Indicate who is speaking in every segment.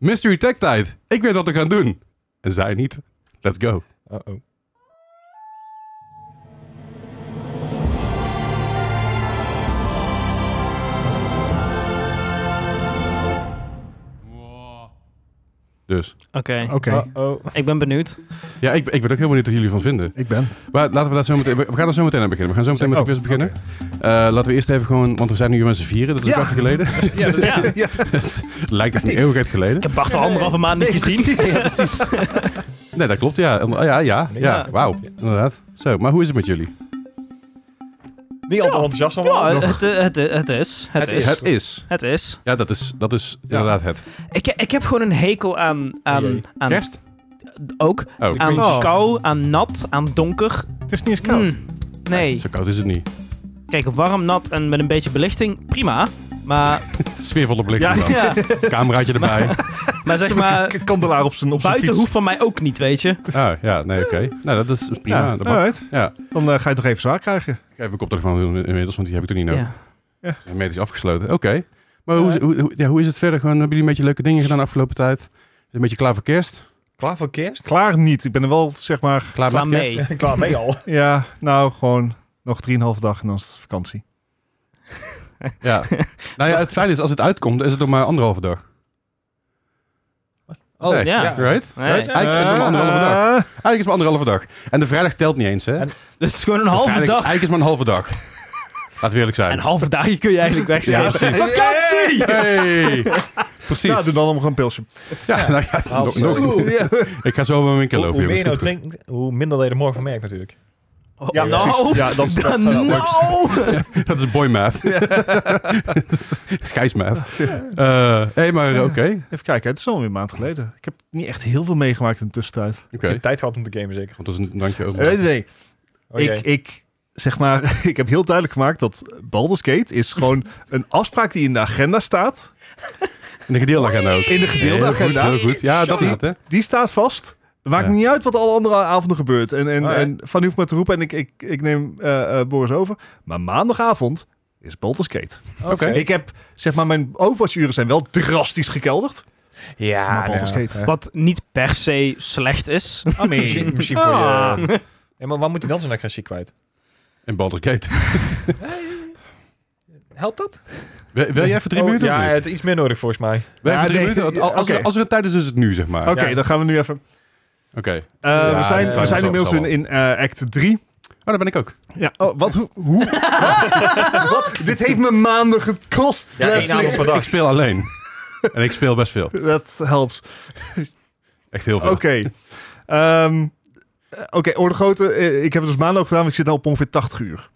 Speaker 1: Mystery Tech Tijd. Ik weet wat we gaan doen. En zij niet. Let's go.
Speaker 2: Uh-oh.
Speaker 1: Dus.
Speaker 3: Oké.
Speaker 4: Oké,
Speaker 2: Uh-oh.
Speaker 3: Ik ben benieuwd.
Speaker 1: Ja, ik, ik ben ook heel benieuwd wat jullie van vinden.
Speaker 4: ik ben.
Speaker 1: Maar laten we daar zo meteen... We we gaan er zo meteen aan beginnen. We gaan zo meteen met de
Speaker 4: Oh,
Speaker 1: quiz beginnen. Eh, laten we eerst even gewoon... Want we zijn nu hier met z'n vieren. Dat is
Speaker 4: Ja.
Speaker 1: een kwartje geleden.
Speaker 4: Ja,
Speaker 3: Ja.
Speaker 4: ja.
Speaker 1: Lijkt het een eeuwigheid geleden.
Speaker 3: Ik heb Bart al anderhalve maand niet gezien.
Speaker 1: Nee, dat klopt. Ja, Oh, ja, ja. ja,
Speaker 2: Ja.
Speaker 1: Wauw. Inderdaad. Zo, maar hoe is het met jullie?
Speaker 2: Niet al te enthousiast van
Speaker 3: Ja,
Speaker 2: worden.
Speaker 3: het, eh, het, het, het is. Het, is.
Speaker 1: Het is.
Speaker 3: Het is.
Speaker 1: Ja, dat is, dat is inderdaad het.
Speaker 3: Ik, ik heb gewoon een hekel aan...
Speaker 2: Oh
Speaker 3: aan,
Speaker 2: jee.
Speaker 3: aan
Speaker 1: Kerst?
Speaker 3: ook.
Speaker 1: Oh,
Speaker 3: Aan
Speaker 4: Oh.
Speaker 3: kou, aan nat, aan donker.
Speaker 4: Het is niet eens
Speaker 2: Hmm.
Speaker 4: koud.
Speaker 3: Mm, nee.
Speaker 1: zo koud is het niet.
Speaker 3: Kijk, warm, nat en met een beetje belichting, prima. Maar,
Speaker 1: Sfeervolle blik.
Speaker 4: Ja.
Speaker 1: dan.
Speaker 3: ja,
Speaker 1: Cameraatje erbij.
Speaker 3: maar zeg maar,
Speaker 4: Een kandelaar op zijn op zijn
Speaker 3: buiten
Speaker 4: fiets.
Speaker 3: hoeft van mij ook niet, weet je.
Speaker 1: Ah, ja, nee, oké. Nou, dat is prima.
Speaker 4: Ja,
Speaker 1: dat mag.
Speaker 4: alright.
Speaker 1: Ja.
Speaker 4: Dan eh, ga je toch even zwaar krijgen.
Speaker 1: Ik heb een koptelefoon in- inmiddels, want die heb ik er niet nodig.
Speaker 3: Ja.
Speaker 1: Ja. Medisch afgesloten. Oké. Maar hoe,
Speaker 2: Ja.
Speaker 3: Eh.
Speaker 1: is- hoe, hoe- ja, hoe is het verder? Gewoon, hebben jullie een beetje leuke dingen gedaan de afgelopen tijd? Een beetje klaar voor kerst?
Speaker 2: Klaar voor kerst?
Speaker 4: Klaar niet. Ik ben er wel, zeg maar,
Speaker 1: Klaar,
Speaker 3: Klaar
Speaker 1: met kerst?
Speaker 3: mee.
Speaker 2: Klaar mee al.
Speaker 4: ja, nou gewoon nog 3,5 dag en dan is het vakantie.
Speaker 1: Ja. nou ja, het feit is, als het uitkomt, is het nog maar anderhalve dag.
Speaker 2: Oh,
Speaker 1: Nee,
Speaker 3: ja.
Speaker 1: Right?
Speaker 3: Nee.
Speaker 1: Right? Eigenlijk is het maar anderhalve dag.
Speaker 4: dag.
Speaker 1: Eigenlijk is het maar anderhalve dag. En de vrijdag telt niet eens, hè?
Speaker 2: En-
Speaker 3: Dus het is gewoon een
Speaker 1: De
Speaker 3: halve
Speaker 1: vrijdag-
Speaker 3: dag.
Speaker 1: Eigenlijk is het maar een halve dag. Laten we eerlijk zijn.
Speaker 3: Een halve dag kun je eigenlijk
Speaker 1: ja,
Speaker 3: wegzetten.
Speaker 1: precies.
Speaker 4: Vakantie!
Speaker 1: Hey! Precies.
Speaker 4: Nou, doe dan nog een pilsje.
Speaker 1: Ja, nou ja, nog,
Speaker 2: Als-
Speaker 1: nog- ik ga zo wel mijn keer
Speaker 2: Hoe,
Speaker 1: lopen.
Speaker 2: hoe meer je
Speaker 1: jongens.
Speaker 2: nou
Speaker 1: Goed, goed.
Speaker 2: drinkt, hoe minder dat je er morgen van merkt natuurlijk.
Speaker 3: Oh,
Speaker 4: Ja,
Speaker 3: nou,
Speaker 4: precies. Ja, dat is- dat
Speaker 3: dan
Speaker 4: is- ja,
Speaker 3: nou.
Speaker 1: Dat is boy math. Dat is Scheidsmaat. Eh, hey, maar oké.
Speaker 4: Even kijken, het is alweer een maand geleden. Ik heb niet echt heel veel meegemaakt in de tussentijd.
Speaker 1: Oké.
Speaker 2: Je hebt tijd gehad om te gamen zeker.
Speaker 1: Want dat is een dankje ook.
Speaker 4: Nee, nee,
Speaker 2: Oh,
Speaker 4: nee.
Speaker 2: jee.
Speaker 4: Ik, ik, zeg maar, ik heb heel duidelijk gemaakt dat Baldur's Gate is gewoon een afspraak die in de agenda staat.
Speaker 1: In de gedeelde agenda ook.
Speaker 4: In de gedeelde
Speaker 1: Heel goed,
Speaker 4: agenda.
Speaker 1: Heel goed. Ja, dat is het, hè?
Speaker 4: Die staat vast. Het maakt
Speaker 1: Ja.
Speaker 4: niet uit wat alle andere avonden gebeurt. En, en,
Speaker 2: Oh, ja.
Speaker 4: en Van die hoeft maar te roepen en ik, ik, ik neem eh, eh, Boris over. Maar maandagavond is Baldur's Gate.
Speaker 2: Oké.
Speaker 1: Oké.
Speaker 4: Ik heb, zeg maar, mijn overwatch-uren zijn wel drastisch gekelderd.
Speaker 2: Ja,
Speaker 4: Maar Baldur's
Speaker 2: nou,
Speaker 4: Gate.
Speaker 2: eh,
Speaker 3: Wat niet per se slecht is.
Speaker 2: Misschien, misschien voor
Speaker 4: Ah.
Speaker 2: je... Ja, maar waar moet hij dan zijn agressie kwijt?
Speaker 1: In Baldur's Gate.
Speaker 2: Helpt dat?
Speaker 1: Wil, wil jij even drie
Speaker 2: Oh,
Speaker 1: minuten?
Speaker 2: Ja,
Speaker 1: of niet?
Speaker 2: het is iets meer nodig volgens mij.
Speaker 1: Wij
Speaker 4: ja,
Speaker 1: even drie
Speaker 4: nee.
Speaker 1: minuten? Want Als, als,
Speaker 4: Oké.
Speaker 1: als er een tijd is, is het nu, zeg maar.
Speaker 4: Oké,
Speaker 1: Oké.
Speaker 2: Ja.
Speaker 4: dan gaan we nu even. Eh,
Speaker 2: Ja,
Speaker 4: we zijn,
Speaker 2: ja,
Speaker 4: we
Speaker 2: ja,
Speaker 4: zijn
Speaker 1: zo-
Speaker 4: inmiddels
Speaker 1: zo
Speaker 4: in,
Speaker 1: wel.
Speaker 4: in eh, act 3.
Speaker 1: Oh, daar ben ik ook.
Speaker 4: Ja, oh, wat? Hoe? hoe- wat? Wat? Dit heeft me maanden gekost,
Speaker 2: Ja, één
Speaker 4: Leslie.
Speaker 2: avond per
Speaker 1: Ik
Speaker 2: dag.
Speaker 1: speel alleen. en ik speel best veel.
Speaker 4: Dat helpt.
Speaker 1: Echt heel veel.
Speaker 4: Oké. Ehm, eh, Oké, orde grote. eh, Ik heb het dus maanden ook gedaan, maar ik zit al op ongeveer 80 uur.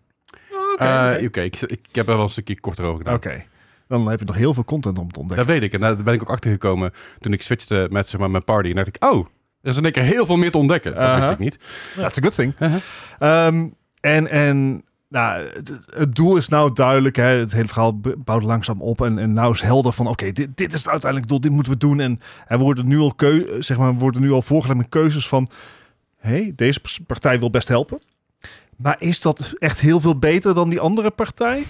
Speaker 1: Eh, Oké, ik, ik heb er wel een stukje korter over gedaan.
Speaker 4: Oké. Dan heb je nog heel veel content om te ontdekken.
Speaker 1: Dat weet ik. En daar ben ik ook achter gekomen toen ik switchte met zeg maar, mijn party. En dacht ik, oh, er is in één keer heel veel meer te ontdekken. Dat wist
Speaker 4: Uh-huh.
Speaker 1: ik niet.
Speaker 4: That's a good thing.
Speaker 1: Uh-huh.
Speaker 4: Ehm, en en nou, het, het doel is nou duidelijk. Hè? Het hele verhaal b- bouwt langzaam op. En, en nou is helder van, oké, dit, dit is het uiteindelijk doel. Dit moeten we doen. En, en we, worden nu al keu eh, zeg maar, we worden nu al voorgelegd met keuzes van... Hé, hey, deze pers- partij wil best helpen. Maar is dat echt heel veel beter dan die andere partij?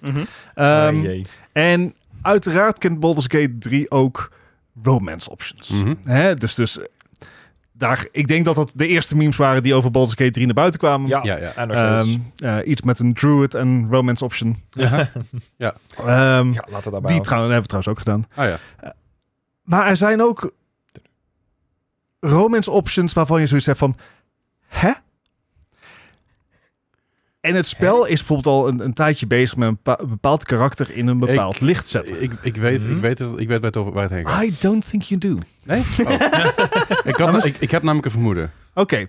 Speaker 3: Mhm.
Speaker 4: Ehm,
Speaker 2: Oh, jee.
Speaker 4: en uiteraard kent Baldur's Gate 3 ook romance options.
Speaker 1: Mhm.
Speaker 4: Hè? Dus, dus daar, ik denk dat dat de eerste memes waren die over Baldur's Gate 3 naar buiten kwamen.
Speaker 2: Ja,
Speaker 1: Ja, ja.
Speaker 2: en nog
Speaker 4: Ehm,
Speaker 2: steeds.
Speaker 4: eh, iets met een druid en romance option. Ehm,
Speaker 2: ja, laat het daarbij
Speaker 4: die
Speaker 2: houden.
Speaker 4: trouw- hebben we trouwens ook gedaan.
Speaker 1: Ah ja.
Speaker 4: Maar er zijn ook romance options waarvan je zoiets hebt van... Hè? En het spel is bijvoorbeeld al een, een tijdje bezig met een, pa- een bepaald karakter in een bepaald licht zetten.
Speaker 1: Ik, ik, weet,
Speaker 2: Mhm.
Speaker 1: ik, weet het, ik weet waar het, over, waar het heen gaat.
Speaker 4: I don't think you do. Oké,
Speaker 1: Nee? ik, had, ik, ik heb namelijk een vermoeden.
Speaker 2: Oh, jee.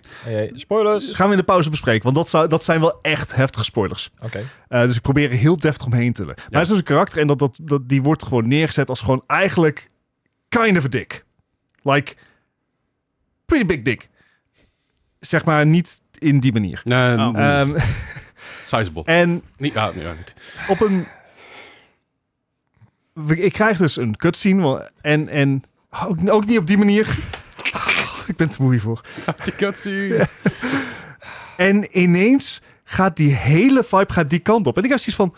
Speaker 2: Spoilers!
Speaker 4: gaan we in de pauze bespreken, want dat, zou, dat zijn wel echt heftige spoilers.
Speaker 2: Oké.
Speaker 4: Eh, dus ik probeer er heel deftig omheen te tillen. Maar er is dus een karakter en dat, dat, dat, die wordt gewoon neergezet als gewoon eigenlijk kind of a dick. Like, pretty big dick. Zeg maar niet in die manier.
Speaker 1: Nee,
Speaker 3: Oh.
Speaker 1: nee,
Speaker 4: Ehm,
Speaker 1: sizable.
Speaker 4: en
Speaker 1: Niet, ah, nee, ja, niet.
Speaker 4: op een... Ik krijg dus een cutscene wel- en, en ook, ook niet op die manier. Ik ben te moe hiervoor.
Speaker 1: De cutscene.
Speaker 4: En ineens gaat die hele vibe gaat die kant op. En ik heb zoiets van...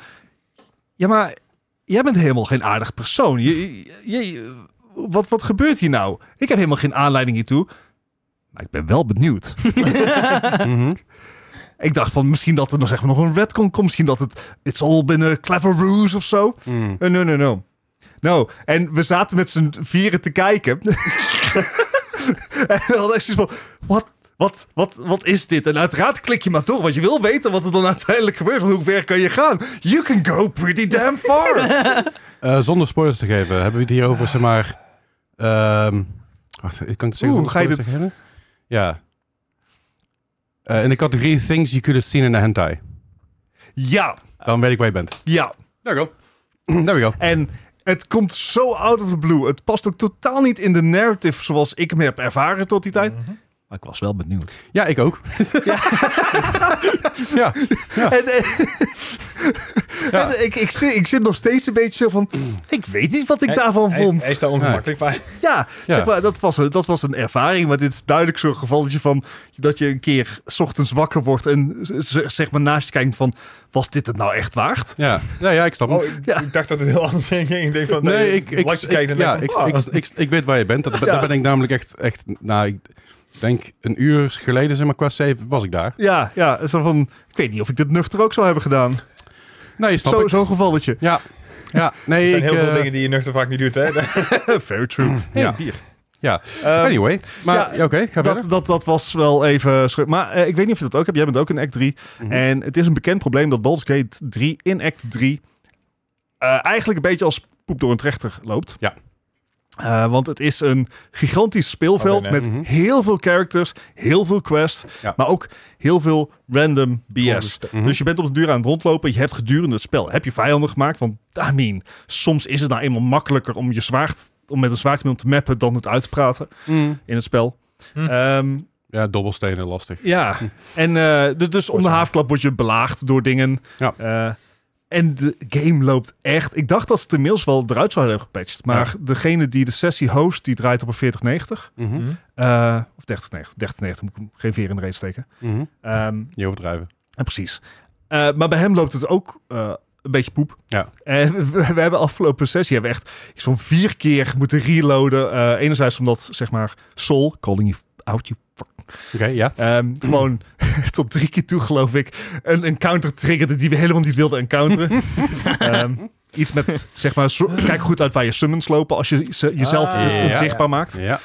Speaker 4: Ja, maar jij bent helemaal geen aardig persoon. Je, je, je- wat, wat gebeurt hier nou? Ik heb helemaal geen aanleiding hiertoe. Maar ik ben wel benieuwd.
Speaker 1: Mhm.
Speaker 4: Ik dacht van misschien dat er nog, zeg maar, nog een redcon komt. Misschien dat het it's all been a clever ruse of zo.
Speaker 1: Mm.
Speaker 4: Eh, no, no, no. No. En we zaten met z'n vieren te kijken. en we hadden echt zoiets van... Wat, wat, wat, wat is dit? En uiteraard klik je maar door. Want je wil weten wat er dan uiteindelijk gebeurt. Want hoe ver kan je gaan? You can go pretty damn far.
Speaker 1: Eh, zonder spoilers te geven, hebben we het hier over, zeg maar... ehm, wacht, ik kan het zeggen. zonder
Speaker 4: Oeh, ga je
Speaker 1: spoilers
Speaker 4: dit-
Speaker 1: te geven? Ja. Eh, in de categorie Things You Could Have Seen in a Hentai.
Speaker 4: ja,
Speaker 1: Dan weet ik waar je bent.
Speaker 4: ja.
Speaker 1: There we go. There we go.
Speaker 4: En het komt zo out of the blue. Het past ook totaal niet in de narrative zoals ik hem heb ervaren tot die tijd.
Speaker 2: Mhm.
Speaker 4: Maar ik was wel benieuwd.
Speaker 1: Ja, ik ook. ja.
Speaker 4: En, eh,
Speaker 1: Ja.
Speaker 4: en ik, ik, zit, ik zit nog steeds een beetje zo van... Ik weet niet wat ik daarvan
Speaker 2: Hij-
Speaker 4: vond.
Speaker 2: Hij is daar ongemakkelijk bij.
Speaker 4: ja,
Speaker 1: Ja.
Speaker 4: Zeg maar, dat, was, een- dat was een ervaring. Maar dit is duidelijk zo'n gevalletje van... dat je een keer 's ochtends wakker wordt... en z- z- zeg maar naast je kijkt van... was dit het nou echt waard?
Speaker 1: Ja. ja, ja, ik snap hem.
Speaker 2: Oh, ik,
Speaker 4: Ja.
Speaker 2: ik dacht dat het heel anders ging. Ik denk van,
Speaker 1: Nee,
Speaker 2: eh,
Speaker 1: ik, ik,
Speaker 2: langs
Speaker 1: ik-
Speaker 2: kijkt en
Speaker 1: ja,
Speaker 2: denkt
Speaker 1: ik,
Speaker 2: van,
Speaker 1: ik,
Speaker 2: "Ah."
Speaker 1: ik, ik weet waar je bent. Dat, dat
Speaker 4: Ja.
Speaker 1: ben ik namelijk echt, echt, nou, ik denk een uur geleden, zeg maar, qua save was ik daar.
Speaker 4: Ja, ja. Zo van... ik weet niet of ik dit nuchter ook zou hebben gedaan.
Speaker 1: Nee, snap
Speaker 4: Zo- Zo'n
Speaker 1: ik.
Speaker 4: gevalletje.
Speaker 1: Ja, ja, nee,
Speaker 2: Er zijn heel
Speaker 1: ik,
Speaker 2: veel
Speaker 1: eh,
Speaker 2: dingen die je nuchter vaak niet doet, hè? Hm.
Speaker 4: Very true.
Speaker 1: Ja. Ja.
Speaker 4: Ehm,
Speaker 1: Anyway, maar
Speaker 4: ja,
Speaker 1: ja, oké, ga
Speaker 4: dat,
Speaker 1: verder.
Speaker 4: dat, dat was wel even... schrik. Maar eh, ik weet niet of je dat ook hebt. Jij bent ook in act 3.
Speaker 1: Mhm.
Speaker 4: En het is een bekend probleem dat Baldur's Gate 3 in Act 3 eh, eigenlijk een beetje als poep door een trechter loopt.
Speaker 1: Ja.
Speaker 4: Eh, want het is een gigantisch speelveld
Speaker 2: Alleen,
Speaker 4: met
Speaker 1: hè? Mhm.
Speaker 4: heel veel characters, heel veel quests,
Speaker 1: Ja.
Speaker 4: maar ook heel veel random BS.
Speaker 1: Mhm.
Speaker 4: Dus je bent op de duur aan het rondlopen. Je hebt gedurende het spel heb je vijanden gemaakt. Want, I mean, soms is het nou eenmaal makkelijker om, je zwaard, om met een zwaardmiddel te mappen dan het uit te praten
Speaker 1: Mm.
Speaker 4: in het spel.
Speaker 2: Hm.
Speaker 4: Ehm,
Speaker 1: Ja, dobbelstenen, lastig.
Speaker 4: ja, en eh, du- dus om de haafklap word je belaagd door dingen.
Speaker 1: Ja.
Speaker 4: Eh, en de game loopt echt. Ik dacht dat ze het inmiddels wel eruit zouden hebben gepatcht. Maar degene die de sessie host, die draait op een 4090.
Speaker 1: Mhm.
Speaker 2: Hm?
Speaker 4: eh of 3090. 3090 moet ik hem geen veer in de reet steken.
Speaker 1: Mhm.
Speaker 4: Ehm,
Speaker 1: Niet overdrijven.
Speaker 4: en precies. Eh, maar bij hem loopt het ook eh, een beetje poep.
Speaker 1: Ja.
Speaker 4: En we, we hebben afgelopen sessie hebben we echt iets van vier keer moeten reloaden. Eh, enerzijds omdat, zeg maar, Sol, calling you out, you
Speaker 1: Oké, ja.
Speaker 4: Ehm, gewoon tot drie keer toe, geloof ik, een encounter triggerde die we helemaal niet wilden encounteren. Ehm, iets met, zeg maar, zo- kijk goed uit waar je summons lopen als je ze- jezelf
Speaker 2: Ah,
Speaker 1: ja.
Speaker 4: onzichtbaar maakt.
Speaker 1: Ja.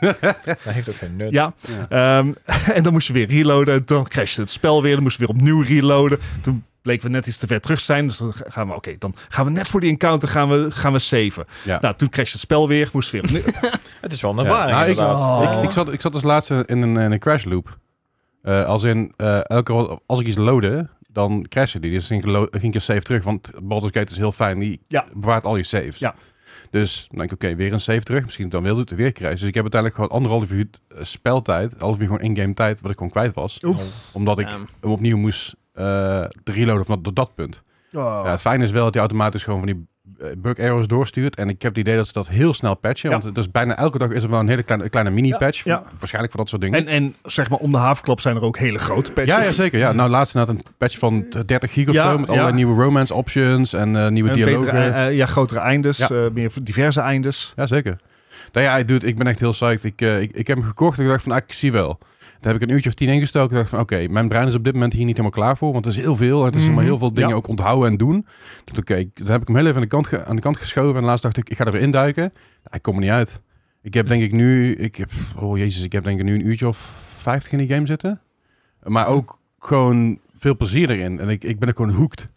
Speaker 2: Hij heeft ook geen nut.
Speaker 4: Ja,
Speaker 1: Ja.
Speaker 4: ehm, en dan moest je weer reloaden. Dan crashte het spel weer. Dan moest je weer opnieuw reloaden. Toen bleken we net iets te ver terug te zijn. Dus dan gaan we, oké, dan gaan we net voor die encounter gaan we, gaan we saven.
Speaker 1: Ja.
Speaker 4: Nou, toen crashte het spel weer. Moest weer opnieuw.
Speaker 2: Het is wel een
Speaker 1: Ja.
Speaker 2: ervaring,
Speaker 1: Nou, ik-
Speaker 2: inderdaad.
Speaker 4: Oh.
Speaker 1: Ik, ik, zat, ik zat als laatste in een, in een crash loop. Eh, als in, eh, elke, als ik iets loadde, dan crashte die. Dus ging ik, lo- ging ik een save terug, want Baldur's Gate is heel fijn. Die
Speaker 4: Ja.
Speaker 1: bewaart al je saves.
Speaker 4: Ja.
Speaker 1: Dus dan denk ik, oké, weer een save terug. Misschien dan wil het weer crash. Dus ik heb uiteindelijk gewoon anderhalf uur eh, speltijd, half uur gewoon in-game tijd, wat ik gewoon kwijt was.
Speaker 2: Oh.
Speaker 1: Omdat ik
Speaker 3: Ehm,
Speaker 1: hem opnieuw moest eh reloaden vanaf dat- dat punt. Ja, het fijne is wel dat hij automatisch gewoon van die eh, bug errors doorstuurt. En ik heb het idee dat ze dat heel snel patchen.
Speaker 4: Ja.
Speaker 1: Want het is bijna elke dag is er wel een hele kleine, kleine mini-patch.
Speaker 4: Ja, ja.
Speaker 1: Voor- Waarschijnlijk voor dat soort dingen.
Speaker 4: en, en zeg maar, om de haafklap zijn er ook hele grote patches.
Speaker 1: ja, ja, zeker. Ja. Nou, laatst had een patch van 30 gig of
Speaker 4: Ja,
Speaker 1: zo. Met
Speaker 4: ja.
Speaker 1: allerlei nieuwe romance options en eh, nieuwe
Speaker 4: En
Speaker 1: dialogen.
Speaker 4: betere, eh, eh, ja, grotere eindes,
Speaker 1: Ja.
Speaker 4: eh, meer diverse eindes.
Speaker 1: Ja, zeker. Nou ja, dude, ik ben echt heel psyched. Ik, eh, ik, ik heb hem gekocht en ik dacht van, ah, ik zie wel. Daar heb ik een uurtje of tien ingestoken. Ik dacht van, oké, mijn brein is op dit moment hier niet helemaal klaar voor. Want het is heel veel. En het is
Speaker 4: Mhm,
Speaker 1: maar heel veel dingen
Speaker 4: ja.
Speaker 1: ook onthouden en doen. Dus oké, ik- dan heb ik hem heel even aan de, kant ge- aan de kant geschoven. En laatst dacht ik, ik ga er weer induiken. Nou, ik kom er niet uit. Ik heb denk ik nu, ik heb, oh jezus, ik heb denk ik nu een uurtje of vijftig in die game zitten. Maar ook gewoon veel plezier erin. En ik, ik ben er gewoon hooked.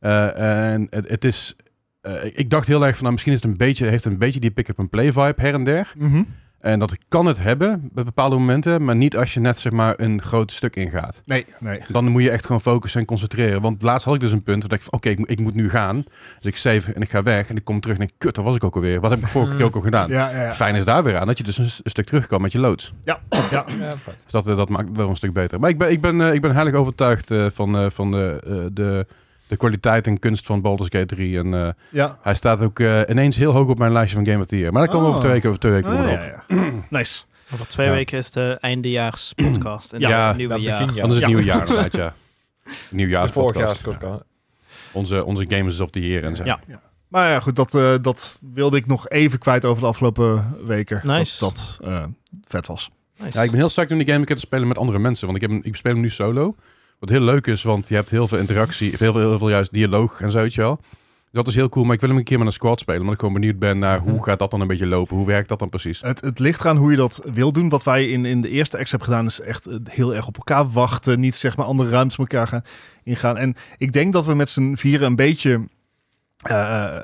Speaker 1: Eh, en het, het is, eh, ik dacht heel erg van, nou, misschien is het een beetje, heeft het een beetje die pick-up and play vibe her en der. En dat kan het hebben bij bepaalde momenten, maar niet als je net zeg maar een groot stuk ingaat.
Speaker 4: Nee, nee.
Speaker 1: Dan moet je echt gewoon focussen en concentreren. Want laatst had ik dus een punt dat ik van, oké, ik, moet- ik moet nu gaan. Dus ik save en ik ga weg en ik kom terug en ik, kut, daar was ik ook alweer. Wat heb ik vorige keer ook al gedaan?
Speaker 4: Ja, ja, ja.
Speaker 1: Fijn is daar weer aan dat je dus een, s- een stuk terugkomt met je loods.
Speaker 4: ja, ja.
Speaker 2: Ja, vet.
Speaker 1: Dus dat, eh, dat maakt het wel een stuk beter. Maar ik ben, ik ben, eh, ik ben heilig overtuigd eh, van, eh, van de, eh, de, de kwaliteit en kunst van Baldur's Gate 3. En eh,
Speaker 4: ja.
Speaker 1: hij staat ook eh, ineens heel hoog op mijn lijstje van Game of the Year. Maar dat komt
Speaker 4: Oh.
Speaker 1: over twee weken, over twee weken
Speaker 4: Ah,
Speaker 1: weer op.
Speaker 4: ja, ja. Nice.
Speaker 3: Over twee
Speaker 1: Ja.
Speaker 3: weken is de eindejaarspodcast. En
Speaker 4: Ja.
Speaker 3: ja, dat is
Speaker 1: Ja,
Speaker 3: het nieuwe
Speaker 2: Nou,
Speaker 3: jaar.
Speaker 2: begin jaar.
Speaker 1: Anders is het
Speaker 4: Ja.
Speaker 1: nieuwe jaar inderdaad, ja.
Speaker 2: Ja,
Speaker 1: Nieuwjaars
Speaker 2: vorig jaar
Speaker 1: podcast.
Speaker 2: is het
Speaker 1: Ja. Onze, onze Gamers of the Year en zo.
Speaker 3: Ja.
Speaker 4: Ja. Maar ja, goed, dat, eh, dat wilde ik nog even kwijt over de afgelopen weken.
Speaker 3: Nice.
Speaker 4: Dat dat eh, vet was.
Speaker 3: Nice.
Speaker 1: Ja, ik ben heel sterk in die game. Ik heb te spelen met andere mensen. Want ik, heb, hem- ik speel hem nu solo. Wat heel leuk is, want je hebt heel veel interactie. Heel veel, heel veel juist dialoog en zo, weet je wel. Dat is heel cool. Maar ik wil hem een keer met een squad spelen. Omdat ik gewoon benieuwd ben naar hoe gaat dat dan een beetje lopen. Hoe werkt dat dan precies?
Speaker 4: Het, het ligt eraan hoe je dat wil doen. Wat wij in, in de eerste ex hebben gedaan is echt eh, heel erg op elkaar wachten. Niet zeg maar andere ruimtes met elkaar gaan ingaan. En ik denk dat we met z'n vieren een beetje... eh,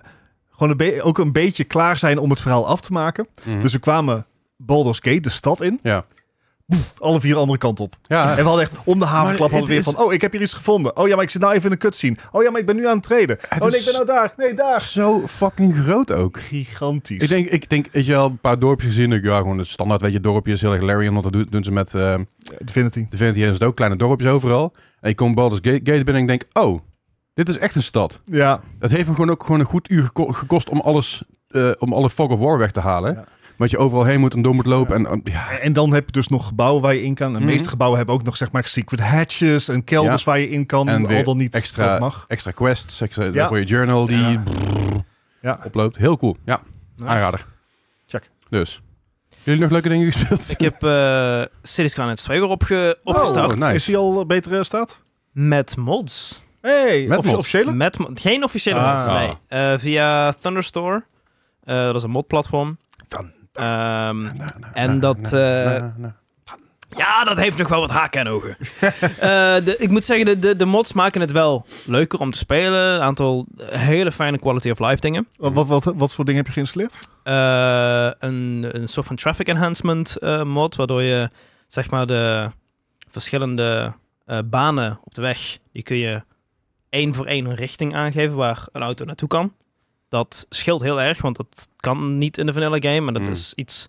Speaker 4: gewoon een be- ook een beetje klaar zijn om het verhaal af te maken.
Speaker 1: Mhm.
Speaker 4: Dus we kwamen Baldur's Gate, de stad in.
Speaker 1: Ja. Ah.
Speaker 4: Boef, alle vier de andere kant op.
Speaker 1: ja,
Speaker 4: En we hadden echt om de havenklap
Speaker 1: Maar
Speaker 4: hadden we weer
Speaker 1: het
Speaker 4: van... Oh, ik heb hier iets gevonden. Oh ja, maar ik zit nou even in een cutscene. Oh ja, maar ik ben nu aan het treden. Oh nee,
Speaker 1: is-
Speaker 4: ik ben nou daar. Nee, daar.
Speaker 1: zo fucking groot ook.
Speaker 4: Gigantisch.
Speaker 1: Ik denk, ik denk, weet je wel, een paar dorpjes gezien. Ik, Ja, gewoon het standaard, weet je, dorpje is heel erg Larian. Want dat doen- doen ze met eh
Speaker 4: Divinity.
Speaker 1: Divinity. Er zitten ook kleine dorpjes overal. En je komt Baldur's Gate, Gate binnen en ik denk, oh, dit is echt een stad.
Speaker 4: Ja.
Speaker 1: Het heeft me gewoon ook gewoon een goed uur geko- gekost om alles, eh, om alle fog of war weg te halen.
Speaker 4: Ja.
Speaker 1: Want je overal heen moet en door moet lopen. En, eh, ja,
Speaker 4: En dan heb je dus nog gebouwen waar je in kan. En de
Speaker 1: Mhm.
Speaker 4: meeste gebouwen hebben ook nog zeg maar secret hatches en kelders waar je in kan.
Speaker 1: En
Speaker 4: En al
Speaker 1: weer
Speaker 4: dan niet
Speaker 1: extra-
Speaker 4: dat mag.
Speaker 1: extra quests, extra, voor je journal die
Speaker 4: Ja.
Speaker 1: brrr,
Speaker 4: Ja.
Speaker 1: oploopt. Heel cool, ja. Aanrader.
Speaker 4: Check.
Speaker 1: Dus. Jullie nog leuke dingen gespeeld?
Speaker 3: Ik heb eh Cities Skylines 2 weer opge opgestart.
Speaker 1: Oh, nice.
Speaker 4: Is hij al beter eh, staat?
Speaker 3: Met mods.
Speaker 4: Hey,
Speaker 1: Met
Speaker 4: of,
Speaker 1: mods.
Speaker 4: officiële?
Speaker 3: Met mo- Geen officiële
Speaker 4: Ah.
Speaker 3: mods, nee. Eh, via Thunderstore. Eh, dat is een modplatform.
Speaker 4: Thun-
Speaker 3: Ehm, en dat... eh, Ja, dat heeft nog wel wat haken en ogen. Eh, de, ik moet zeggen, de, de, de mods maken het wel leuker om te spelen. Een aantal hele fijne quality of life dingen.
Speaker 4: Wat, wat, wat, wat voor dingen heb je geïnstalleerd?
Speaker 3: Eh, een, een soort van traffic enhancement eh, mod, waardoor je zeg maar de verschillende eh, banen op de weg, die kun je één voor één een richting aangeven waar een auto naartoe kan. Dat scheelt heel erg, want dat kan niet in de vanilla game. En dat
Speaker 1: Mm.
Speaker 3: is iets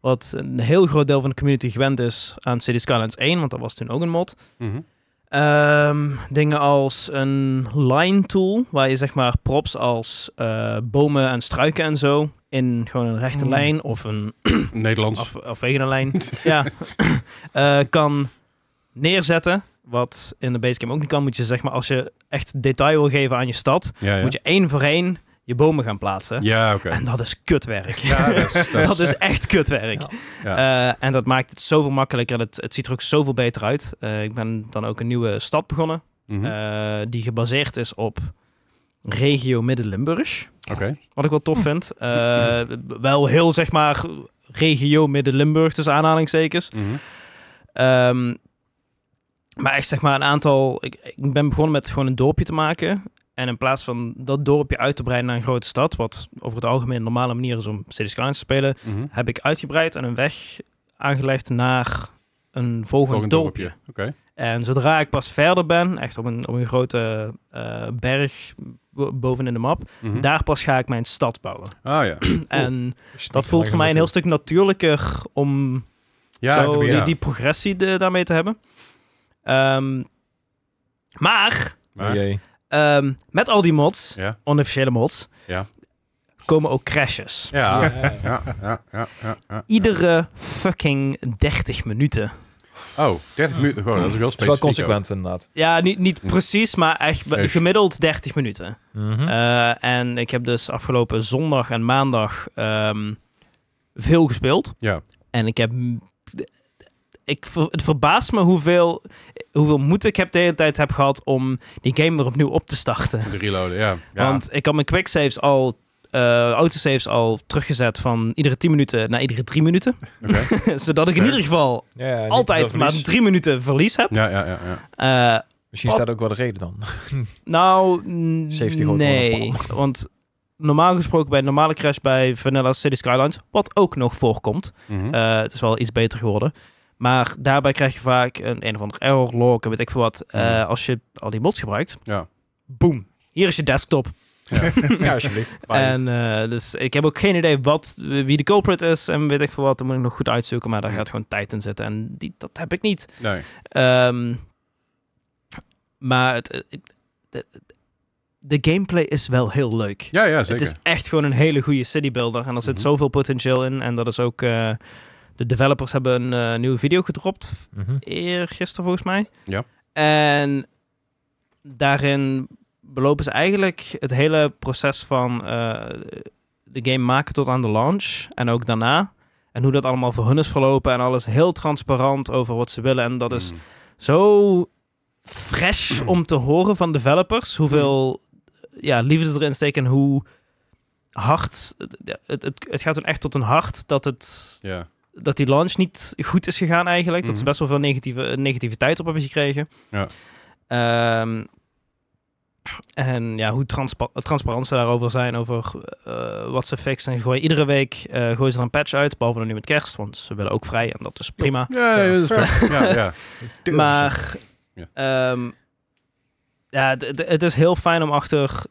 Speaker 3: wat een heel groot deel van de community gewend is aan City Skylines 1, want dat was toen ook een mod.
Speaker 1: mhm.
Speaker 3: Ehm, dingen als een line tool, waar je zeg maar props als eh, bomen en struiken en zo in gewoon een rechte
Speaker 4: Mm.
Speaker 3: lijn of een
Speaker 1: Nederlands.
Speaker 3: af, afwegende lijn ja, eh, kan neerzetten. Wat in de base game ook niet kan, moet je zeg maar als je echt detail wil geven aan je stad,
Speaker 1: ja, ja.
Speaker 3: moet je één voor één je bomen gaan plaatsen.
Speaker 1: Ja, oké.
Speaker 3: En dat is kutwerk.
Speaker 1: Ja, dat is- dat
Speaker 3: dat is echt kutwerk. Eh, en dat maakt het zoveel makkelijker. en Het, het ziet er ook zoveel beter uit. Eh, ik ben dan ook een nieuwe stad begonnen.
Speaker 1: Mhm.
Speaker 3: eh, die gebaseerd is op regio Midden-Limburg.
Speaker 1: Oké.
Speaker 3: Wat ik wel tof vind. Eh, wel heel zeg maar regio Midden-Limburg tussen aanhalingstekens.
Speaker 1: Mhm.
Speaker 3: Ehm, maar echt zeg maar een aantal... Ik, ik ben begonnen met gewoon een dorpje te maken. En in plaats van dat dorpje uit te breiden naar een grote stad... wat over het algemeen een normale manier is om Cities Skylines te spelen...
Speaker 1: Mhm.
Speaker 3: heb ik uitgebreid en een weg aangelegd naar een volgend,
Speaker 1: Volgend
Speaker 3: dorpje.
Speaker 1: dorpje. Oké.
Speaker 3: En zodra ik pas verder ben, echt op een, op een grote eh, berg bo- bovenin de map...
Speaker 1: Mhm.
Speaker 3: daar pas ga ik mijn stad bouwen.
Speaker 1: Ah ja.
Speaker 3: En dat voelt voor mij een heel stuk natuurlijker om
Speaker 1: Ja,
Speaker 3: zo
Speaker 1: ik-
Speaker 3: die,
Speaker 1: ja.
Speaker 3: die progressie de- daarmee te hebben. Ehm, maar
Speaker 1: Maar-
Speaker 2: jee.
Speaker 3: ehm, met al die mods,
Speaker 1: Ja.
Speaker 3: onofficiële mods,
Speaker 1: Ja.
Speaker 3: komen ook crashes.
Speaker 1: Ja. Ja, ja, ja, ja, ja.
Speaker 3: Iedere fucking 30 minuten.
Speaker 1: Oh, 30 minuten gewoon. Dat is wel
Speaker 2: Het is wel
Speaker 1: specifiek.
Speaker 2: consequent inderdaad.
Speaker 3: Ja, niet, niet
Speaker 1: Hm.
Speaker 3: precies, maar echt be-
Speaker 1: Echt.
Speaker 3: gemiddeld 30 minuten.
Speaker 2: Mhm.
Speaker 3: Eh, en ik heb dus afgelopen zondag en maandag ehm, veel gespeeld.
Speaker 1: Ja.
Speaker 3: En ik heb... Ik, ver- het verbaast me hoeveel, hoeveel moed ik heb de hele tijd heb gehad om die game weer opnieuw op te starten.
Speaker 1: ook. De reloaden, ja. ja.
Speaker 3: Want ik had mijn quicksaves al, eh autosaves al teruggezet van iedere 10 minuten naar iedere 3 minuten.
Speaker 1: Oké.
Speaker 3: Zodat ik in
Speaker 1: Fair.
Speaker 3: ieder geval
Speaker 2: Ja, ja, niet te
Speaker 3: altijd
Speaker 2: veel
Speaker 3: maar
Speaker 2: verlies.
Speaker 3: 3 minuten verlies heb.
Speaker 1: Ja, ja, ja. ja.
Speaker 3: Eh,
Speaker 2: Misschien
Speaker 3: Wat?
Speaker 2: staat ook wel de reden dan.
Speaker 3: Nou, n-
Speaker 2: 70 grote
Speaker 3: nee.
Speaker 2: mannen.
Speaker 3: Want normaal gesproken bij een normale crash bij Vanilla City Skylines, wat ook nog voorkomt,
Speaker 1: Mhm.
Speaker 3: eh, het is wel iets beter geworden. Maar daarbij krijg je vaak een een of ander error log en weet ik veel wat. eh,
Speaker 1: Mhm.
Speaker 3: Als je al die mods gebruikt,
Speaker 1: Ja.
Speaker 3: boom, hier is je desktop.
Speaker 2: ja, alsjeblieft.
Speaker 1: Bye.
Speaker 3: En eh, dus ik heb ook geen idee wat, wie de culprit is en weet ik veel wat. Dan moet ik nog goed uitzoeken, maar daar
Speaker 1: Mhm.
Speaker 3: gaat gewoon tijd in zitten. En die, dat heb ik niet.
Speaker 1: Nee.
Speaker 3: Ehm, maar het, het- het- het- de gameplay is wel heel leuk.
Speaker 1: Ja, ja,
Speaker 3: het
Speaker 1: zeker.
Speaker 3: is echt gewoon een hele goede city builder. En er zit
Speaker 1: Mhm.
Speaker 3: zoveel potentieel in. En dat is ook. eh, de developers hebben een eh, nieuwe video gedropt.
Speaker 2: Mhm.
Speaker 3: Eergisteren volgens mij.
Speaker 1: Ja.
Speaker 3: En daarin belopen ze eigenlijk het hele proces van eh, de game maken tot aan de launch en ook daarna. En hoe dat allemaal voor hun is verlopen en alles heel transparant over wat ze willen. En dat is
Speaker 1: Mm.
Speaker 3: zo fresh om te horen van developers. Hoeveel ja, liefde erin steken en hoe hard. Het, het, het- het gaat hun echt tot een hart dat, het,
Speaker 1: Ja.
Speaker 3: dat die launch niet goed is gegaan eigenlijk. Dat ze
Speaker 1: Mhm.
Speaker 3: best wel veel negatieve, negativiteit op hebben gekregen.
Speaker 1: Ja.
Speaker 3: Ehm, en ja, hoe transpa transparant ze daarover zijn, over eh, wat ze fixen. En gooien iedere week eh, gooien ze er een patch uit, behalve dan nu met kerst, want ze willen ook vrij en dat is prima.
Speaker 1: Ja, ja, dat is fair. ja, ja.
Speaker 3: Maar
Speaker 1: Ja.
Speaker 3: ehm, ja, het- het- het is heel fijn om achter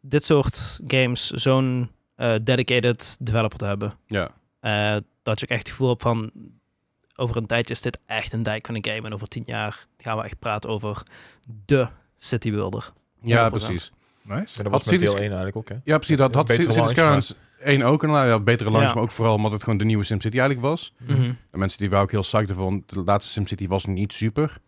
Speaker 3: dit soort games zo'n eh, dedicated developer te hebben.
Speaker 1: ja.
Speaker 3: Eh, dat je ook echt het gevoel hebt van over een tijdje is dit echt een dijk van een game en over tien jaar gaan we echt praten over de city builder.
Speaker 1: ja
Speaker 3: 100%.
Speaker 1: precies.
Speaker 4: Nice.
Speaker 2: En dat
Speaker 1: Had
Speaker 2: was met deel
Speaker 1: Cities-
Speaker 2: 1 eigenlijk ook, hè?
Speaker 1: Ja, precies. Dat had
Speaker 2: Betere
Speaker 1: Cities
Speaker 2: launch,
Speaker 1: Skylines 1 ook een ja, betere launch,
Speaker 3: Ja.
Speaker 1: maar ook vooral omdat het gewoon de nieuwe SimCity eigenlijk was.
Speaker 3: Mhm.
Speaker 1: En mensen die waren ook heel psyched ervan, want de laatste SimCity was niet super.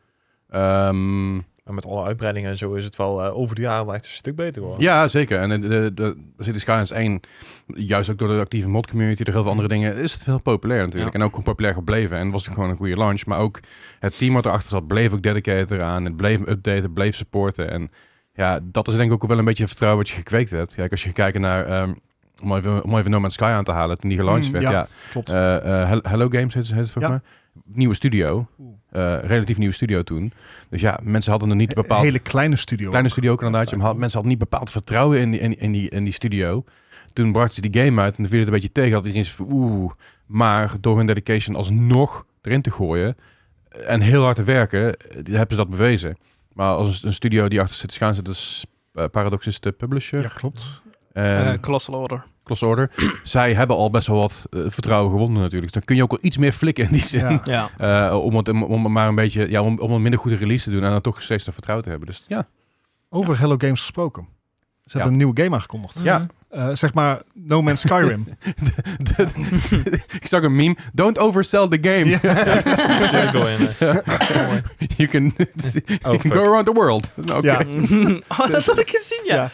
Speaker 1: Ehm,
Speaker 2: Maar met alle uitbreidingen en zo is het wel eh, over de jaren wel echt een stuk beter geworden.
Speaker 1: ja, zeker. En eh, de, de, de Cities Skylines 1, juist ook door de actieve mod community, door heel veel andere dingen, is het heel populair natuurlijk.
Speaker 3: Ja.
Speaker 1: En ook gewoon populair gebleven. En was het gewoon een goede launch. Maar ook het team wat erachter zat, bleef ook dedicated eraan. Het bleef updaten, bleef supporten. En ja, dat is denk ik ook wel een beetje het vertrouwen wat je gekweekt hebt. Kijk, als je kijkt naar, ehm, om, even, om even No Man's Sky aan te halen, toen die gelaunched
Speaker 4: Mm,
Speaker 1: werd.
Speaker 4: ja.
Speaker 1: ja,
Speaker 4: Klopt.
Speaker 1: Eh, eh, Hel- Hello Games heet, het- heet het volgens mij. Nieuwe studio.
Speaker 4: Oeh.
Speaker 1: Eh, relatief nieuwe studio toen. Dus ja, mensen hadden er niet bepaald...
Speaker 4: Een hele kleine studio.
Speaker 1: kleine
Speaker 4: ook.
Speaker 1: studio ook inderdaad. Ja, maar had- mensen hadden niet bepaald vertrouwen in die, in, in die, in die studio. Toen brachten ze die game uit en dan viel het een beetje tegen. Had iedereen zo van oeh. Maar door hun dedication alsnog erin te gooien... en heel hard te werken, eh, hebben ze dat bewezen. Maar als een, een studio die achter zit gaan zit, dat is... eh, Paradox is de publisher.
Speaker 4: Ja, klopt.
Speaker 1: En-
Speaker 3: Eh, Colossal Order.
Speaker 1: Close Order. Zij hebben al best wel wat eh, vertrouwen gewonnen natuurlijk. Dus dan kun je ook wel iets meer flikken in die zin.
Speaker 4: Ja.
Speaker 3: Ja.
Speaker 1: Eh, om, het, om, om maar een beetje, ja, om, om een minder goede release te doen en dan toch steeds dat vertrouwen te hebben. Dus ja,
Speaker 4: Over Hello Games gesproken. Ze hebben
Speaker 1: Ja.
Speaker 4: een nieuwe game aangekondigd.
Speaker 1: Ja.
Speaker 3: Mhm.
Speaker 4: Eh, zeg maar No Man's Skyrim.
Speaker 1: ik zag een meme. Don't oversell the game.
Speaker 4: Ja.
Speaker 2: Ja, door in, eh, mooi. Oh,
Speaker 1: You can, you can
Speaker 2: fuck.
Speaker 1: go around the world. Nou, oké.
Speaker 4: Ja.
Speaker 3: oh, dat had ik gezien, ja.
Speaker 4: Ja.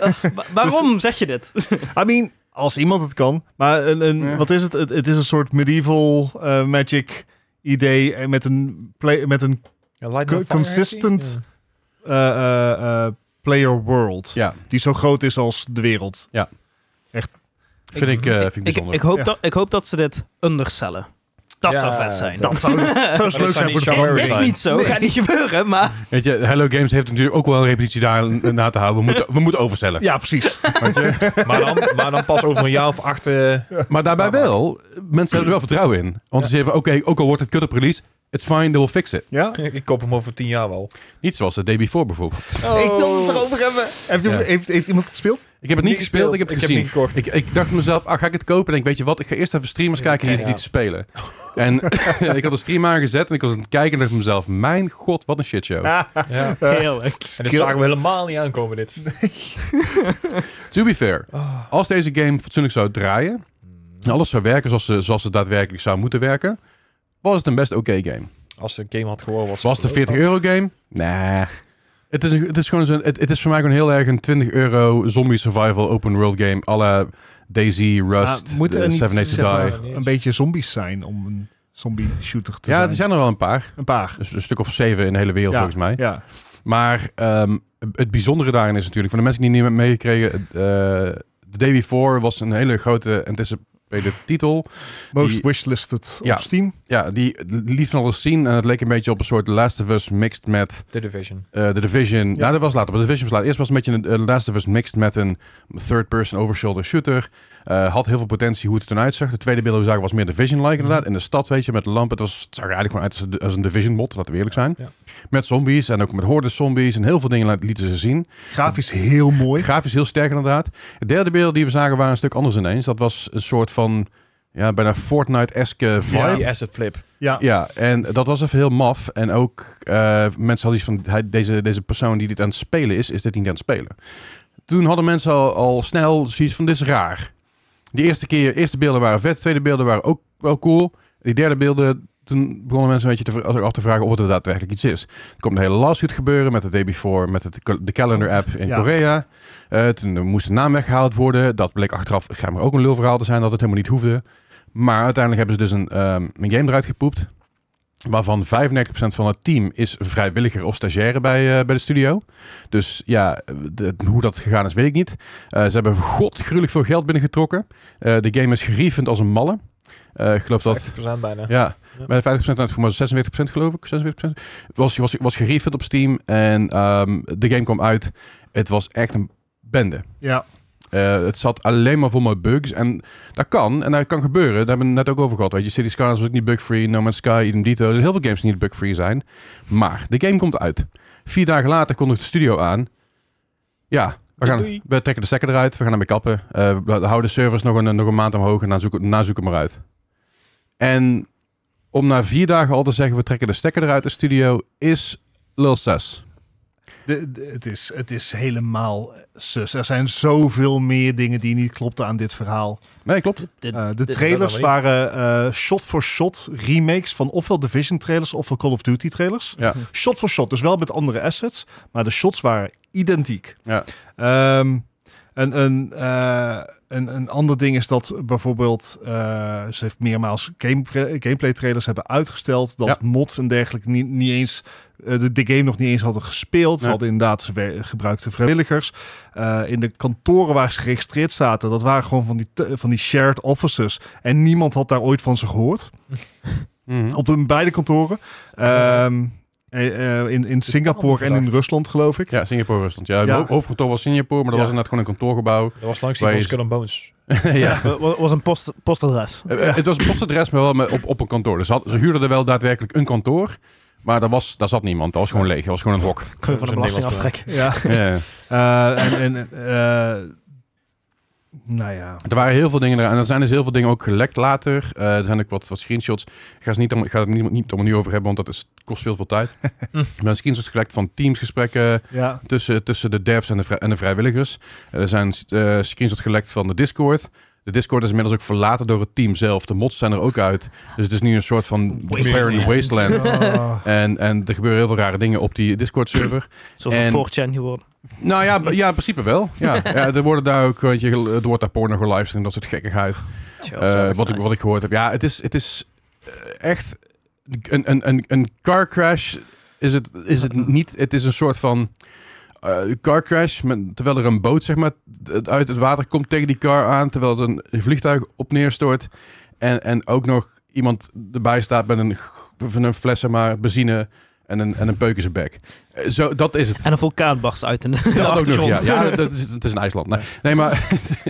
Speaker 3: Eh, wa- waarom zeg je dit?
Speaker 4: I mean, als iemand het kan. Maar een, een,
Speaker 1: Ja.
Speaker 4: wat is het? het? Het is een soort medieval eh, magic idee eh, met een, play, met een
Speaker 2: Ja, Lightning
Speaker 4: Co-
Speaker 2: Fire
Speaker 4: consistent.
Speaker 2: actie?
Speaker 4: eh, eh, eh, player world.
Speaker 1: ja,
Speaker 4: Die zo groot is als de wereld.
Speaker 1: vind ik, eh, vind ik
Speaker 3: Ik,
Speaker 1: bijzonder.
Speaker 3: ik, hoop
Speaker 4: Ja.
Speaker 3: dat, ik hoop dat ze dit undercellen. Dat
Speaker 2: Ja,
Speaker 3: zou vet zijn.
Speaker 4: Dat zou, zou
Speaker 2: dat
Speaker 4: leuk
Speaker 2: zou
Speaker 4: zijn
Speaker 2: niet
Speaker 4: voor de
Speaker 2: zo
Speaker 4: fan.
Speaker 2: erg
Speaker 3: Is
Speaker 2: zijn.
Speaker 3: niet zo, gaat niet gebeuren, maar...
Speaker 1: Weet je, Hello Games heeft natuurlijk ook wel een repetitie daar na te houden. We moeten, we moeten oversellen.
Speaker 4: Ja, precies.
Speaker 1: Weet je?
Speaker 2: Ja. Maar, dan, maar dan pas over een jaar of acht. eh,
Speaker 1: Maar daarbij
Speaker 2: Maar-
Speaker 1: wel, mensen hebben er wel vertrouwen in. Want ze zeggen, van, oké, ook al wordt het kut op release, it's fine, they will fix it.
Speaker 4: Ja?
Speaker 2: ik koop hem over tien jaar wel.
Speaker 1: Niet zoals de day before bijvoorbeeld.
Speaker 4: Ik wil het erover hebben. Heb je-
Speaker 1: Ja.
Speaker 4: heeft, heeft iemand gespeeld?
Speaker 1: Ik heb het niet gespeeld, ik heb het gezien.
Speaker 2: niet gekocht.
Speaker 1: Ik, ik dacht mezelf, ah, ga ik het kopen? En ik weet je wat, ik ga eerst even streamers kijken die,
Speaker 2: Ja.
Speaker 1: die te spelen. En ik had een stream aangezet en ik was aan het kijken en dacht mezelf, mijn god, wat een shitshow.
Speaker 2: Ja. En
Speaker 3: Heerlijk.
Speaker 2: dit zagen we helemaal niet aankomen, dit.
Speaker 1: To be fair, als deze game fatsoenlijk zou draaien
Speaker 2: Hmm.
Speaker 1: en alles zou werken zoals ze, zoals ze daadwerkelijk zou moeten werken, was het een best oké game.
Speaker 2: Als de game had geworden, was
Speaker 1: Was het een 40 euro game? Nee. Het is, een- het, is gewoon zo'n- het, het is voor mij gewoon heel erg een 20 euro zombie survival open world game à la Daisy, Rust,
Speaker 4: Ah, moeten
Speaker 1: de
Speaker 4: er niet,
Speaker 1: Seven Days to
Speaker 4: zeg
Speaker 1: Die.
Speaker 4: maar, een beetje zombies zijn om een zombie shooter te
Speaker 1: ja,
Speaker 4: zijn?
Speaker 1: er zijn er wel een paar.
Speaker 4: Een paar.
Speaker 1: Dus een stuk of zeven in de hele wereld
Speaker 4: Ja.
Speaker 1: volgens mij.
Speaker 4: Ja.
Speaker 1: Maar ehm, het bijzondere daarin is natuurlijk, voor de mensen die het niet hebben meegekregen, eh, The Day Before was een hele grote anticipated titel.
Speaker 4: Most
Speaker 1: Die-
Speaker 4: wishlisted
Speaker 1: Ja.
Speaker 4: op Steam.
Speaker 1: Ja, die lief van alles zien en het leek een beetje op een soort Last of Us mixed met
Speaker 2: The Division.
Speaker 1: eh, The Division. Ja.
Speaker 4: Ja.
Speaker 1: dat was later, maar The Division was later. Eerst was het een beetje een eh, Last of Us mixed met een third-person overshoulder shooter. Eh, had heel veel potentie hoe het er toen uitzag. De tweede beeld die we zagen was meer Division-like inderdaad. In de stad, weet je, met de lamp. Het, was, het zag er eigenlijk gewoon uit als een, als een Division-mod, laten we eerlijk zijn.
Speaker 2: Ja.
Speaker 1: Met zombies en ook met hordes-zombies en heel veel dingen laat- lieten ze zien.
Speaker 4: Grafisch heel mooi.
Speaker 1: Grafisch heel sterk inderdaad. De derde beelden die we zagen waren een stuk anders ineens. Dat was een soort van, ja, bijna Fortnite-eske vibe.
Speaker 4: Ja.
Speaker 1: Ja.
Speaker 2: Die asset flip.
Speaker 4: Ja.
Speaker 1: en dat was even heel maf. En ook eh, mensen hadden iets van, hij, deze, deze persoon die dit aan het spelen is, is dit niet aan het spelen. Toen hadden mensen al, al snel zoiets van, dit is raar. Die eerste keer, eerste beelden waren vet, tweede beelden waren ook wel cool. Die derde beelden toen begonnen mensen een beetje te, ver- af te vragen of het er daadwerkelijk iets is. Er komt een hele lawsuit gebeuren met de day before, met het, cal- de calendar app in
Speaker 4: Ja.
Speaker 1: Korea. Eh, toen moest de naam weggehaald worden. Dat bleek achteraf schijnbaar ook een lulverhaal te zijn dat het helemaal niet hoefde. Maar uiteindelijk hebben ze dus een, ehm, een game eruit gepoept. Waarvan 95% van het team is vrijwilliger of stagiaire bij, eh, bij de studio. Dus ja, de- hoe dat gegaan is, weet ik niet. Eh, ze hebben godgruwelijk veel geld binnengetrokken. Eh, de game is gerevend als een malle. Eh, ik geloof dat...
Speaker 2: 50% bijna.
Speaker 1: Ja,
Speaker 2: Ja.
Speaker 1: bij de 50% uit voor maar 46% geloof ik. 46%. Was, was, was gerefund op Steam en ehm, de game kwam uit. Het was echt een bende.
Speaker 4: Ja,
Speaker 1: Eh, het zat alleen maar vol met bugs. En dat kan. En dat kan gebeuren. Daar hebben we het net ook over gehad. Weet je, City Skylines was ook niet bug-free. No Man's Sky, Idem Dito. Er zijn heel veel games die niet bug-free zijn. Maar de game komt uit. Vier dagen later kondigt de studio aan. Ja, we, gaan,
Speaker 2: Doei.
Speaker 1: we trekken de stekker eruit. We gaan ermee kappen. Eh, we houden de servers nog een, nog een maand omhoog. En dan zoeken, daarna zoeken we maar uit. En om na vier dagen al te zeggen... we trekken de stekker eruit de studio... is lul 6.
Speaker 4: de- de- het, is, het is helemaal sus. Er zijn zoveel meer dingen die niet klopten aan dit verhaal.
Speaker 1: Nee, klopt.
Speaker 3: Dit- dit-
Speaker 4: Eh, de
Speaker 3: dit-
Speaker 4: trailers
Speaker 2: dat wel
Speaker 4: waren eh, shot-for-shot remakes van ofwel Division trailers ofwel Call of Duty trailers.
Speaker 1: Ja.
Speaker 4: Shot-for-shot, dus wel met andere assets, maar de shots waren identiek.
Speaker 1: Ja.
Speaker 4: Ehm, een, een, eh, een, een ander ding is dat bijvoorbeeld, eh, ze heeft meermaals game, gameplay trailers hebben uitgesteld, dat
Speaker 1: Ja.
Speaker 4: mods en dergelijke niet, niet eens, eh, de, de game nog niet eens hadden gespeeld. Ze
Speaker 1: Nee.
Speaker 4: hadden inderdaad ze wer- gebruikte vrijwilligers. Eh, in de kantoren waar ze geregistreerd zaten, dat waren gewoon van die, te- van die shared offices. En niemand had daar ooit van ze gehoord.
Speaker 1: Mhm.
Speaker 4: Op de beide kantoren. Ehm, eh, eh, in, in Singapore en in
Speaker 2: verdacht.
Speaker 4: Rusland, geloof ik.
Speaker 1: Ja, Singapore Rusland. Ja,
Speaker 4: Ja.
Speaker 1: het hoofdkantoor was Singapore, maar dat
Speaker 4: Ja.
Speaker 1: was inderdaad gewoon een kantoorgebouw.
Speaker 2: Dat was langs die
Speaker 1: Waar
Speaker 2: van
Speaker 1: je-
Speaker 2: Skull and Bones.
Speaker 1: ja.
Speaker 3: wa- wa- was een post, postadres.
Speaker 1: Eh, eh, Het was een postadres, maar wel met- op, op een kantoor. Dus ze had- ze huurden er wel daadwerkelijk een kantoor. Maar daar, was, daar zat niemand. Dat was gewoon leeg. Dat was gewoon een hok.
Speaker 3: Kun je van de
Speaker 2: Zo'n
Speaker 3: belasting
Speaker 2: Nederlands
Speaker 3: aftrekken.
Speaker 4: Ja.
Speaker 1: Ja.
Speaker 4: Eh, en, en eh, nou ja.
Speaker 1: Er waren heel veel dingen eraan. En er zijn dus heel veel dingen ook gelekt later. Eh, er zijn ook wat, wat screenshots. Ik ga, ze niet allemaal, ik ga het niet, niet allemaal nu over hebben, want dat is, kost veel, veel tijd. er zijn screenshots gelekt van teamsgesprekken.
Speaker 4: ja.
Speaker 1: tussen, tussen de devs en de, vrij- en de vrijwilligers. Er zijn eh screenshots gelekt van de Discord. De Discord is inmiddels ook verlaten door het team zelf. De mods zijn er ook uit. Dus het is nu een soort van
Speaker 3: Wasteland.
Speaker 1: barren wasteland.
Speaker 4: Oh.
Speaker 1: En, en er gebeuren heel veel rare dingen op die Discord-server.
Speaker 3: Zoals een
Speaker 1: En-
Speaker 3: 4chan geworden.
Speaker 1: nou ja, b- ja, in principe wel. Ja. ja, er worden daar ook, weet je, gel- er wordt daar porno gelivestreamd en dat soort gekkigheid.
Speaker 3: Tja,
Speaker 1: Eh,
Speaker 3: zo,
Speaker 1: wat, ik,
Speaker 3: nice.
Speaker 1: wat ik gehoord heb. Ja, het is, het is eh, echt een, een, een, een car crash. Is het, is het niet? Het is een soort van eh, car crash. Met, terwijl er een boot zeg maar, t- uit het water komt tegen die car aan. Terwijl het een vliegtuig op neerstort. En, en ook nog iemand erbij staat met een, g- van een fles zeg maar, benzine. En een, en een peuk in zijn bek. Eh, Zo, dat is het.
Speaker 3: En een vulkaan barst uit in de, de
Speaker 1: Dat ook nog,
Speaker 3: achtergrond.
Speaker 1: ja. ja dat is, het is een IJsland. Nee, nee maar...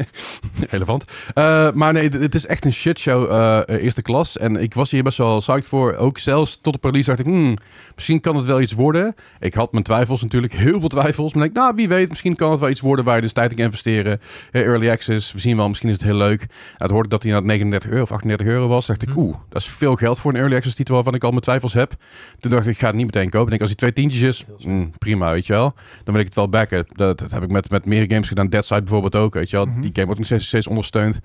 Speaker 1: relevant. Eh, maar nee, d- het is echt een shitshow eh, eh, eerste klas. En ik was hier best wel psyched voor. Ook zelfs tot op release dacht ik... hmm, misschien kan het wel iets worden. Ik had mijn twijfels natuurlijk. Heel veel twijfels. Maar ik denk, nou, wie weet. Misschien kan het wel iets worden waar je dus tijd in kan investeren. Eh, early access. We zien wel. Misschien is het heel leuk. Nou, het hoorde ik dat hij aan 39 euro of 38 euro was. dacht ik,
Speaker 2: Mhm.
Speaker 1: oeh, dat is veel geld voor een early access titel... waarvan ik al mijn twijfels heb. Toen dacht ik, ik ga het niet meteen kopen. Ik denk, als die twee tientjes is,
Speaker 2: Heel
Speaker 1: mm, prima, weet je wel. Dan wil ik het wel backen. Dat, dat heb ik met, met meer games gedaan. Dead Side bijvoorbeeld ook, weet je wel.
Speaker 4: Mhm.
Speaker 1: Die game wordt nog steeds, steeds ondersteund.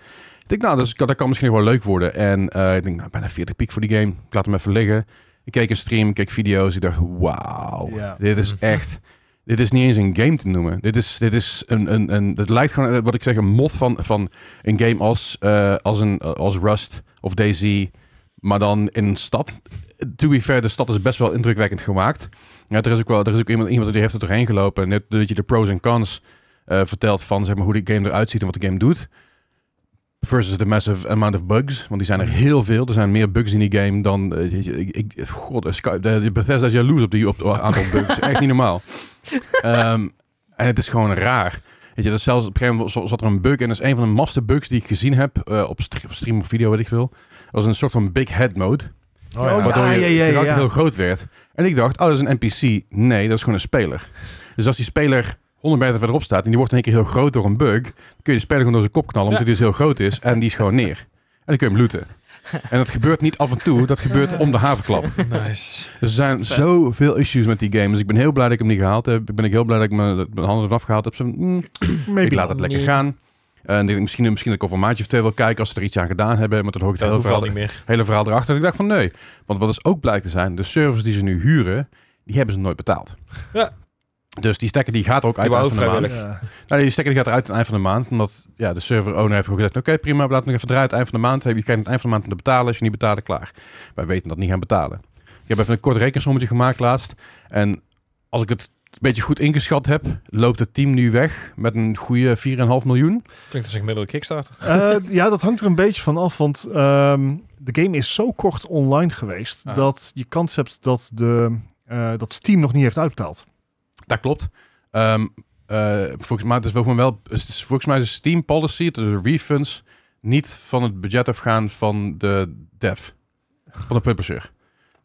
Speaker 1: Ik denk, nou, dat, is- dat kan misschien nog wel leuk worden. En eh, ik denk, nou, bijna 40 piek voor die game. Ik laat hem even liggen. Ik keek een stream, ik keek video's. Ik dacht, wauw,
Speaker 4: Ja.
Speaker 1: dit is
Speaker 2: Mhm.
Speaker 1: echt... Dit is niet eens een game te noemen. Dit is, dit is een, een, een... Het lijkt gewoon, eh, wat ik zeg, een mod van, van een game als, eh, als, een, als Rust of DayZ. Maar dan in een stad to be fair, de stad is best wel indrukwekkend gemaakt. Ja, er is ook wel, er is ook iemand, iemand die heeft er doorheen gelopen. En net dat je de pros en cons eh, vertelt van zeg maar, hoe de game eruit ziet en wat de game doet. Versus de massive amount of bugs. Want die zijn er heel veel. Er zijn meer bugs in die game dan. eh, je- je- ik, ik- God, eh, Sky- de, de Bethesda is jaloers op die op, op aantal bugs. Echt niet normaal. Ehm, en het is gewoon raar. Weet je, dat is zelfs op een gegeven moment zat er een bug in. Dat is een van de master bugs die ik gezien heb eh, op stre- op stream of video, weet ik veel. Dat was een soort van big head mode.
Speaker 4: Oh, ja.
Speaker 1: Waardoor je
Speaker 4: ja, ja,
Speaker 1: karakter
Speaker 4: ja.
Speaker 1: heel groot werd. En ik dacht, oh, dat is een NPC. Nee, dat is gewoon een speler. Dus als die speler 100 meter verderop staat en die wordt in één keer heel groot door een bug, dan kun je de speler gewoon door zijn kop knallen, omdat
Speaker 2: Ja.
Speaker 1: hij dus heel groot is en die is gewoon neer. En dan kun je hem looten. En dat gebeurt niet af en toe, dat gebeurt om de havenklap.
Speaker 2: Nice.
Speaker 1: Dus er zijn zoveel issues met die game. Dus ik ben heel blij dat ik hem niet gehaald heb. Ik ben ook heel blij dat ik mijn, dat ik mijn handen eraf gehaald heb. Zo, mm, ik laat het lekker
Speaker 3: Nee.
Speaker 1: gaan. En ik denk, misschien, misschien dat ik over een maandje of twee wil kijken als ze er iets aan gedaan hebben. Maar dat hoor ik het hele
Speaker 2: Dat hoeft al
Speaker 1: verhaal,
Speaker 2: niet meer.
Speaker 1: hele verhaal erachter. En ik dacht van nee. Want wat dus ook blijkt te zijn, de servers die ze nu huren, die hebben ze nooit betaald.
Speaker 2: Ja.
Speaker 1: Dus die stekker die gaat er ook uit
Speaker 2: wou
Speaker 1: aan
Speaker 2: ook
Speaker 1: van de maand.
Speaker 2: vrijwillig.
Speaker 4: Ja.
Speaker 1: Nou, die stekker die gaat eruit aan het eind van de maand. Omdat ja, de server owner heeft gewoon gezegd... Oké, prima, we laten het nog even draaien. Het eind van de maand. Heb je krijgt het eind van de maand om te betalen. Als je niet betalen, klaar. Wij weten dat niet gaan betalen. Ik heb even een kort rekensommetje gemaakt laatst. En als ik het een beetje goed ingeschat heb... loopt het team nu weg met een goede 4,5 miljoen.
Speaker 2: Klinkt als een gemiddelde Kickstarter.
Speaker 4: Eh, ja, dat hangt er een beetje van af, want ehm, de game is zo kort online geweest
Speaker 1: Ah.
Speaker 4: dat je kans hebt dat, de, eh, dat Steam nog niet heeft uitbetaald.
Speaker 1: Dat klopt. Ehm, eh, volgens, mij, het is volgens, mij wel, het is, volgens mij is de Steam policy... dat de refunds niet van het budget afgaan van de dev. Van de publisher.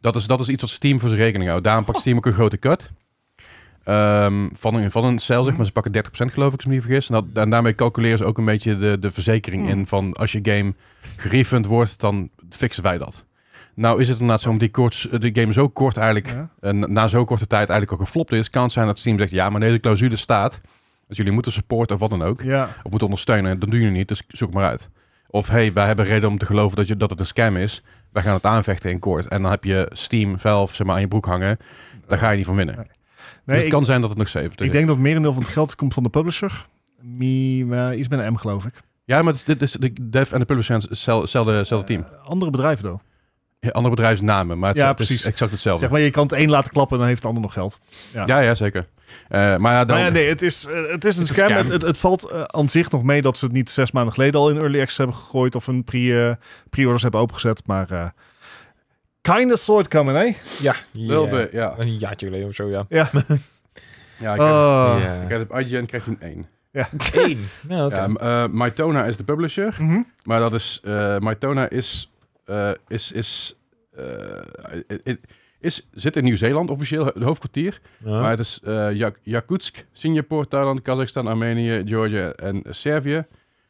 Speaker 1: Dat is, dat is iets wat Steam voor zijn rekening houdt. Daarom pakt Steam ook een grote cut. Ehm, van, een, van een sale, zeg maar. Ze pakken 30% geloof ik, als ik me niet vergis. En, dat, en daarmee calculeren ze ook een beetje de, de verzekering
Speaker 4: Hmm.
Speaker 1: in van... als je game gerefund wordt, dan fixen wij dat. Nou is het inderdaad zo, omdat die, kort, die game zo kort eigenlijk...
Speaker 4: Ja.
Speaker 1: en na zo'n korte tijd eigenlijk al geflopt is... kan het zijn dat Steam zegt, ja, maar deze clausule staat... dus jullie moeten supporten of wat dan ook
Speaker 4: Ja.
Speaker 1: of moet ondersteunen, dan doen jullie niet, dus zoek maar uit. Of hey, wij hebben reden om te geloven dat, je, dat het een scam is. Wij gaan het aanvechten in koord. En dan heb je Steam, Valve, zeg maar, aan je broek hangen. Daar ga je niet van winnen.
Speaker 4: Nee,
Speaker 1: dus
Speaker 4: Nee,
Speaker 1: het
Speaker 4: ik,
Speaker 1: kan zijn dat het nog 70
Speaker 4: ik denk dat het merendeel van het geld komt van de publisher. Mi, eh, iets met een M geloof ik.
Speaker 1: Ja, maar het is- dit is de dev en de publisher zijn zel- hetzelfde hetzelfde team.
Speaker 4: Eh, andere bedrijven, though.
Speaker 1: Ja, Andere bedrijfsnamen, maar het,
Speaker 4: Eh. Ja,
Speaker 1: is- het is
Speaker 4: precies.
Speaker 1: exact hetzelfde.
Speaker 4: Zeg maar, je kan het een laten klappen en dan heeft het ander nog geld.
Speaker 1: ja. ja, zeker. Eh, maar ja, dan,
Speaker 4: Nou ja, nee, het is, eh, het is een
Speaker 1: Het is
Speaker 4: scam.
Speaker 1: scam.
Speaker 4: Het, het, het valt eh, aan zich nog mee dat ze het niet zes maanden geleden al in Early Access hebben gegooid of een pre, eh, pre-orders hebben opengezet. Maar eh kind of soort coming, eh? hè?
Speaker 2: Ja.
Speaker 1: Wel be- ja.
Speaker 2: Een jaartje geleden of zo, ja.
Speaker 1: Ah. Ja, ik heb-
Speaker 4: Oh.
Speaker 1: ik
Speaker 2: ja.
Speaker 1: heb op IGN krijgt hij een 1.
Speaker 2: Eén. Ja, oké.
Speaker 1: Ja, m- eh, Mytona is de publisher.
Speaker 4: Mhm.
Speaker 1: Maar dat is... eh Mytona is... eh, is... is, eh, i- i- is zit in Nieuw-Zeeland officieel, het hoofdkwartier.
Speaker 2: Ja.
Speaker 1: Maar het is eh Jak- Yakutsk, Singapore, Thailand, Kazachstan, Armenië, Georgië en Servië.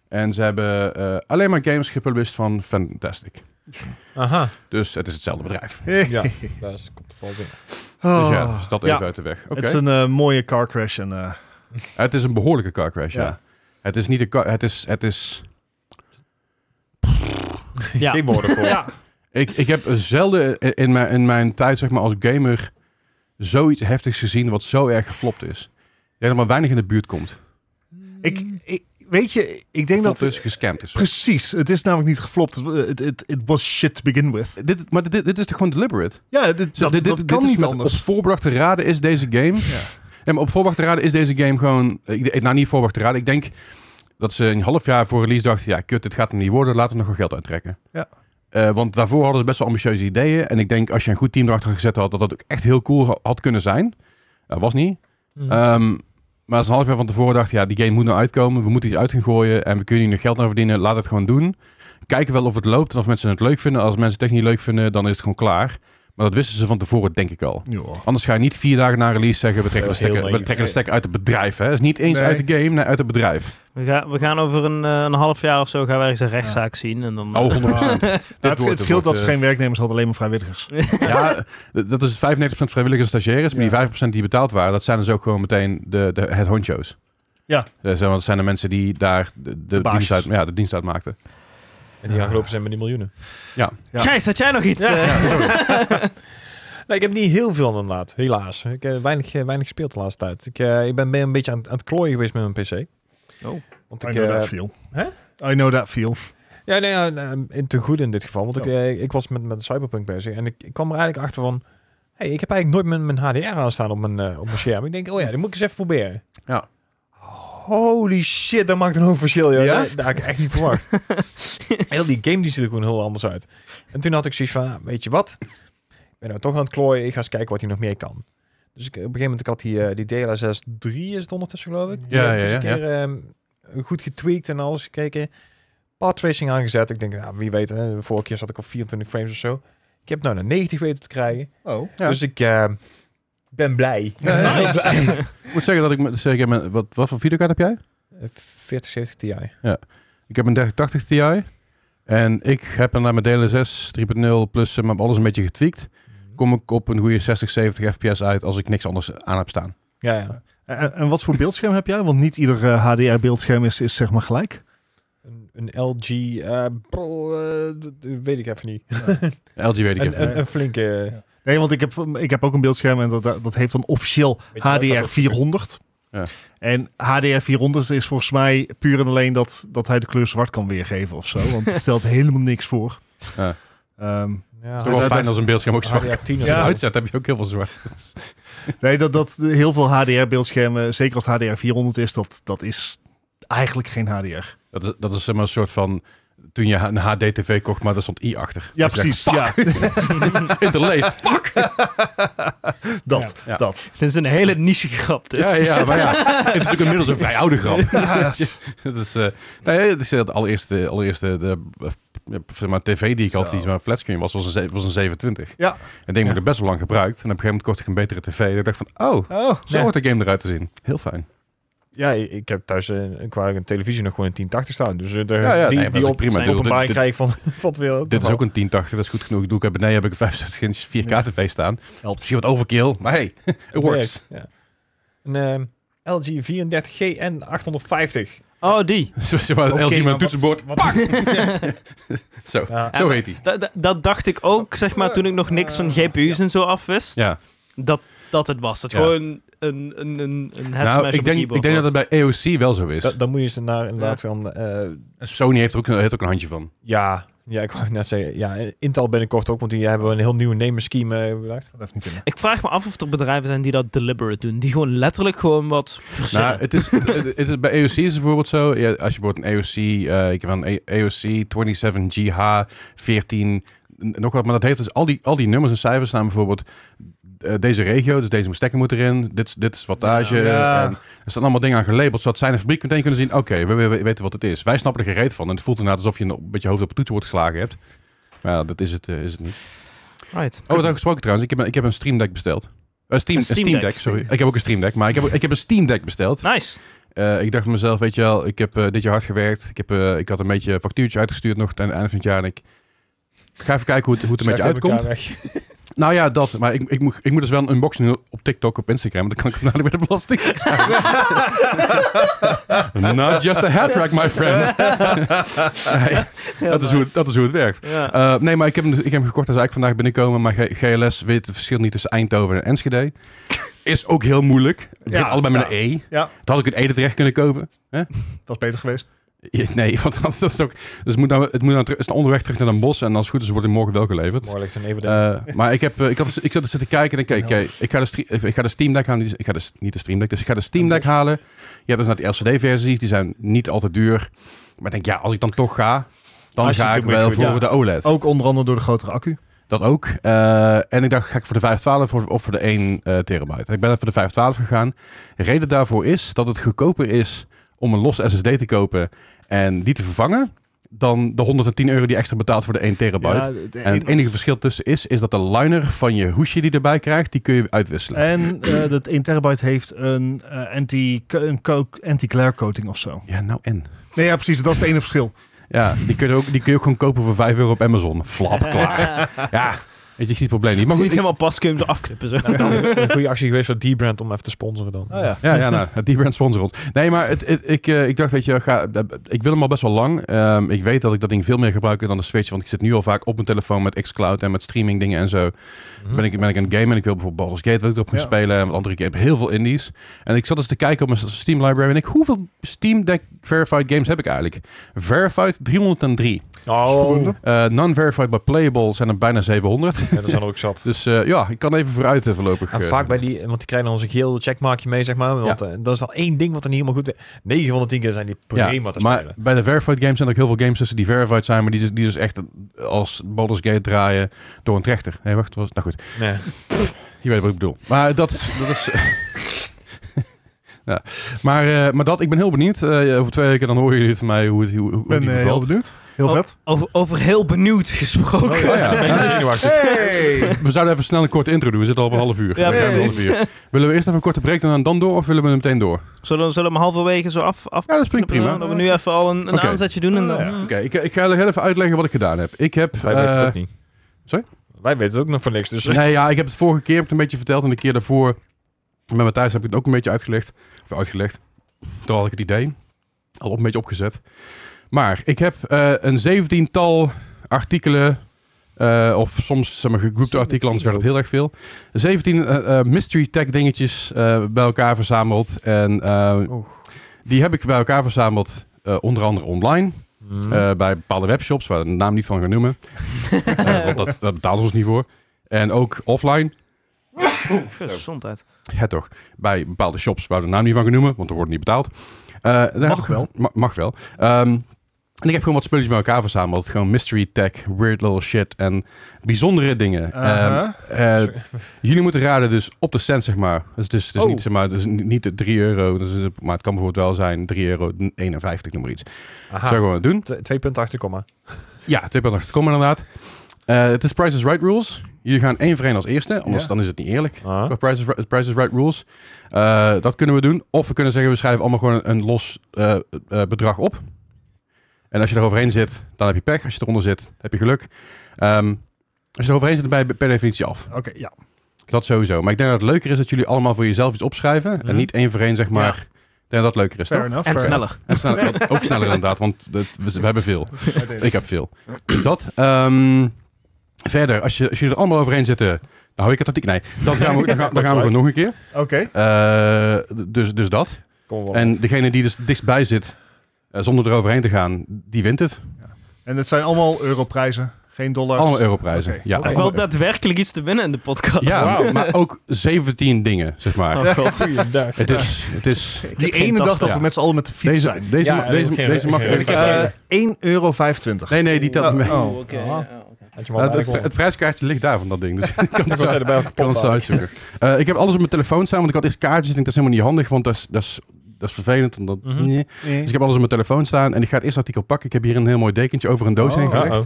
Speaker 1: En ze hebben eh, alleen maar games gepublished van Fantastic.
Speaker 2: Aha.
Speaker 1: Dus het is hetzelfde bedrijf.
Speaker 2: Ja, dat is, komt er wel binnen.
Speaker 1: Dus ja,
Speaker 4: Oh.
Speaker 1: dus dat
Speaker 4: Ja,
Speaker 1: even uit de weg. Oké.
Speaker 4: Het is een eh, mooie car crash. En, eh,
Speaker 1: Het is een behoorlijke car crash, ja.
Speaker 4: Ja.
Speaker 1: Het is niet een car... Het is... Het is
Speaker 3: Ja.
Speaker 2: Geen woorden voor.
Speaker 4: ja.
Speaker 1: ik, ik heb zelden in- in mijn, in mijn tijd zeg maar, als gamer zoiets heftigs gezien wat zo erg geflopt is. Ik denk dat maar weinig in de buurt komt.
Speaker 4: ik, ik, weet je, ik denk
Speaker 1: Geflopt
Speaker 4: dat...
Speaker 1: is, gescamd is.
Speaker 4: Precies, het is namelijk niet geflopt. Het- Het het- het was shit to begin with.
Speaker 1: Dit, maar dit, dit is toch gewoon deliberate?
Speaker 4: Ja, dit,
Speaker 1: Zo, dit,
Speaker 4: dat,
Speaker 1: dit,
Speaker 4: dat
Speaker 1: dit
Speaker 4: kan
Speaker 1: is
Speaker 4: niet
Speaker 1: met-
Speaker 4: anders.
Speaker 1: Op voorbrachte raden is deze game.
Speaker 4: Ja.
Speaker 1: Ja, maar op voorbrachte raden is deze game gewoon. Ik, nou, niet voorbrachte raden. Ik denk dat ze een half jaar voor release dachten: ja, kut, dit gaat hem niet worden. Laten we nog wel geld uittrekken.
Speaker 4: Ja.
Speaker 1: Eh, want daarvoor hadden ze best wel ambitieuze ideeën. En ik denk als je een goed team erachter gezet had, dat dat ook echt heel cool ha- had kunnen zijn. Dat was niet. Ehm, maar als een half jaar van tevoren dacht, ja, die game moet nou uitkomen. We moeten iets uit gaan gooien en we kunnen hier nog geld aan verdienen. Laat het gewoon doen. Kijken wel of het loopt en of mensen het leuk vinden. Als mensen het echt niet leuk vinden, dan is het gewoon klaar. Maar dat wisten ze van tevoren, denk ik al.
Speaker 4: Ja.
Speaker 1: Anders ga je niet vier dagen na release zeggen, we trekken de
Speaker 2: Heel
Speaker 1: stekker, we
Speaker 2: naïef.
Speaker 1: trekken de stekker uit het bedrijf. Hè? Het is niet eens
Speaker 4: Nee.
Speaker 1: uit de game, nee, uit het bedrijf.
Speaker 3: We, gaan we gaan over een, eh, een half jaar of zo gaan we ergens een rechtszaak zien. En dan, eh,
Speaker 1: Oh, 100%.
Speaker 4: Ja,
Speaker 1: Dit
Speaker 4: Nou, het,
Speaker 1: wordt-
Speaker 4: het scheelt dat
Speaker 1: wordt,
Speaker 4: ze
Speaker 1: eh,
Speaker 4: geen werknemers hadden, alleen maar vrijwilligers.
Speaker 1: Ja, d- dat is 95% vrijwilligers en stagiaires. Maar
Speaker 4: Ja.
Speaker 1: die 5% die betaald waren, dat zijn dus ook gewoon meteen de, de het honcho's.
Speaker 4: Ja.
Speaker 1: Eh, zeg maar, Dat zijn de mensen die daar de, de,
Speaker 4: baasjes.
Speaker 1: dienst, uit, ja, de dienst uit maakten.
Speaker 2: En
Speaker 1: Ah.
Speaker 2: die gaan gelopen zijn met die miljoenen.
Speaker 4: Ja.
Speaker 3: Gijs, had jij nog iets? eh?
Speaker 2: Nou, ik heb niet heel veel inderdaad, helaas. Ik heb weinig, eh, weinig gespeeld de laatste tijd. Ik, eh, ik ben ben een beetje aan, het- aan het klooien geweest met mijn PC.
Speaker 3: Oh.
Speaker 2: Want
Speaker 4: I
Speaker 2: ik,
Speaker 4: know
Speaker 2: eh,
Speaker 4: that feel.
Speaker 2: hè?
Speaker 4: I know that feel.
Speaker 2: Ja, nee, ja, nou, in te goed in dit geval. Want ik,
Speaker 4: Oh.
Speaker 2: eh, ik was met, met Cyberpunk bezig. En ik, ik kwam er eigenlijk achter van... Hey, ik heb eigenlijk nooit mijn, mijn HDR aanstaan op mijn, eh, op mijn scherm. Ik denk, oh ja, dat moet ik eens even proberen.
Speaker 1: Ja.
Speaker 2: Holy shit, dat maakt een hoop verschil, joh.
Speaker 4: Ja?
Speaker 2: Dat, dat had ik echt niet verwacht. heel die game die ziet er gewoon heel anders uit. En toen had ik zoiets van, "Ah, weet je wat? Ik ben nou toch aan het klooien. Ik ga eens kijken wat hij nog meer kan. Dus ik, op een gegeven moment ik had die, eh, die DLSS 3 is het ondertussen, geloof ik. Die
Speaker 1: Ja,
Speaker 2: heb ik
Speaker 1: ja,
Speaker 2: eens
Speaker 1: ja,
Speaker 2: een keer ehm, goed getweakt en alles gekeken. Path tracing aangezet. Ik denk, nou, wie weet, hè, de vorige keer zat ik op 24 frames of zo. Ik heb nou naar 90 weten te krijgen.
Speaker 4: Oh.
Speaker 1: Ja.
Speaker 2: Dus ik eh, ben blij.
Speaker 1: Ja, ja, ja. Ik moet zeggen dat ik... met- zeg, ik heb een- wat, wat voor videokaart heb jij?
Speaker 2: Eh, 4070 Ti.
Speaker 1: Ik heb een 3080 Ti. En ik heb hem naar mijn DLSS 3.0 plus eh, maar alles een beetje getweakt. Kom ik op een goede 60, 70 fps uit als ik niks anders aan heb staan.
Speaker 2: Ja, ja.
Speaker 4: Eh, En, en wat voor beeldscherm heb jij? Want niet ieder HDR-beeldscherm is, is zeg maar gelijk.
Speaker 2: een LG, eh, brl, eh, d- d- weet ik even niet.
Speaker 1: LG weet ik
Speaker 2: Een,
Speaker 1: even.
Speaker 2: een, een flinke... eh,
Speaker 4: Nee, want ik heb, ik heb ook een beeldscherm en dat, dat heeft dan officieel
Speaker 2: Weet je wel, dat
Speaker 4: HDR
Speaker 2: ook-
Speaker 4: 400.
Speaker 1: Ja.
Speaker 4: En HDR 400 is volgens mij puur en alleen dat, dat hij de kleur zwart kan weergeven of zo. Want het stelt helemaal niks voor.
Speaker 1: Ja.
Speaker 4: Ehm,
Speaker 1: Het
Speaker 2: Ja,
Speaker 1: is wel
Speaker 4: dat-
Speaker 1: fijn
Speaker 4: dat- Ah,
Speaker 1: als een beeldscherm ook zwart kan.
Speaker 2: HDR10 of
Speaker 1: Als je het
Speaker 2: zo.
Speaker 1: uitzet heb je ook heel veel zwart. Dat is-
Speaker 4: nee, dat, dat heel veel HDR-beeldschermen, zeker als het HDR 400 is, dat, dat is eigenlijk geen HDR.
Speaker 1: Dat is, dat is zeg maar een soort van... Toen je een HD-TV kocht, maar daar stond i achter.
Speaker 4: Ja,
Speaker 1: Dat je
Speaker 4: precies. Ja,
Speaker 1: zegt, Interlaced, fuck!
Speaker 4: dat,
Speaker 1: Ja.
Speaker 4: dat.
Speaker 3: Dit is een hele niche grap. dit.
Speaker 1: Ja, ja, maar ja. Het is ook inmiddels een vrij oude grap. Dat is, eh nee, het is het allereerste, allereerste de, eh, zeg maar, tv die ik had,
Speaker 4: Zo.
Speaker 1: die zo'n flatscreen was, was een, ze- was een 27.
Speaker 4: Ja.
Speaker 1: En denk ik heb best wel lang gebruikt. En op een gegeven moment kocht ik een betere tv. En ik dacht van, oh,
Speaker 4: Oh,
Speaker 1: zo
Speaker 2: Ja.
Speaker 1: wordt de game eruit te zien. Heel fijn.
Speaker 2: Ja, ik ik heb thuis eh, een, qua een televisie nog gewoon een 1080 staan. Dus eh, daar-
Speaker 1: Ja, ja,
Speaker 2: die,
Speaker 1: nee, maar dat
Speaker 2: die
Speaker 1: is
Speaker 2: op,
Speaker 1: prima.
Speaker 2: prima,
Speaker 1: Ik bedoel,
Speaker 2: op een baan
Speaker 1: dit-
Speaker 2: krijg ik van, van het weer ook.
Speaker 1: Dit is
Speaker 2: nog
Speaker 1: ook
Speaker 2: wel.
Speaker 1: een 1080, dat is goed genoeg. Doe ik heb, beneden heb ik een 65 inch 4K tv staan.
Speaker 4: helpt.
Speaker 1: Misschien wat overkill, maar hey, it works.
Speaker 2: Werkt, ja. Een ehm, LG 34GN 850.
Speaker 3: Oh, die.
Speaker 1: Zo zeg maar,
Speaker 4: Oké,
Speaker 1: LG met
Speaker 4: maar
Speaker 1: een
Speaker 4: wat-
Speaker 1: toetsenbord.
Speaker 4: wat-
Speaker 1: Pak! zo,
Speaker 2: Ja.
Speaker 1: zo heet hij.
Speaker 3: Da- da- dat dacht ik ook, zeg maar, toen ik nog niks van GPU's en zo afwist.
Speaker 1: Ja.
Speaker 3: Dat, dat het was. Dat
Speaker 1: Ja.
Speaker 3: gewoon een, een, een, een head
Speaker 1: Nou,
Speaker 3: smash
Speaker 1: ik
Speaker 3: op een
Speaker 1: denk,
Speaker 3: keyboard
Speaker 1: ik denk dat
Speaker 3: was.
Speaker 1: het bij EOC wel zo is.
Speaker 2: Da- dan moet je ze naar inderdaad dan... eh,
Speaker 1: Sony heeft er ook, heeft er ook een handje van.
Speaker 2: ja, ja, ik wou net zeggen. Ja, Intel binnenkort ook, want die hebben een heel nieuw namescheme eh, bedacht.
Speaker 4: Dat heeft niet kunnen.
Speaker 3: Ik vraag me af of er bedrijven zijn die dat deliberate doen. Die gewoon letterlijk gewoon wat verzinnen.
Speaker 1: Nou, het is, het, het- het is, bij EOC is het bijvoorbeeld zo. Ja, als je bijvoorbeeld een EOC, eh, ik heb een E- EOC 27GH14, n- nog wat. Maar dat heeft dus al die, al die nummers en cijfers staan bijvoorbeeld eh, deze regio, dus deze stekker moet erin. Dit, is- dit is wattage.
Speaker 4: Ja.
Speaker 1: En er staan allemaal dingen aan gelabeld, zodat zij in de fabriek meteen kunnen zien, oké, we, we- we weten wat het is. Wij snappen er geen reet van. En het voelt inderdaad alsof je een beetje hoofd op het toetsenbord geslagen hebt. Maar ja, dat is het, eh, is het niet.
Speaker 3: right.
Speaker 1: Oh, wat ook gesproken trouwens. Ik heb een, ik heb een Stream Deck besteld. Eh, Steam,
Speaker 3: Een
Speaker 1: een
Speaker 3: Steam
Speaker 1: Steam,
Speaker 3: Deck.
Speaker 1: Deck, sorry. Ik heb ook een Stream Deck, maar ik heb, ik heb een Steam Deck besteld.
Speaker 3: Nice.
Speaker 1: Eh, ik dacht van mezelf, weet je wel, ik heb eh, dit jaar hard gewerkt. Ik, heb, eh, ik had een beetje een factuurtje uitgestuurd nog ten einde van het jaar. En ik ga even kijken hoe het, hoe het een beetje
Speaker 2: Slecht uit elkaar
Speaker 1: uitkomt.
Speaker 2: weg.
Speaker 1: Nou ja, dat. Maar ik, ik, moet, ik moet dus wel een unboxing doen op TikTok, op Instagram. Want dan kan ik hem namelijk met de belasting. betalen. Not just a hat rack, my friend. Nee, dat, is hoe, het- dat is hoe het werkt.
Speaker 3: Ja.
Speaker 1: Eh, nee, maar ik heb, hem, ik heb hem gekocht. Hij is eigenlijk vandaag binnenkomen. Maar G- GLS weet het verschil niet tussen Eindhoven en Enschede. Is ook heel moeilijk.
Speaker 4: Ja,
Speaker 1: Ja, allebei met
Speaker 4: ja.
Speaker 1: een E.
Speaker 4: Ja.
Speaker 1: Toen had ik een E terecht kunnen kopen.
Speaker 4: Dat is beter geweest.
Speaker 1: Ja, Nee, want dan- dat is ook. Dus het moet nou, het moet nou, terug- het is onderweg terug naar een bos en als het goed is wordt hij morgen wel geleverd.
Speaker 2: Mooi ligt een even
Speaker 1: Eh, maar ik, heb, eh, ik, had, ik zat er zitten kijken en denk, oké, oké, ik, ga de stre- ik ga de Steam Deck halen. die is- Ik ga de, s- niet de Steam Deck, dus ik ga de Steam Deck halen. Je hebt dus naar die LCD-versies, die zijn niet al te duur. Maar ik denk, ja, als ik dan toch ga, dan
Speaker 2: Als je
Speaker 1: ga
Speaker 2: het
Speaker 1: ik
Speaker 2: doet, moet je
Speaker 1: wel
Speaker 2: het
Speaker 1: voor
Speaker 4: doen.
Speaker 1: de E OLED.
Speaker 4: Ook onder andere door de grotere accu.
Speaker 1: Dat ook. Eh, en ik dacht, ga ik voor de 512 of, of voor de 1 eh, terabyte? Ik ben voor de 512 gegaan. Reden daarvoor is dat het goedkoper is om een los SSD te kopen en die te vervangen dan de 110 euro die extra betaalt voor de 1 terabyte. en het enige verschil tussen is, is dat de liner van je hoesje die je erbij krijgt, die kun je uitwisselen.
Speaker 4: En eh dat 1 terabyte heeft een eh, anti- een co- anti-glare coating of zo.
Speaker 1: ja, nou en.
Speaker 4: Nee, ja, precies. Dat is het enige verschil.
Speaker 1: Ja, die kun, je ook, die kun je ook gewoon kopen voor 5 euro op Amazon. Flap, klaar. ja, weet je, ik zie het probleem niet.
Speaker 3: Mag
Speaker 1: Maar
Speaker 3: niet
Speaker 1: goed, ik-
Speaker 3: helemaal pas, kun je hem zo afknippen. Zo.
Speaker 2: een goede actie geweest voor D-Brand om even te sponsoren dan.
Speaker 4: Oh, ja.
Speaker 1: Ja, ja, nou, die brand sponsor ons. Nee, maar het, het- ik, eh, ik dacht, weet je, ga, ik wil hem al best wel lang. Ehm, ik weet dat ik dat ding veel meer gebruik dan de Switch, want ik zit nu al vaak op mijn telefoon met xCloud en met streaming dingen en zo.
Speaker 2: Mhm.
Speaker 1: Ben, ik, ben ik aan het gamen en ik wil bijvoorbeeld Baldur's Gate wil ik erop gaan
Speaker 4: Ja.
Speaker 1: spelen en wat andere games. Heel veel indies. En ik zat eens te kijken op mijn Steam library en ik, hoeveel Steam Deck verified games heb ik eigenlijk? Verified 303.
Speaker 2: Oh,
Speaker 4: voldoende.
Speaker 1: Eh, Non-verified but playable zijn er bijna 700.
Speaker 2: ja, dat zijn er ook zat.
Speaker 1: Dus eh, ja, ik kan even vooruit eh, voorlopig.
Speaker 2: En
Speaker 1: eh.
Speaker 2: vaak bij die, want die krijgen dan onze geel checkmarkje mee, zeg maar. Want eh, dat is al één ding wat er niet helemaal goed... 9 van de 10 keer zijn die prima te
Speaker 1: maar
Speaker 2: spelen.
Speaker 1: bij de verified games zijn er ook heel veel games tussen die verified zijn, maar die, dus- die dus echt als Baldur's Gate draaien door een trechter. Nee, wacht, was, nou goed,
Speaker 2: Nee.
Speaker 1: je weet wat ik bedoel. Maar dat, dat is... ja. maar, eh, maar dat, ik ben heel benieuwd. Eh, over twee weken dan horen jullie het van mij hoe het, hoe, hoe
Speaker 4: Ik ben
Speaker 1: die
Speaker 4: eh, heel
Speaker 1: bevalt.
Speaker 4: benieuwd. Heel
Speaker 3: Oh.
Speaker 4: vet.
Speaker 3: Over, over heel benieuwd gesproken.
Speaker 1: Oh, ja.
Speaker 2: Ben je zenuwachtig?
Speaker 4: Hey!
Speaker 1: We zouden even snel een korte intro doen, we zitten al op een half uur.
Speaker 3: Ja,
Speaker 1: We zijn op een
Speaker 3: precies.
Speaker 1: half uur. Willen we eerst even een korte break doen en dan door, of willen we meteen door?
Speaker 3: Zullen, we- zullen we hem halverwege zo af, af
Speaker 1: Ja, dat is prima. prima.
Speaker 3: Dat we nu even al een, een
Speaker 1: Oké.
Speaker 3: aanzetje doen. En dan,
Speaker 4: Ja.
Speaker 1: Oké, ik, ik ga heel even uitleggen wat ik gedaan heb. Ik heb...
Speaker 2: dus Wij weten het
Speaker 1: eh,
Speaker 2: ook niet.
Speaker 1: sorry?
Speaker 2: Wij weten het ook nog van niks, dus...
Speaker 1: Nee, ja, ik heb het vorige keer heb ik het een beetje verteld. En de keer daarvoor met Matthijs heb ik het ook een beetje uitgelegd. Of uitgelegd. Toen had ik het idee. Al een beetje opgezet. Maar ik heb eh, een zeventiental artikelen, eh, of soms zeg maar, gegroepte artikelen, anders werd het heel erg veel. Zeventien eh, eh, mystery tech dingetjes eh, bij elkaar verzameld. En eh,
Speaker 2: Oeh.
Speaker 1: die heb ik bij elkaar verzameld, eh, onder andere online.
Speaker 2: Hmm.
Speaker 1: Eh, bij bepaalde webshops, waar we de naam niet van gaan noemen. Eh, want dat, dat betalen ze ons niet voor. En ook offline,
Speaker 3: Gezondheid.
Speaker 1: het toch, bij bepaalde shops waar we de naam niet van gaan noemen, want er worden niet betaald. Eh, daar heb ik-
Speaker 4: wel.
Speaker 1: ma- mag wel. Ehm, en ik heb gewoon wat spulletjes bij elkaar verzameld. Gewoon mystery tech, weird little shit en bijzondere dingen. Ehm,
Speaker 4: Aha.
Speaker 1: eh, jullie moeten raden dus op de cent, zeg maar. Dus het is, het is
Speaker 2: Oh.
Speaker 1: niet, zeg maar, het is niet de 3 euro, dus, het- maar het kan bijvoorbeeld wel zijn 3 euro 51, noem maar iets.
Speaker 2: Aha.
Speaker 1: Zou ik gewoon doen.
Speaker 2: T- Twee punten achter de komma.
Speaker 1: Ja, tip aan achterkomen inderdaad. Eh, het is Price is Right Rules. Jullie gaan één voor één als eerste, anders
Speaker 4: Ja.
Speaker 1: dan is het niet eerlijk.
Speaker 2: Ah.
Speaker 1: Qua Price is, Ri- Price is Right Rules. Eh, dat kunnen we doen. Of we kunnen zeggen, we schrijven allemaal gewoon een los eh, eh, bedrag op. En als je er overheen zit, dan heb je pech. Als je eronder zit, heb je geluk. Ehm, als je er overheen zit, dan ben je per definitie af.
Speaker 4: Oké, ja.
Speaker 1: Dat sowieso. Maar ik denk dat het leuker is dat jullie allemaal voor jezelf iets opschrijven.
Speaker 2: Mhm.
Speaker 1: En niet één voor één, zeg maar. Ik denk dat dat leuker is,
Speaker 4: Fair
Speaker 1: toch?
Speaker 4: enough.
Speaker 3: En
Speaker 4: fair
Speaker 3: sneller.
Speaker 1: En sneller, ook sneller inderdaad, want het- we, we hebben veel.
Speaker 4: enough. Bij deze.
Speaker 1: Ik heb veel. Dus dat. ehm, verder, als, je, als jullie er allemaal overheen zitten, dan hou ik het artikel. Nee, dan gaan we, dan gaan, dan gaan we gewoon nog een keer.
Speaker 4: Oké.
Speaker 1: Eh, d- dus, dus dat.
Speaker 2: Kom wel.
Speaker 1: En degene die dus dichtstbij zit, eh, zonder er overheen te gaan, die wint het.
Speaker 4: En dat zijn allemaal europrijzen, geen dollars.
Speaker 1: Allemaal europrijzen.
Speaker 4: Oké.
Speaker 1: Ja,
Speaker 4: Oké.
Speaker 3: Er
Speaker 1: allemaal-
Speaker 3: valt daadwerkelijk iets te winnen in de podcast.
Speaker 1: ja
Speaker 2: Wauw.
Speaker 1: maar ook 17 dingen, zeg maar.
Speaker 2: Oh god, goeiedag.
Speaker 1: Het is... Het is
Speaker 3: Ik heb
Speaker 4: Die
Speaker 3: geen
Speaker 4: ene
Speaker 3: tas
Speaker 4: dag dat
Speaker 1: ja.
Speaker 4: we met z'n allen met de fiets
Speaker 1: deze,
Speaker 4: zijn.
Speaker 1: deze,
Speaker 2: Ja,
Speaker 1: deze,
Speaker 2: geen-
Speaker 1: deze mag
Speaker 2: geen-
Speaker 1: ik
Speaker 2: geen-
Speaker 1: even...
Speaker 4: Eh 1,25
Speaker 1: Nee,
Speaker 4: euro.
Speaker 1: nee, die telt
Speaker 4: Oh,
Speaker 1: mee.
Speaker 4: oh.
Speaker 3: Oh, oké.
Speaker 2: Ah.
Speaker 3: ja, oké.
Speaker 2: Had je
Speaker 1: Nou,
Speaker 2: maar
Speaker 1: het, het prijskaartje ligt daar van dat ding. Dus ik kan het
Speaker 2: was
Speaker 1: zo-
Speaker 2: er bij elke
Speaker 1: Ik kan
Speaker 2: pot
Speaker 1: het zo uitzoeken. Eh, ik heb alles op mijn telefoon staan, want ik had eerst kaartjes. Ik denk, dat is helemaal niet handig, want dat is, dat is, dat is vervelend. En dat,
Speaker 2: Mhm.
Speaker 1: Nee.
Speaker 4: Eh,
Speaker 1: Dus ik heb alles op mijn telefoon staan en ik ga het eerste artikel pakken. Ik heb hier een heel mooi dekentje over een doos
Speaker 4: Oh.
Speaker 1: heen gelegd.
Speaker 2: Uh-oh.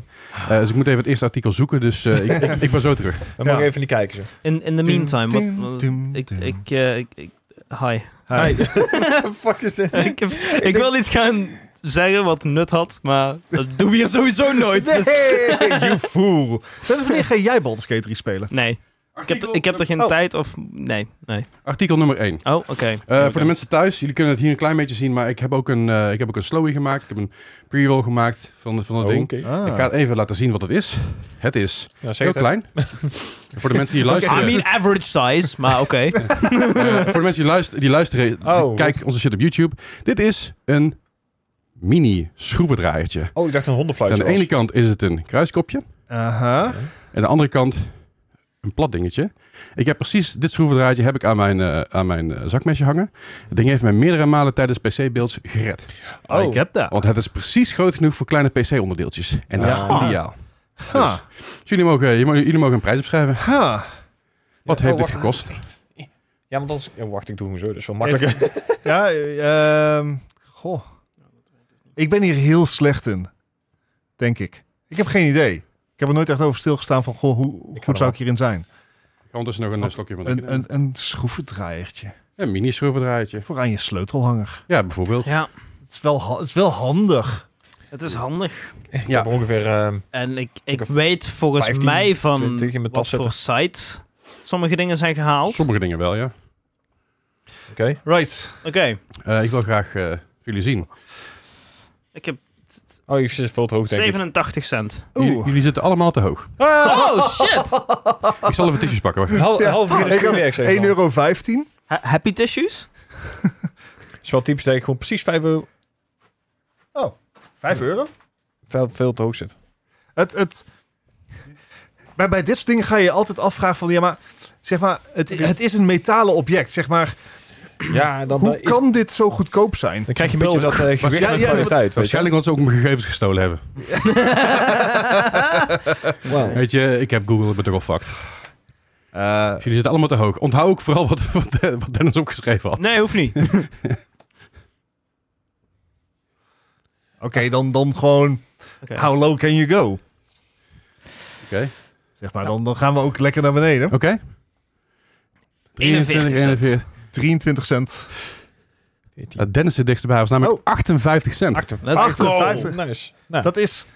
Speaker 1: Eh, dus ik moet even het eerste artikel zoeken, dus eh, ik, ik, ik ben zo terug.
Speaker 2: Dan mag
Speaker 4: Ja.
Speaker 2: ik even niet kijken. Zo.
Speaker 3: In, in the meantime, wat- wat- ik,
Speaker 4: tum,
Speaker 3: ik, eh, ik, ik- hi.
Speaker 4: Hi.
Speaker 2: Fuck is dit?
Speaker 3: ik, heb- ik wil iets gaan zeggen wat nut had, maar dat doen we hier sowieso nooit. dus- Nee.
Speaker 4: Nee, you fool. Sinds wanneer ga jij Baldur's Gate 3 spelen?
Speaker 3: Ik heb, ik heb er geen
Speaker 4: Oh.
Speaker 3: tijd of... Nee, nee.
Speaker 1: Artikel nummer 1.
Speaker 3: Oh, oké.
Speaker 1: voor de mensen thuis, jullie kunnen het hier een klein beetje zien, maar ik heb ook een, eh, ik heb ook een slowie gemaakt. Ik heb een pre-roll gemaakt van, van dat
Speaker 2: Oh,
Speaker 1: ding.
Speaker 2: oké.
Speaker 4: Ah.
Speaker 1: Ik ga het even laten zien wat het is. Het is
Speaker 2: Nou, zeg
Speaker 1: heel
Speaker 2: het even.
Speaker 1: klein. voor de mensen die luisteren.
Speaker 3: I mean average size, maar oké.
Speaker 1: Eh, voor de mensen die luisteren, die luisteren
Speaker 2: Oh,
Speaker 1: die- kijk onze shit op YouTube. Dit is een mini schroevendraaiertje.
Speaker 2: Oh, ik dacht een hondenfluitje
Speaker 1: Aan de
Speaker 2: was.
Speaker 1: ene kant is het een kruiskopje.
Speaker 4: Aha.
Speaker 1: En aan de andere kant een plat dingetje. Ik heb precies dit schroevendraadje heb ik aan mijn, eh, aan mijn eh, zakmesje hangen. Het ding heeft mij meerdere malen tijdens PC-beelds gered.
Speaker 4: Oh, ik heb dat.
Speaker 1: Want het is precies groot genoeg voor kleine PC-onderdeeltjes. En dat
Speaker 2: Ah.
Speaker 1: is ideaal.
Speaker 4: Ha.
Speaker 1: Dus jullie mogen, jullie mogen- jullie mogen een prijs opschrijven.
Speaker 4: Ha.
Speaker 1: Wat
Speaker 2: Ja,
Speaker 1: heeft
Speaker 2: oh,
Speaker 1: dit
Speaker 2: wacht.
Speaker 1: gekost?
Speaker 2: Ja, want anders... ja, wacht, ik doe hem zo. Dat is wel makkelijker.
Speaker 4: Ja, eh, ehm, goh. Ik ben hier heel slecht in. Denk ik. Ik heb geen idee. Ik heb er nooit echt over stilgestaan van, goh, hoe
Speaker 2: er
Speaker 4: goed
Speaker 2: wel.
Speaker 4: zou ik hierin zijn?
Speaker 1: Ik kan dus nog een eh, stokje van
Speaker 4: Een, een, een schroevendraaiertje.
Speaker 1: Een mini schroevendraaiertje.
Speaker 4: Voor aan je sleutelhanger.
Speaker 1: Ja, bijvoorbeeld.
Speaker 3: ja,
Speaker 4: Het is wel, ha- het is wel handig.
Speaker 3: het is handig.
Speaker 2: Ik heb ongeveer... ehm,
Speaker 3: En ik, ik
Speaker 2: heb
Speaker 3: weet volgens
Speaker 2: 15,
Speaker 3: mij van
Speaker 2: 20 in mijn
Speaker 3: wat
Speaker 2: tas
Speaker 3: voor site sommige dingen zijn gehaald. Oké.
Speaker 1: Sommige dingen wel, ja.
Speaker 2: Oké.
Speaker 4: Right.
Speaker 1: Eh, ik wil graag eh, jullie zien.
Speaker 3: Ik heb
Speaker 2: Oh, je zit veel te hoog, denk ik.
Speaker 3: 87 cent.
Speaker 1: Jullie, jullie zitten allemaal te hoog.
Speaker 4: Ah!
Speaker 3: Oh, shit!
Speaker 1: Ik zal even tissues pakken. wacht.
Speaker 2: Een hal- half uur is
Speaker 4: Ik had 1,15 euro.
Speaker 3: Ha- happy tissues?
Speaker 2: Het is wel typisch dat ik gewoon precies 5 euro
Speaker 4: Oh, Vijf euro?
Speaker 2: veel, veel te hoog zit.
Speaker 4: Het, het... Maar bij dit soort dingen ga je je altijd afvragen van... Ja, maar zeg maar, het, het is een metalen object. Zeg maar,
Speaker 2: Ja, dan,
Speaker 4: hoe
Speaker 2: eh, is-
Speaker 4: kan dit zo goedkoop zijn?
Speaker 2: dan krijg je een beetje dat eh, gewicht
Speaker 4: ja,
Speaker 2: en
Speaker 4: ja,
Speaker 2: kwaliteit. weet je.
Speaker 1: Waarschijnlijk omdat ze ook mijn gegevens gestolen hebben.
Speaker 2: Wauw.
Speaker 1: Weet je, ik heb Google, ik ben toch al fucked. Dus
Speaker 4: Eh,
Speaker 1: Jullie zitten allemaal te hoog. Onthoud ook vooral wat, wat, wat Dennis opgeschreven had.
Speaker 3: Nee, hoeft niet.
Speaker 4: Oké, dan, dan gewoon...
Speaker 3: Oké.
Speaker 4: How low can you go?
Speaker 1: Oké.
Speaker 4: Zeg maar, dan, dan gaan we ook lekker naar
Speaker 2: Oh.
Speaker 4: beneden.
Speaker 1: Oké?
Speaker 3: 41 cent.
Speaker 4: 23 cent.
Speaker 1: Ja, Eh, Dennis zit dichterbij. was namelijk
Speaker 4: Oh.
Speaker 1: 58 cent.
Speaker 3: Let's go.
Speaker 4: 58.
Speaker 2: Nice. Nou,
Speaker 4: Dat is...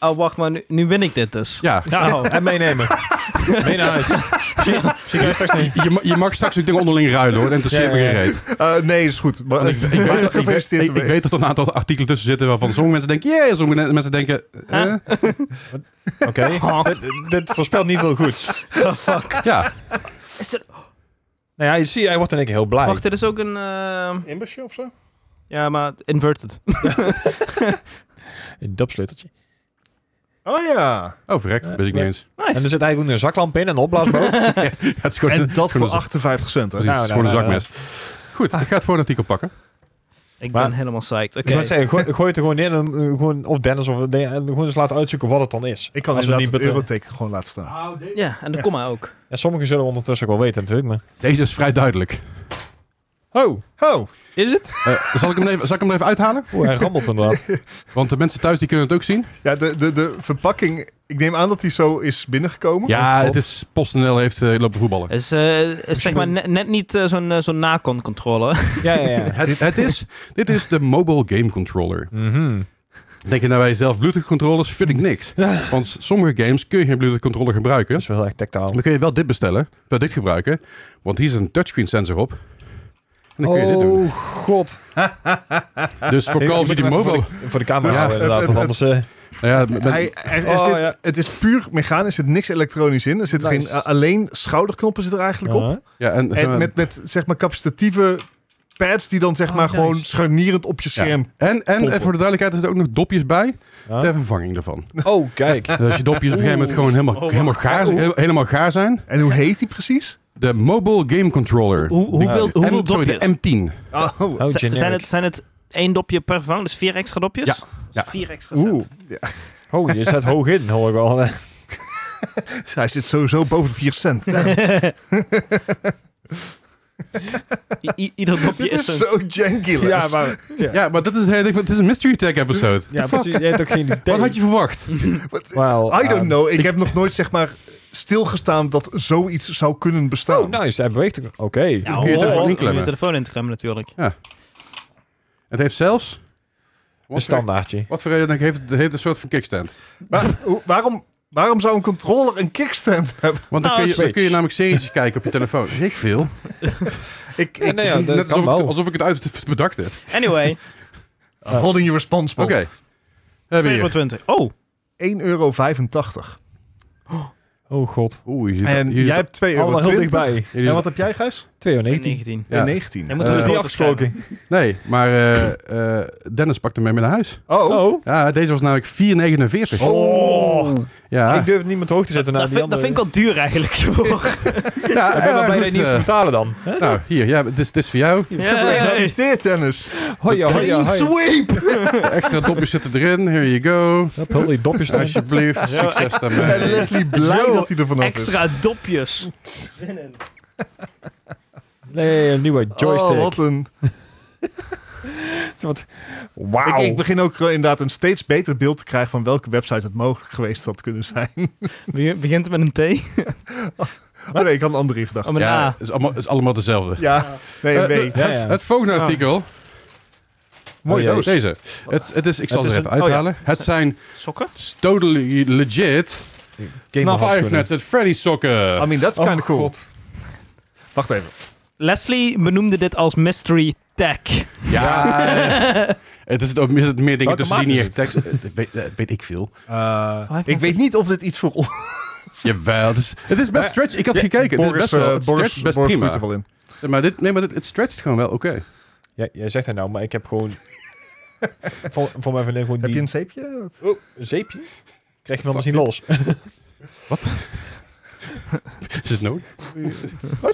Speaker 3: Oh, wacht maar, nu, nu win ik dit dus.
Speaker 1: Ja.
Speaker 3: Nou,
Speaker 2: en meenemen. Mee naar huis. Zie jij straks niet.
Speaker 1: Je, ma- je mag straks ook dingen onderling ruilen hoor. Dat interesseert
Speaker 2: Ja,
Speaker 1: me
Speaker 2: ja,
Speaker 1: geen
Speaker 2: ja.
Speaker 1: reet.
Speaker 4: Eh, nee, is goed. Maar,
Speaker 2: Oh,
Speaker 1: Want ik, ik, weet, dat- ik, weet,
Speaker 4: Gefeliciteerd
Speaker 1: ik, ik
Speaker 4: ermee.
Speaker 1: weet dat er een aantal artikelen tussen zitten waarvan sommige mensen denken, yeah, sommige mensen denken, eh,
Speaker 2: Oké. Dit- Dit voorspelt niet veel goeds.
Speaker 1: ja.
Speaker 3: Is er,
Speaker 2: Nou ja, je ziet, hij wordt in één keer heel blij.
Speaker 3: wacht, dit is ook een... eh,
Speaker 1: Imbusje of zo?
Speaker 3: ja, maar inverted.
Speaker 2: Een dubsleuteltje.
Speaker 4: Oh ja.
Speaker 1: Oh, verrek. Dat wist ik niet eens.
Speaker 3: Nice.
Speaker 2: En dus- er zit eigenlijk ook een zaklamp in en een opblaasboot.
Speaker 1: Ja, het is gewoon,
Speaker 4: En
Speaker 1: gewoon
Speaker 4: dat voor
Speaker 1: een-
Speaker 4: 58 cent, hè?
Speaker 1: precies, het is gewoon een
Speaker 2: Nou, nou,
Speaker 1: zakmes. Goed, ik ga het voor een artikel pakken.
Speaker 3: ik
Speaker 2: Maar-
Speaker 3: ben helemaal psyched.
Speaker 2: Ik
Speaker 3: Oké.
Speaker 2: moet zeggen, gooi, gooi het er gewoon in. En, eh, gewoon, of Dennis of nee, en gewoon eens laten uitzoeken wat het dan is.
Speaker 4: Ik kan
Speaker 2: Als we
Speaker 4: inderdaad
Speaker 2: niet
Speaker 4: het
Speaker 2: betalen.
Speaker 4: euroteken gewoon laten staan.
Speaker 3: Ja, en de comma ook.
Speaker 2: En sommigen zullen ondertussen ook wel weten natuurlijk. Maar...
Speaker 1: Deze is vrij duidelijk.
Speaker 2: Oh,
Speaker 4: Oh,
Speaker 2: is het?
Speaker 1: Eh, zal, ik hem even, zal ik hem er even uithalen?
Speaker 2: Oeh, hij rammelt inderdaad.
Speaker 1: Want de mensen thuis die kunnen het ook zien.
Speaker 4: ja, de, de, de verpakking. Ik neem aan dat die zo is binnengekomen.
Speaker 1: Ja, het is PostNL heeft eh, lopen voetballen.
Speaker 3: Het is, eh, het is zeg maar net, net niet eh, zo'n eh, zo'n Nacon-controle.
Speaker 2: ja, ja, ja.
Speaker 1: Het, het is, dit is de Mobile Game Controller.
Speaker 2: Mhm.
Speaker 1: Denk je nou bij jezelf, Bluetooth controllers vind ik niks. Want sommige games kun je geen Bluetooth controller gebruiken.
Speaker 2: Dat is wel heel erg tactaal.
Speaker 1: Dan kun je wel dit bestellen, wel dit gebruiken. Want hier is een touchscreen sensor op. En dan kun je dit doen.
Speaker 2: Oh god.
Speaker 1: Dus voor Call of Duty Mobile.
Speaker 2: Voor de, voor de camera
Speaker 1: Ja,
Speaker 2: houden,
Speaker 4: het-
Speaker 2: inderdaad.
Speaker 4: het-
Speaker 2: want anders... eh,
Speaker 1: Nou ja, met-
Speaker 4: Hij, er, er
Speaker 2: Oh,
Speaker 4: zit,
Speaker 2: ja.
Speaker 4: Het is puur mechanisch, er zit niks elektronisch in. Er zit
Speaker 2: Nice.
Speaker 4: geen, a- alleen schouderknoppen zit er eigenlijk op.
Speaker 2: ja.
Speaker 1: ja, en,
Speaker 4: En met, met zeg maar capacitatieve pads die dan zeg
Speaker 2: Oh,
Speaker 4: maar
Speaker 2: nice.
Speaker 4: gewoon scharnierend op je scherm.
Speaker 1: en, en
Speaker 4: pompen.
Speaker 1: voor de duidelijkheid er zitten ook nog dopjes bij.
Speaker 2: Ja.
Speaker 1: Ter vervanging daarvan.
Speaker 2: Oh, kijk.
Speaker 1: Dus als je dopjes op een gegeven moment gewoon helemaal,
Speaker 3: wacht.
Speaker 1: helemaal, gaar,
Speaker 4: Oeh.
Speaker 1: he- helemaal gaar zijn.
Speaker 4: En hoe heet die precies?
Speaker 1: De Mobile Game Controller.
Speaker 3: Hoe, hoeveel
Speaker 1: M-
Speaker 3: hoeveel
Speaker 1: sorry,
Speaker 3: dopjes?
Speaker 1: de M10.
Speaker 4: Oh,
Speaker 2: Oh,
Speaker 3: Z-
Speaker 2: generic.
Speaker 3: zijn, het, zijn het één dopje per vervang? Dus vier extra dopjes?
Speaker 1: Ja. Ja.
Speaker 3: Dus vier extra set.
Speaker 4: Oeh. Ja,
Speaker 2: Oh, je zet hoog in, hoor ik al.
Speaker 4: hij zit sowieso boven de 4 cent.
Speaker 3: I- i- ieder dopje
Speaker 4: Dit
Speaker 3: is
Speaker 4: is
Speaker 3: een...
Speaker 4: zo janky. Les.
Speaker 2: Ja, maar... Ja,
Speaker 1: Ja, maar dat is, het hele ding van- het is een Mystery Tag episode.
Speaker 2: ja precies. Je hebt ook geen idee.
Speaker 1: Wat had je verwacht?
Speaker 2: Well,
Speaker 4: I don't
Speaker 2: um,
Speaker 4: know. Ah, Ik heb nog nooit zeg maar stilgestaan dat zoiets zou kunnen bestaan.
Speaker 2: Oh, nice. Hij beweegt ook. Oké.
Speaker 3: Ja,
Speaker 1: kun je
Speaker 3: hoor,
Speaker 1: telefoon
Speaker 3: om
Speaker 1: inklemmen.
Speaker 3: je telefoon in te klemmen natuurlijk.
Speaker 1: Het heeft zelfs...
Speaker 2: Een
Speaker 1: Wat voor,
Speaker 2: standaardje.
Speaker 1: wat voor reden denk ik, heeft, het heeft een soort van kickstand.
Speaker 4: Maar, hoe- waarom, waarom zou een controller een kickstand hebben?
Speaker 1: Want dan,
Speaker 3: Nou,
Speaker 1: kun, je, dan
Speaker 2: Switch.
Speaker 1: kun je namelijk serietjes kijken op je telefoon. Ik veel.
Speaker 4: Ik,
Speaker 2: Ja,
Speaker 4: ik-
Speaker 2: nee, ja, dat
Speaker 1: Net
Speaker 2: kan
Speaker 1: alsof ik,
Speaker 2: wel.
Speaker 1: alsof ik het uit bedacht heb.
Speaker 3: Anyway,
Speaker 4: Holding you
Speaker 1: Oké.
Speaker 4: responsible.
Speaker 1: Hebben we hier.
Speaker 3: 220. Oh,
Speaker 4: 1,85 euro.
Speaker 2: Oh god.
Speaker 1: Oeh, je zit-
Speaker 4: En
Speaker 1: je zit-
Speaker 4: jij hebt 2,20 euro.
Speaker 2: Allemaal heel dichtbij.
Speaker 1: je zit-
Speaker 4: En wat heb jij, Gijs?
Speaker 2: 2 uur 19.
Speaker 3: 19.
Speaker 1: Ja.
Speaker 4: 19.
Speaker 3: Hij
Speaker 4: Oh,
Speaker 3: moet
Speaker 1: Eh,
Speaker 3: op de
Speaker 1: dat
Speaker 3: foto schrijven.
Speaker 1: Nee, maar eh, eh, Dennis pakte hem mee naar huis.
Speaker 2: Oh,
Speaker 1: Ja, deze was namelijk 4,49.
Speaker 4: Oh.
Speaker 1: Ja,
Speaker 2: ik durf het niet meer hoog te zetten naar
Speaker 3: Dat
Speaker 2: die
Speaker 3: vind, dat
Speaker 2: andere.
Speaker 3: vind ik al duur eigenlijk. joh.
Speaker 1: ja,
Speaker 2: Ik ben wel blij dat je niet hoeft te
Speaker 1: eh,
Speaker 2: betalen dan.
Speaker 1: Nou, hier, ja, dit, is, dit is voor jou.
Speaker 3: Yay.
Speaker 4: Gefeliciteerd, Dennis.
Speaker 2: Hoi, hoi,
Speaker 4: Clean
Speaker 2: hoi.
Speaker 4: sweep.
Speaker 1: De extra dopjes zitten erin. Here you go.
Speaker 2: Hul die dopjes erin.
Speaker 1: Alsjeblieft, succes
Speaker 4: En
Speaker 1: daarmee.
Speaker 4: Leslie blij
Speaker 3: Yo,
Speaker 4: dat hij er vanaf is.
Speaker 3: Extra dopjes.
Speaker 2: Nee, een nieuwe
Speaker 4: Oh,
Speaker 2: joystick.
Speaker 4: wat een...
Speaker 2: Wat-
Speaker 4: Ik, ik
Speaker 2: Wauw.
Speaker 4: begin ook eh, inderdaad een steeds beter beeld te krijgen van welke website het mogelijk geweest had kunnen zijn.
Speaker 3: Be- Begint het met een T?
Speaker 4: Oh nee, ik had een andere in gedachten.
Speaker 3: Om een
Speaker 1: Ja,
Speaker 3: A.
Speaker 1: het is allemaal, het is allemaal dezelfde.
Speaker 4: Ja, nee,
Speaker 1: Eh,
Speaker 4: nee.
Speaker 2: nou. Ja, ja.
Speaker 1: Het volgende artikel.
Speaker 4: Mooie
Speaker 2: Oh,
Speaker 4: doos.
Speaker 1: Deze. Het, het is, ik zal
Speaker 2: Het
Speaker 1: het er even
Speaker 2: is
Speaker 4: een- oh ja.
Speaker 1: uithalen. Het zijn
Speaker 3: Sokken?
Speaker 1: totally legit
Speaker 2: Game of
Speaker 1: Five
Speaker 2: Afschuwing.
Speaker 1: Nights at Freddy's sokken.
Speaker 4: I mean, that's
Speaker 2: Oh,
Speaker 4: kind of cool.
Speaker 2: God.
Speaker 4: Wacht even.
Speaker 3: Leslie benoemde dit als mystery tech.
Speaker 1: Ja. eh, het is het ook is het meer dingen
Speaker 2: Welke
Speaker 1: tussen
Speaker 2: maat
Speaker 1: die niet
Speaker 2: is
Speaker 1: echt tekst. eh, dat weet, dat weet ik veel.
Speaker 4: Eh,
Speaker 3: Waar
Speaker 4: ik
Speaker 3: was
Speaker 4: weet
Speaker 3: het?
Speaker 4: niet of dit iets voor ons...
Speaker 1: Jawel. Het is, het is best
Speaker 4: Maar-
Speaker 1: stretch. Ik had gekeken. Het is best wel.
Speaker 4: eh,
Speaker 1: Het
Speaker 4: Boris-
Speaker 1: stretcht best
Speaker 4: Boris
Speaker 1: prima.
Speaker 4: voert er wel in.
Speaker 1: Ja, Maar dit, nee, maar dit, het stretcht gewoon wel. Oké.
Speaker 2: Ja, jij zegt het nou, maar ik heb gewoon... Voor voor mij vriendin gewoon
Speaker 4: Heb
Speaker 2: die...
Speaker 4: je een zeepje?
Speaker 2: een zeepje? Krijg je wel
Speaker 1: Fuck
Speaker 2: misschien los.
Speaker 1: Is het nodig?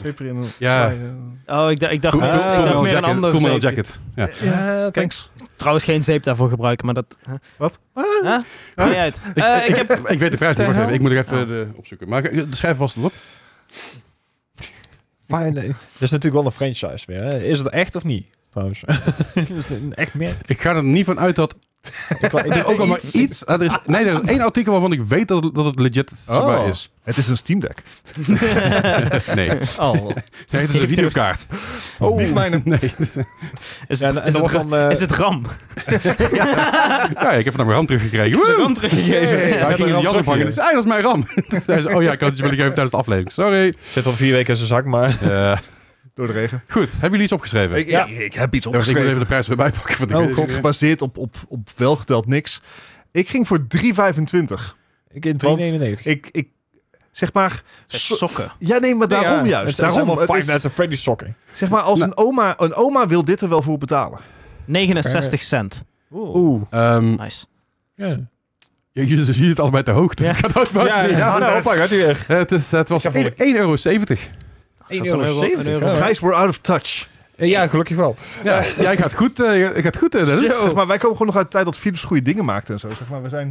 Speaker 4: Zeepje in een...
Speaker 1: Ja.
Speaker 4: zwaai, eh.
Speaker 3: Oh, ik, dacht- ik dacht,
Speaker 1: Full-
Speaker 3: ik
Speaker 1: full-
Speaker 2: Ah.
Speaker 1: full metal
Speaker 3: dacht meer een
Speaker 1: jacket.
Speaker 3: ander
Speaker 1: Full metal
Speaker 3: zeep.
Speaker 1: jacket. Ja.
Speaker 4: Ja, thanks.
Speaker 3: Trouwens geen zeep daarvoor gebruiken, maar dat...
Speaker 4: Wat?
Speaker 3: Huh? Maakt niet uit. Eh, ik heb...
Speaker 1: Ik weet de prijs niet. Wacht
Speaker 2: Ter
Speaker 1: even. Ik moet er even
Speaker 3: Oh.
Speaker 1: de, opzoeken. Maar eh, schrijf vast op.
Speaker 2: Fine. Dat is natuurlijk wel een franchise weer. Hè? Is het echt of niet? Trouwens. is het een echt merk?
Speaker 1: Ik ga er niet van uit dat
Speaker 2: Ik wou- ik-
Speaker 1: Er is ook al maar iets. ah, er is, nee, er is één artikel waarvan ik weet dat, dat het legit zichtbaar
Speaker 4: Oh.
Speaker 1: is.
Speaker 4: Het is een Steam Deck.
Speaker 1: Nee. nee,
Speaker 4: Oh.
Speaker 1: het is een videokaart.
Speaker 2: Oh.
Speaker 4: Niet eh, mijne.
Speaker 1: Nee.
Speaker 3: Is
Speaker 2: Ja,
Speaker 3: het,
Speaker 2: en, en
Speaker 3: is,
Speaker 2: dan
Speaker 3: het,
Speaker 2: wordt
Speaker 3: ra-
Speaker 2: dan, eh,
Speaker 3: is het RAM?
Speaker 1: Ja, ik heb van mijn RAM teruggekregen.
Speaker 3: Is
Speaker 1: Woe!
Speaker 3: het RAM teruggegeven?
Speaker 1: Ja,
Speaker 3: Met
Speaker 1: ik ging
Speaker 3: een
Speaker 1: zijn jas
Speaker 3: RAM
Speaker 1: ophangen. en
Speaker 3: teruggegeven.
Speaker 1: zei, "Hey, dat is mijn RAM. Toen zei ze, oh ja, ik had het je willen geven tijdens de aflevering. Sorry.
Speaker 2: zit al vier weken in zijn zak, maar
Speaker 1: Eh,
Speaker 4: Door de regen.
Speaker 1: goed, hebben jullie iets opgeschreven?
Speaker 4: Ik,
Speaker 2: Ja.
Speaker 4: ik, ik heb iets
Speaker 1: Ja, wacht, ik wil
Speaker 4: opgeschreven.
Speaker 1: even de prijs weer bijpakken. want ik
Speaker 2: Oh,
Speaker 1: weet het
Speaker 4: God,
Speaker 1: niet meer.
Speaker 4: gebaseerd op, op, op welgeteld niks. Ik ging voor 3,25.
Speaker 2: ik in
Speaker 4: Want
Speaker 2: 391.
Speaker 4: Ik, ik zeg maar.
Speaker 3: Met
Speaker 4: so-
Speaker 3: sokken.
Speaker 4: ja, nee, maar daarom juist. daarom, het
Speaker 2: Five
Speaker 4: is-
Speaker 2: Nights at Freddy's sokken.
Speaker 4: zeg maar, als een oma, een oma wil dit er wel voor betalen.
Speaker 3: 69 cent.
Speaker 2: Oeh.
Speaker 1: Ehm,
Speaker 3: Nice.
Speaker 2: Ja.
Speaker 1: ja, jullie jullie zitten allebei te hoog, dus
Speaker 3: Ja.
Speaker 1: het gaat ook
Speaker 2: Ja,
Speaker 1: buiten.
Speaker 2: ja,
Speaker 1: Ja,
Speaker 2: nou, hoppa, gaat hij weer.
Speaker 1: Het, is, het was
Speaker 2: Ik ga voor
Speaker 1: 1,70 euro. 70.
Speaker 3: Is dat zo'n euro? Een euro?
Speaker 2: Ja.
Speaker 4: Gijs, we're out of touch.
Speaker 2: eh, Ja, gelukkig wel.
Speaker 1: Ja, jij gaat goed, eh, jij gaat goed eh, Dennis.
Speaker 4: Zeg maar, wij komen gewoon nog uit de tijd dat Philips goede dingen maakte en zo. Zeg maar, we zijn.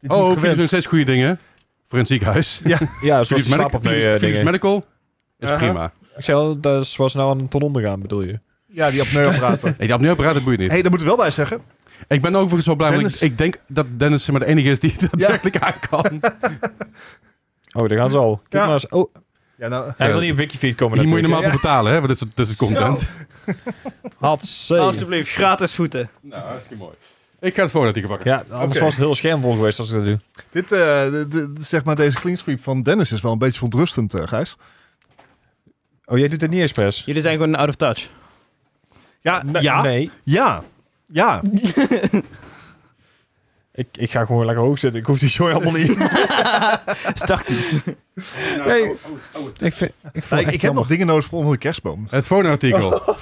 Speaker 4: dit niet
Speaker 1: Oh, Philips
Speaker 4: gewend.
Speaker 1: doet nog steeds goede dingen. Voor een ziekenhuis.
Speaker 2: Ja, zoals
Speaker 1: Philips,
Speaker 2: die slaap
Speaker 1: Medical,
Speaker 2: op mee
Speaker 1: Philips, Philips
Speaker 2: dingen.
Speaker 1: Medical is
Speaker 4: Aha.
Speaker 1: prima.
Speaker 2: Ik zei al, dat is zoals nou een ton ondergaan, bedoel je?
Speaker 4: Ja, die apneuapparaten.
Speaker 1: Nee, die apneuapparaat, dat boeit niet.
Speaker 4: hey, daar moet ik wel bij zeggen.
Speaker 1: Ik ben overigens wel blij, want ik,
Speaker 4: Dennis-
Speaker 1: ik denk dat Dennis zeg maar de enige is die het daadwerkelijk aan kan.
Speaker 2: Oh, daar gaan ze al. Kijk
Speaker 4: Ja.
Speaker 2: maar eens. Oh,
Speaker 4: Ja, nou.
Speaker 2: hij wil niet op Wikifeed komen
Speaker 1: Hier moet je
Speaker 2: natuurlijk.
Speaker 1: normaal voor betalen, hè, want dit soort, dit soort content.
Speaker 2: Hatsé.
Speaker 3: Alsjeblieft, gratis voeten.
Speaker 1: Nou, hartstikke mooi. Ik ga het volgende artikel pakken.
Speaker 2: Ja, anders
Speaker 4: Oké.
Speaker 2: was het heel schermvol geweest als ik dat doe.
Speaker 4: Dit, eh, de- de- de- zeg maar, deze clean sweep van Dennis is wel een beetje verontrustend, eh, Gijs.
Speaker 2: Oh, jij doet het niet expres?
Speaker 3: Jullie zijn gewoon out of touch.
Speaker 4: Ja,
Speaker 2: Nee,
Speaker 4: ja,
Speaker 2: Nee,
Speaker 4: ja, ja.
Speaker 2: ik, ik ga gewoon lekker hoog zitten. Ik hoef die show helemaal niet.
Speaker 3: Dat is tactisch.
Speaker 1: Nou,
Speaker 2: Nee.
Speaker 1: oh,
Speaker 2: ik vind, ik,
Speaker 4: Ja, ik ik heb nog dingen nodig voor onder de kerstboom.
Speaker 1: Het volgende artikel.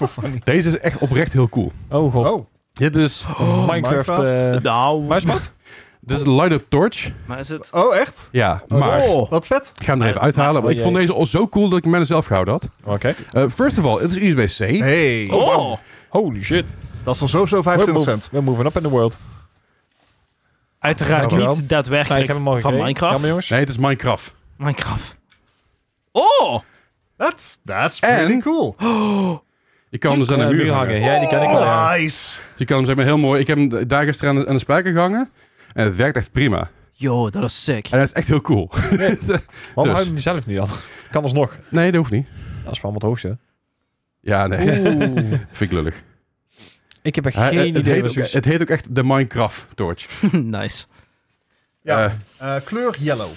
Speaker 1: Deze is echt oprecht heel cool.
Speaker 2: Oh god.
Speaker 4: Oh,
Speaker 1: Dit is,
Speaker 2: Minecraft. eh
Speaker 4: Minecraft.
Speaker 3: Nou,
Speaker 2: maar is wat?
Speaker 1: dit is Light Up Torch.
Speaker 3: maar is het...
Speaker 4: oh echt?
Speaker 1: Ja, maar
Speaker 3: Oh.
Speaker 4: Wat vet.
Speaker 1: ik ga hem er even uithalen. Want ik vond deze al zo cool dat ik hem bijna zelf gehouden had.
Speaker 2: Oké.
Speaker 1: Eh, first of all, het is USB-C.
Speaker 4: Hey,
Speaker 3: Oh,
Speaker 2: Holy shit.
Speaker 4: dat is al sowieso 25 cent.
Speaker 2: We're moving up in the world.
Speaker 3: uiteraard
Speaker 2: Dankjewel.
Speaker 3: niet daadwerkelijk van Minecraft.
Speaker 2: Jammer jongens.
Speaker 1: Nee, het is Minecraft.
Speaker 3: Minecraft. Oh!
Speaker 4: That's, that's
Speaker 1: En-
Speaker 4: pretty cool.
Speaker 1: Je kan hem dus aan de
Speaker 2: Eh,
Speaker 1: muur hangen.
Speaker 2: Ja, die ken ik wel. ja.
Speaker 4: Oh. Nice.
Speaker 1: Dus je kan hem zeg maar heel mooi... Ik heb hem daar gisteren aan de, aan de spijker gehangen. En het werkt echt prima.
Speaker 3: Yo, dat is sick.
Speaker 1: En dat is echt heel cool.
Speaker 2: Waarom
Speaker 1: Dus.
Speaker 2: hou je hem zelf niet aan? Kan alsnog.
Speaker 1: Nee, dat hoeft niet.
Speaker 2: Als we allemaal het hoogste.
Speaker 1: Ja, nee. Vind ik lullig.
Speaker 2: Ik heb echt
Speaker 1: Hij-
Speaker 2: geen
Speaker 1: het,
Speaker 2: idee.
Speaker 1: heet
Speaker 2: wat
Speaker 1: ook,
Speaker 2: zoiets-
Speaker 1: het heet ook echt de Minecraft Torch.
Speaker 3: nice.
Speaker 4: Ja,
Speaker 1: Eh,
Speaker 4: eh, kleur yellow.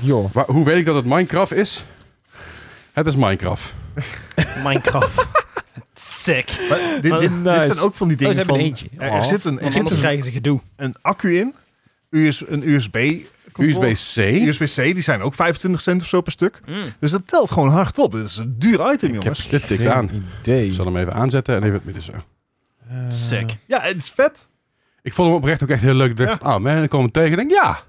Speaker 2: Joh.
Speaker 1: waar- hoe weet ik dat het Minecraft is? Het is Minecraft.
Speaker 3: Minecraft. sick.
Speaker 4: Maar dit, dit, dit
Speaker 2: Oh, Nice.
Speaker 4: zijn ook van die
Speaker 2: Oh,
Speaker 4: dingen
Speaker 2: ze hebben
Speaker 4: van...
Speaker 2: een eentje.
Speaker 4: Er,
Speaker 2: Oh.
Speaker 4: er zit, een, er
Speaker 3: Want
Speaker 4: zit
Speaker 3: anders
Speaker 4: een,
Speaker 3: krijgen ze gedoe.
Speaker 4: een accu in, US, een USB... controller.
Speaker 1: USB-C?
Speaker 4: USB-C, die zijn ook 25 cent of zo per stuk.
Speaker 3: Mm.
Speaker 4: Dus dat telt gewoon hard op. Dit is een duur item,
Speaker 1: Ik heb
Speaker 4: jongens.
Speaker 1: dit tikt
Speaker 2: Geen
Speaker 1: aan.
Speaker 2: idee.
Speaker 1: Ik zal hem even aanzetten en even het midden zo.
Speaker 2: Eh,
Speaker 3: Sick.
Speaker 4: Ja, het is vet.
Speaker 1: Ik vond hem oprecht ook echt heel leuk. Ik dacht
Speaker 4: Ja.
Speaker 1: van, ah man, ik kwam hem tegen en denk ja.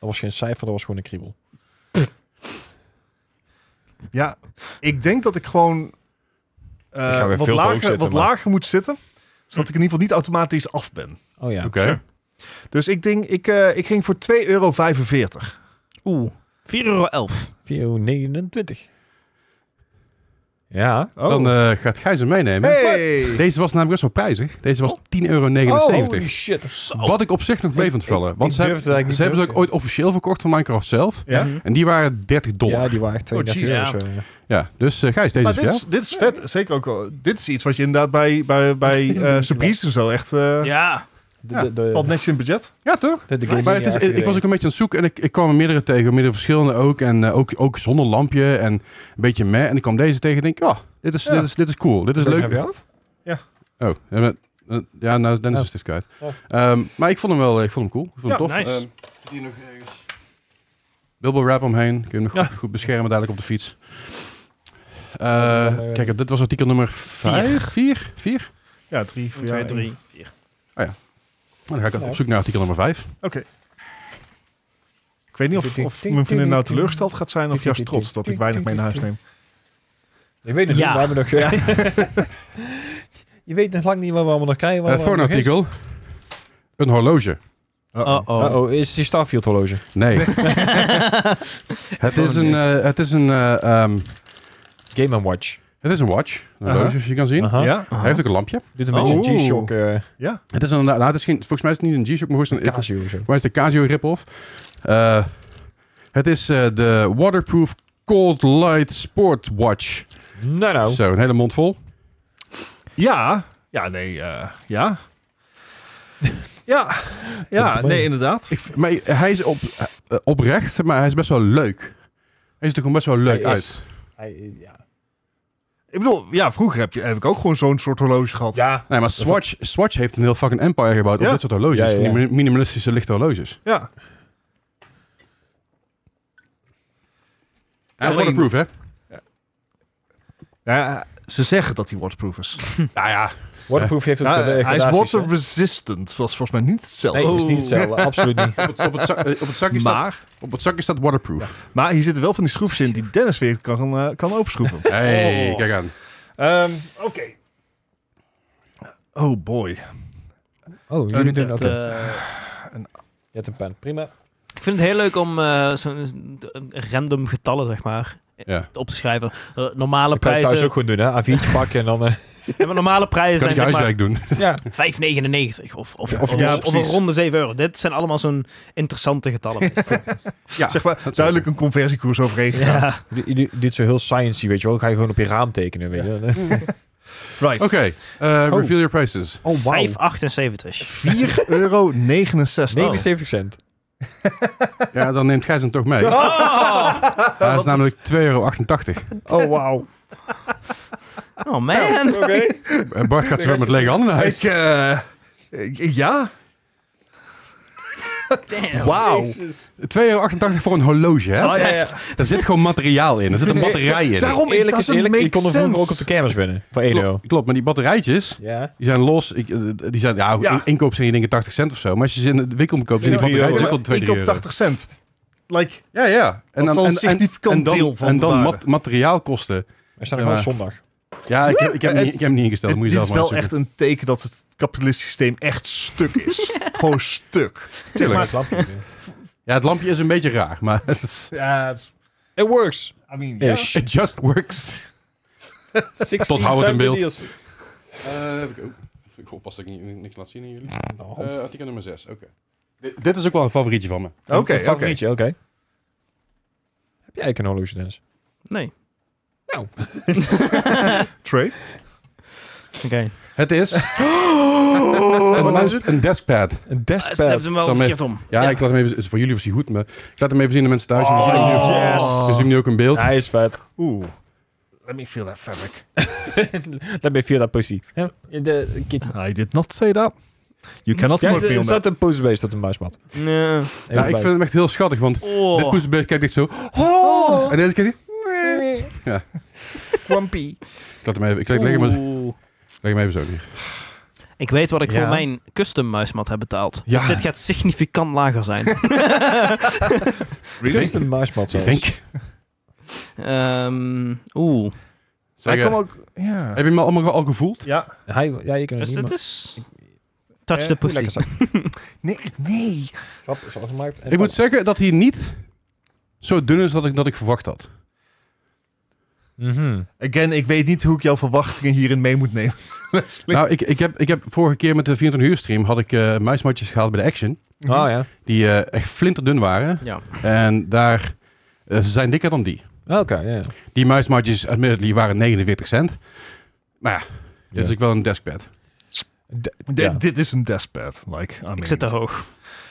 Speaker 2: Dat was geen cijfer, dat was gewoon een kriebel.
Speaker 4: Ja, ik denk dat ik gewoon eh,
Speaker 2: Ik ga weer
Speaker 4: wat,
Speaker 2: veel te hoog
Speaker 4: lager,
Speaker 2: zitten,
Speaker 4: wat
Speaker 2: maar-
Speaker 4: lager moet zitten. Zodat ik in ieder geval niet automatisch af ben.
Speaker 2: Oh ja.
Speaker 1: Oké.
Speaker 4: Dus ik denk, ik, eh, ik ging voor 2,45 euro.
Speaker 3: Oeh. 4,11 euro.
Speaker 2: 4,29. Ja.
Speaker 4: Oh.
Speaker 1: Dan eh, gaat Gijs hem meenemen.
Speaker 4: hey!
Speaker 1: Deze was namelijk best wel prijzig. Deze was 10,79 euro.
Speaker 2: Oh. holy shit.
Speaker 1: Wat ik op zich nog mee vond vallen. Want
Speaker 2: ik
Speaker 1: ze,
Speaker 2: durfde
Speaker 1: hebben-
Speaker 2: het eigenlijk niet
Speaker 1: ze hebben ze
Speaker 2: te
Speaker 1: ook ooit officieel verkocht van Minecraft zelf.
Speaker 4: Ja?
Speaker 3: Mhm.
Speaker 1: En die waren 30 dollar.
Speaker 2: Ja,
Speaker 1: Ja,
Speaker 2: die waren echt
Speaker 4: Oh,
Speaker 2: 32
Speaker 3: jeez.
Speaker 2: euro. zo, ja.
Speaker 1: dus eh, Gijs, deze
Speaker 4: Maar
Speaker 1: is
Speaker 4: dit
Speaker 1: jou.
Speaker 4: is, dit is vet. Zeker ook wel. Dit is iets wat je inderdaad bij, bij, bij eh Surprise en zo echt... eh,
Speaker 3: Ja.
Speaker 2: De-
Speaker 1: Ja.
Speaker 2: de- de-
Speaker 4: Valt netjes in budget.
Speaker 1: Ja, toch?
Speaker 2: de- de game
Speaker 1: Maar het is, ik
Speaker 2: die
Speaker 1: was ook
Speaker 2: eigenlijk-
Speaker 1: een beetje aan het zoeken en ik, ik kwam er meerdere tegen, meerdere verschillende ook. En eh, ook, ook zonder lampje en een beetje meh. En ik kwam deze tegen en denk, oh, dit is,
Speaker 4: Ja.
Speaker 1: dit is, dit is cool, dit is
Speaker 2: Deze
Speaker 1: leuk.
Speaker 2: heb je af?
Speaker 1: Oh, ja, maar- eh, ja, nou, Dennis
Speaker 2: Ja.
Speaker 1: is het kwijt.
Speaker 2: Ja.
Speaker 1: Ehm, maar ik vond hem wel, ik vond hem cool. Ik vond hem
Speaker 3: Ja,
Speaker 1: tof.
Speaker 3: nice.
Speaker 1: Ehm, die nog ergens. Bubble wrap omheen. Kun je hem nog
Speaker 3: Ja.
Speaker 1: goed, goed beschermen dadelijk op de fiets. Eh,
Speaker 2: Ja, ja, ja.
Speaker 1: kijk, dit was artikel nummer 5. 4? 4?
Speaker 4: Ja, drie, voor
Speaker 3: 1, 2,
Speaker 4: jou.
Speaker 3: 3, 4.
Speaker 1: Nou, Dan ga ik
Speaker 2: Ja.
Speaker 1: op zoek naar artikel nummer 5.
Speaker 4: Oké. Ik weet niet of, of mijn vriendin nou teleurgesteld gaat zijn of juist trots dat ik weinig mee naar huis neem.
Speaker 2: Ik weet het
Speaker 3: Ja.
Speaker 2: niet, we hebben nog... je weet nog lang niet wat we allemaal nog krijgen. wat
Speaker 1: het
Speaker 2: we
Speaker 1: volgende
Speaker 2: allemaal nog
Speaker 1: Eh, artikel. Een horloge.
Speaker 4: Uh-oh.
Speaker 2: is. Uh-oh, is die Starfield horloge?
Speaker 1: Nee. het, is een, eh, het is een eh, ehm,
Speaker 2: Game Watch.
Speaker 1: Het is een watch, een
Speaker 4: Aha.
Speaker 1: horloge als je kan zien.
Speaker 2: Aha.
Speaker 4: Ja?
Speaker 1: Hij heeft ook een lampje.
Speaker 2: Dit een
Speaker 4: Oh.
Speaker 2: beetje een G-Shock eh,
Speaker 1: Het is inderdaad, nou, het is geen, volgens mij is het niet een G-Shock, maar volgens mij
Speaker 2: Casio of zo.
Speaker 1: Waar is de Casio rip-off? Eh, het is eh, de Waterproof Cold Light Sport Watch.
Speaker 2: Nou nou.
Speaker 1: Zo, een hele mond vol.
Speaker 4: Ja. Ja, nee. eh, ja. ja. Ja,
Speaker 2: erbij.
Speaker 4: nee, inderdaad.
Speaker 1: Ik, v- maar hij is op, eh, oprecht, maar hij is best wel leuk. Hij ziet er gewoon best wel leuk
Speaker 2: Hij
Speaker 1: uit.
Speaker 2: is- hij, eh, ja.
Speaker 4: Ik bedoel, ja, vroeger heb, je, heb ik ook gewoon zo'n soort horloge gehad.
Speaker 2: ja.
Speaker 1: Nee, maar Swatch, Swatch heeft een heel fucking empire gebouwd
Speaker 4: Ja.
Speaker 1: op dit soort horloges.
Speaker 2: Ja, ja, ja.
Speaker 1: Van die mi- minimalistische lichte horloges.
Speaker 4: Ja.
Speaker 1: Hij is
Speaker 4: Alleen-
Speaker 1: waterproof, hè?
Speaker 4: Nou ja, ze zeggen dat hij waterproof is.
Speaker 1: Nou ja,
Speaker 2: Waterproof heeft ook
Speaker 4: Nou,
Speaker 2: wat, eh,
Speaker 4: hij is
Speaker 2: gradaties,
Speaker 4: water
Speaker 2: hè?
Speaker 4: resistant. was volgens mij niet hetzelfde.
Speaker 2: Nee, is niet hetzelfde. Absoluut niet.
Speaker 1: op het, op het, zak- eh, op het zakje staat,
Speaker 4: maar,
Speaker 1: op het zakje staat waterproof.
Speaker 4: maar hier zitten wel van die schroefjes in die Dennis weer kan, eh, kan openschroeven.
Speaker 1: hey,
Speaker 2: Oh.
Speaker 1: kijk aan.
Speaker 4: Ehm, Oké. Oh boy.
Speaker 2: Oh, jullie doen
Speaker 3: Dat,
Speaker 2: dat.
Speaker 3: eh,
Speaker 2: Je hebt een pen. Prima.
Speaker 3: ik vind het heel leuk om eh, zo'n eh, random getallen, zeg maar,
Speaker 1: Ja.
Speaker 3: op te schrijven. Eh, normale
Speaker 2: Dat kan je thuis
Speaker 3: prijzen.
Speaker 2: ook goed doen, hè? A4'tje pakken en dan... eh,
Speaker 3: Ja, maar normale prijzen
Speaker 1: Kan ik
Speaker 3: zijn
Speaker 1: je
Speaker 3: zeg maar
Speaker 1: huiswerk doen?
Speaker 2: ja.
Speaker 3: 5,99 of, of,
Speaker 4: Ja, oh,
Speaker 3: of,
Speaker 4: ja,
Speaker 3: of, of een
Speaker 4: precies.
Speaker 3: ronde 7 euro. Dit zijn allemaal zo'n interessante getallen.
Speaker 1: Ja.
Speaker 4: zeg maar, duidelijk een conversiekoers overheen gegaan.
Speaker 3: ja.
Speaker 2: Dit- dit- Dit is zo heel sciency, weet je wel. Dan ga je gewoon op je raam tekenen, weet je wel.
Speaker 4: Right.
Speaker 1: Oké, eh,
Speaker 2: Oh.
Speaker 1: reveal your prices.
Speaker 2: Oh, wauw.
Speaker 3: 5,78.
Speaker 4: 4,69 euro.
Speaker 2: 79 cent.
Speaker 1: Ja, dan neemt Gijs hem toch mee. Hij is namelijk 2,88 euro.
Speaker 2: Oh, wauw.
Speaker 3: Oh man.
Speaker 2: Oké.
Speaker 1: Eh, Bart gaat zo weer met lege handen naar
Speaker 4: Ik,
Speaker 1: huis.
Speaker 4: eh, eh, ja. Wauw.
Speaker 1: 2,88 euro voor een horloge, hè?
Speaker 4: eh,
Speaker 2: Oh,
Speaker 4: Ah, ja, ja.
Speaker 1: Daar zit gewoon materiaal in. Er zit een batterij in.
Speaker 4: Daarom
Speaker 2: Eerlijk is eerlijk, ik kon er vroeger ook op de
Speaker 4: de...
Speaker 2: kermis binnen. Van 1 euro.
Speaker 1: Klopt, klopt, maar die batterijtjes,
Speaker 2: Ja.
Speaker 1: die zijn los. Ik, eh, die zijn, ja,
Speaker 4: Ja.
Speaker 1: in- inkoop zijn je dingen 80 cent of zo. Maar als je ze in de winkel koopt, zijn die
Speaker 2: Ja, drie
Speaker 1: batterijtjes ook al
Speaker 4: Ik
Speaker 1: 2, 3
Speaker 4: koop
Speaker 1: euro.
Speaker 4: 80 cent. Like,
Speaker 1: Ja, ja. En
Speaker 4: eh, Dat is al een significant
Speaker 1: en dan,
Speaker 4: deel van
Speaker 1: en
Speaker 4: de
Speaker 1: dan
Speaker 4: waarde.
Speaker 1: mat- materiaalkosten.
Speaker 2: We staan
Speaker 1: Ja,
Speaker 2: er gewoon
Speaker 1: maar-
Speaker 2: op zondag.
Speaker 1: Ja, ik heb, ik heb, hem
Speaker 4: Het-
Speaker 1: niet, ik heb hem niet ingesteld.
Speaker 4: het-
Speaker 1: Dat moet
Speaker 4: dit
Speaker 1: je zelf maar
Speaker 4: is wel echt
Speaker 1: uitzoeken.
Speaker 4: een teken dat het kapitalistisch systeem echt stuk is. Gewoon stuk. Zeg
Speaker 1: Tuurlijk.
Speaker 4: maar,
Speaker 1: Ja, het lampje is een beetje raar, maar het is-
Speaker 4: ja, het is-
Speaker 2: It works.
Speaker 4: I mean, ja.
Speaker 2: Ish.
Speaker 1: it just works. Tot hou het in beeld. Eh, ik ook. Ik hoop pas dat ik niet, niks laat zien aan jullie. Eh,
Speaker 2: Oh,
Speaker 1: artikel nummer 6, oké. Dit, dit is ook wel een favorietje van me.
Speaker 4: Oké,
Speaker 2: Een
Speaker 4: oké.
Speaker 2: favorietje, oké. Heb jij eigenlijk een horloge, Dennis?
Speaker 3: Nee.
Speaker 4: Trade.
Speaker 3: Oké.
Speaker 1: Het is... en bij mij is het een deskpad.
Speaker 2: Een
Speaker 3: Ah, Ze hebben
Speaker 2: deskpad.
Speaker 3: hem wel
Speaker 1: Zal me-
Speaker 3: verkeerd om.
Speaker 1: Ja, ik laat hem even... is Voor jullie was hij goed, maar... Ik laat hem even zien aan de mensen thuis. en we
Speaker 2: Oh,
Speaker 1: zien hem nu-
Speaker 2: yes.
Speaker 3: Oh.
Speaker 1: We zien hem nu ook in beeld.
Speaker 2: Hij is vet.
Speaker 4: Oeh. Let me feel that fabric.
Speaker 2: Dat ben je via dat pussy. Ja, de kit.
Speaker 4: I did not say that. You cannot
Speaker 2: Ja,
Speaker 4: quote me
Speaker 2: er
Speaker 4: on that.
Speaker 2: staat een poster bij, staat een muismat.
Speaker 3: Nee.
Speaker 1: Ja, ik vind hem echt heel schattig, want...
Speaker 3: Oh.
Speaker 1: Dit poesbeest kijkt echt zo... Oh! En deze kijkt... hij-
Speaker 2: Grumpy.
Speaker 1: Ik laat hem even... Ik leg, leg, hem, even-
Speaker 3: Oeh.
Speaker 1: leg hem even zo neer.
Speaker 3: Ik weet wat ik
Speaker 2: Ja.
Speaker 3: voor mijn custom muismat heb betaald.
Speaker 1: Ja.
Speaker 3: Dus dit gaat significant lager zijn.
Speaker 2: Dit is een muismat
Speaker 1: Ik
Speaker 2: zelfs.
Speaker 1: denk...
Speaker 3: Ehm, Oeh.
Speaker 1: Zeg, eh,
Speaker 4: ook... Ja.
Speaker 1: Heb je hem al- allemaal al gevoeld?
Speaker 4: Ja.
Speaker 2: Hij, ja, je kunt het
Speaker 3: Dus
Speaker 2: niet,
Speaker 3: dit
Speaker 2: maar-
Speaker 3: is... Touch
Speaker 2: Eh,
Speaker 3: the
Speaker 2: Lekker
Speaker 3: pussy.
Speaker 2: zak.
Speaker 4: Nee, nee.
Speaker 2: Grap is afgemaakt. En
Speaker 1: Ik moet zeggen dat hij niet... Zo dun is dat ik, dat ik verwacht had.
Speaker 2: Mhm.
Speaker 4: Again, ik weet niet hoe ik jouw verwachtingen hierin mee moet nemen. Leslie.
Speaker 1: Nou, ik, ik, heb, ik heb vorige keer met de 24 uur stream had ik eh, muismatjes gehaald bij de Action.
Speaker 2: Oh ja.
Speaker 1: Die eh echt flinterdun waren.
Speaker 3: Ja.
Speaker 1: En daar, eh, ze zijn dikker dan die.
Speaker 2: Ah, Oké, ja.
Speaker 1: Die muismatjes, admittedly, waren 49 cent. Maar ja, dit
Speaker 2: Ja.
Speaker 1: is ook wel een deskpad.
Speaker 2: D-
Speaker 4: D-
Speaker 2: ja.
Speaker 4: Dit is een deskpad. Like, I mean,
Speaker 3: Ik zit te hoog.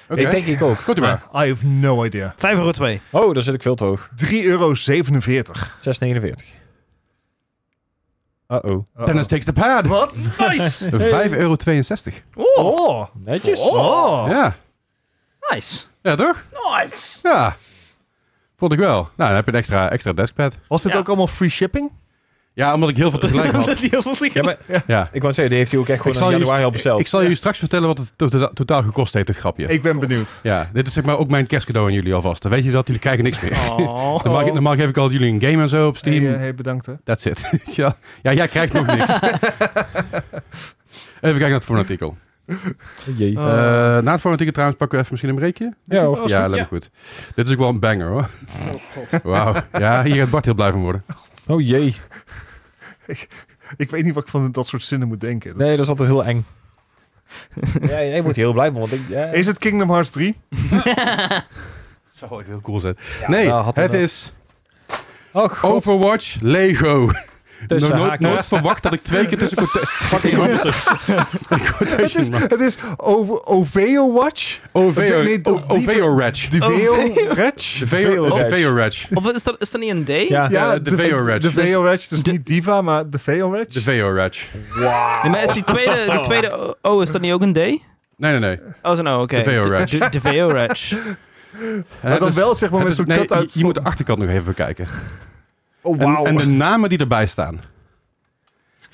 Speaker 1: Oké,
Speaker 2: Ik denk Ah. ik ook.
Speaker 1: goed u maar.
Speaker 4: I have no idea.
Speaker 3: 5 euro 2.
Speaker 2: Oh, daar zit ik veel te hoog.
Speaker 4: 3,47 euro. 49.
Speaker 2: 6,49. Uh-oh.
Speaker 1: Dennis Oh. takes the pad.
Speaker 4: Wat? Nice!
Speaker 1: 5,62 euro.
Speaker 3: Oeh,
Speaker 4: Oh!
Speaker 2: Netjes.
Speaker 4: Oh!
Speaker 1: Ja.
Speaker 3: nice.
Speaker 1: ja, toch?
Speaker 3: Nice.
Speaker 1: Ja. Vond ik wel. Nou, dan heb je een extra, extra deskpad.
Speaker 4: Was dit
Speaker 3: Ja.
Speaker 4: ook allemaal free shipping?
Speaker 1: Ja, omdat ik heel veel tegelijk had.
Speaker 2: Ja, maar
Speaker 1: Ja.
Speaker 2: ik wou zeggen, die heeft hij ook echt
Speaker 1: Ik
Speaker 2: gewoon
Speaker 1: zal,
Speaker 2: in januari
Speaker 1: jullie,
Speaker 2: al besteld.
Speaker 1: ik zal jullie straks vertellen wat het to- to- totaal gekost heeft, dit grapje.
Speaker 4: Ik ben benieuwd.
Speaker 1: Ja, dit is zeg maar ook mijn kerstcadeau aan jullie alvast. Dan weet je dat jullie kijken niks meer.
Speaker 3: Oh.
Speaker 1: Normaal, ge- normaal geef ik al jullie een game en zo op Steam.
Speaker 4: Hey, eh, hey, bedankt hè.
Speaker 1: That's it. ja, ja, jij krijgt nog niks. Even kijken naar het vormartikel.
Speaker 2: Jee.
Speaker 1: Eh na het vormartikel trouwens pakken we even misschien een breekje.
Speaker 2: ja, hoor.
Speaker 1: ja, Oh, dat Oh, is goed. Dit is ook wel een banger hoor. Wauw. Ja, hier gaat Bart heel blij van worden.
Speaker 2: Oh jee.
Speaker 4: ik, ik weet niet wat ik van dat soort zinnen moet denken. Dat
Speaker 2: Nee,
Speaker 4: is-
Speaker 2: dat is altijd heel eng. ja, jij wordt heel blij van, want ik... Ja,
Speaker 4: Is het Kingdom Hearts 3?
Speaker 1: Dat zou wel echt heel cool zijn. nee,
Speaker 2: nou, had
Speaker 1: het
Speaker 2: inderdaad-
Speaker 1: is
Speaker 2: oh, god,
Speaker 1: Overwatch Lego.
Speaker 2: Tussen
Speaker 1: Nog nooit,
Speaker 2: haakjes.
Speaker 1: nooit verwacht dat ik twee keer tussen quota- fucking
Speaker 4: Het is,
Speaker 1: quotation marks-
Speaker 4: het is Ovo- OVO Watch?
Speaker 1: OVO
Speaker 4: nee,
Speaker 1: O-
Speaker 4: die-
Speaker 1: OVO Ratch.
Speaker 4: De VO
Speaker 3: OVO?
Speaker 4: Ratch?
Speaker 1: De VO
Speaker 2: Ratch.
Speaker 1: de VO Ratch.
Speaker 3: Of is dat, is dat niet een D?
Speaker 2: Ja.
Speaker 1: Ja, de VO Ratch.
Speaker 4: De
Speaker 1: Dus-
Speaker 4: VO Ratch, dus niet Diva, maar de VO Ratch.
Speaker 1: De VO Ratch.
Speaker 3: Nee, maar is die tweede, de tweede O, oh, is dat niet ook een D?
Speaker 1: Nee, nee, nee.
Speaker 3: Oh, is een O,
Speaker 1: De
Speaker 3: oké.
Speaker 1: VO Ratch.
Speaker 3: De, de VO Ratch.
Speaker 4: maar dan
Speaker 1: Het is-
Speaker 4: wel zeg maar
Speaker 1: dus het
Speaker 4: met
Speaker 1: is- nee,
Speaker 4: zo'n cut uit.
Speaker 1: je, je moet de achterkant nog even bekijken.
Speaker 4: Oh,
Speaker 1: En,
Speaker 4: wauw.
Speaker 1: en de namen die erbij staan.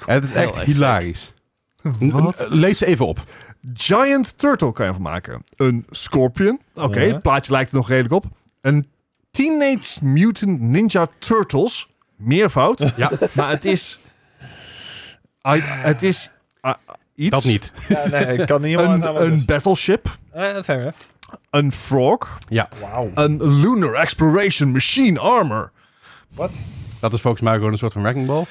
Speaker 1: Het is
Speaker 3: Heel
Speaker 1: echt
Speaker 3: erg
Speaker 1: hilarisch.
Speaker 4: Wat?
Speaker 1: Lees ze even op.
Speaker 4: Giant Turtle kan je van maken. Een Scorpion. Oké,
Speaker 2: Ja.
Speaker 4: het plaatje lijkt er nog redelijk op. Een Teenage Mutant Ninja Turtles. Meervoud.
Speaker 1: Ja,
Speaker 4: maar het is... I- het is ah, iets.
Speaker 1: Dat niet.
Speaker 2: Ja, nee, ik kan niet helemaal
Speaker 4: Een,
Speaker 2: namelijk
Speaker 4: een battleship.
Speaker 2: dus. Eh, fair enough.
Speaker 4: Een frog.
Speaker 1: Oh.
Speaker 2: Wauw.
Speaker 4: Een lunar exploration machine armor.
Speaker 2: Wat?
Speaker 1: Dat is volgens mij gewoon een soort van wrecking ball.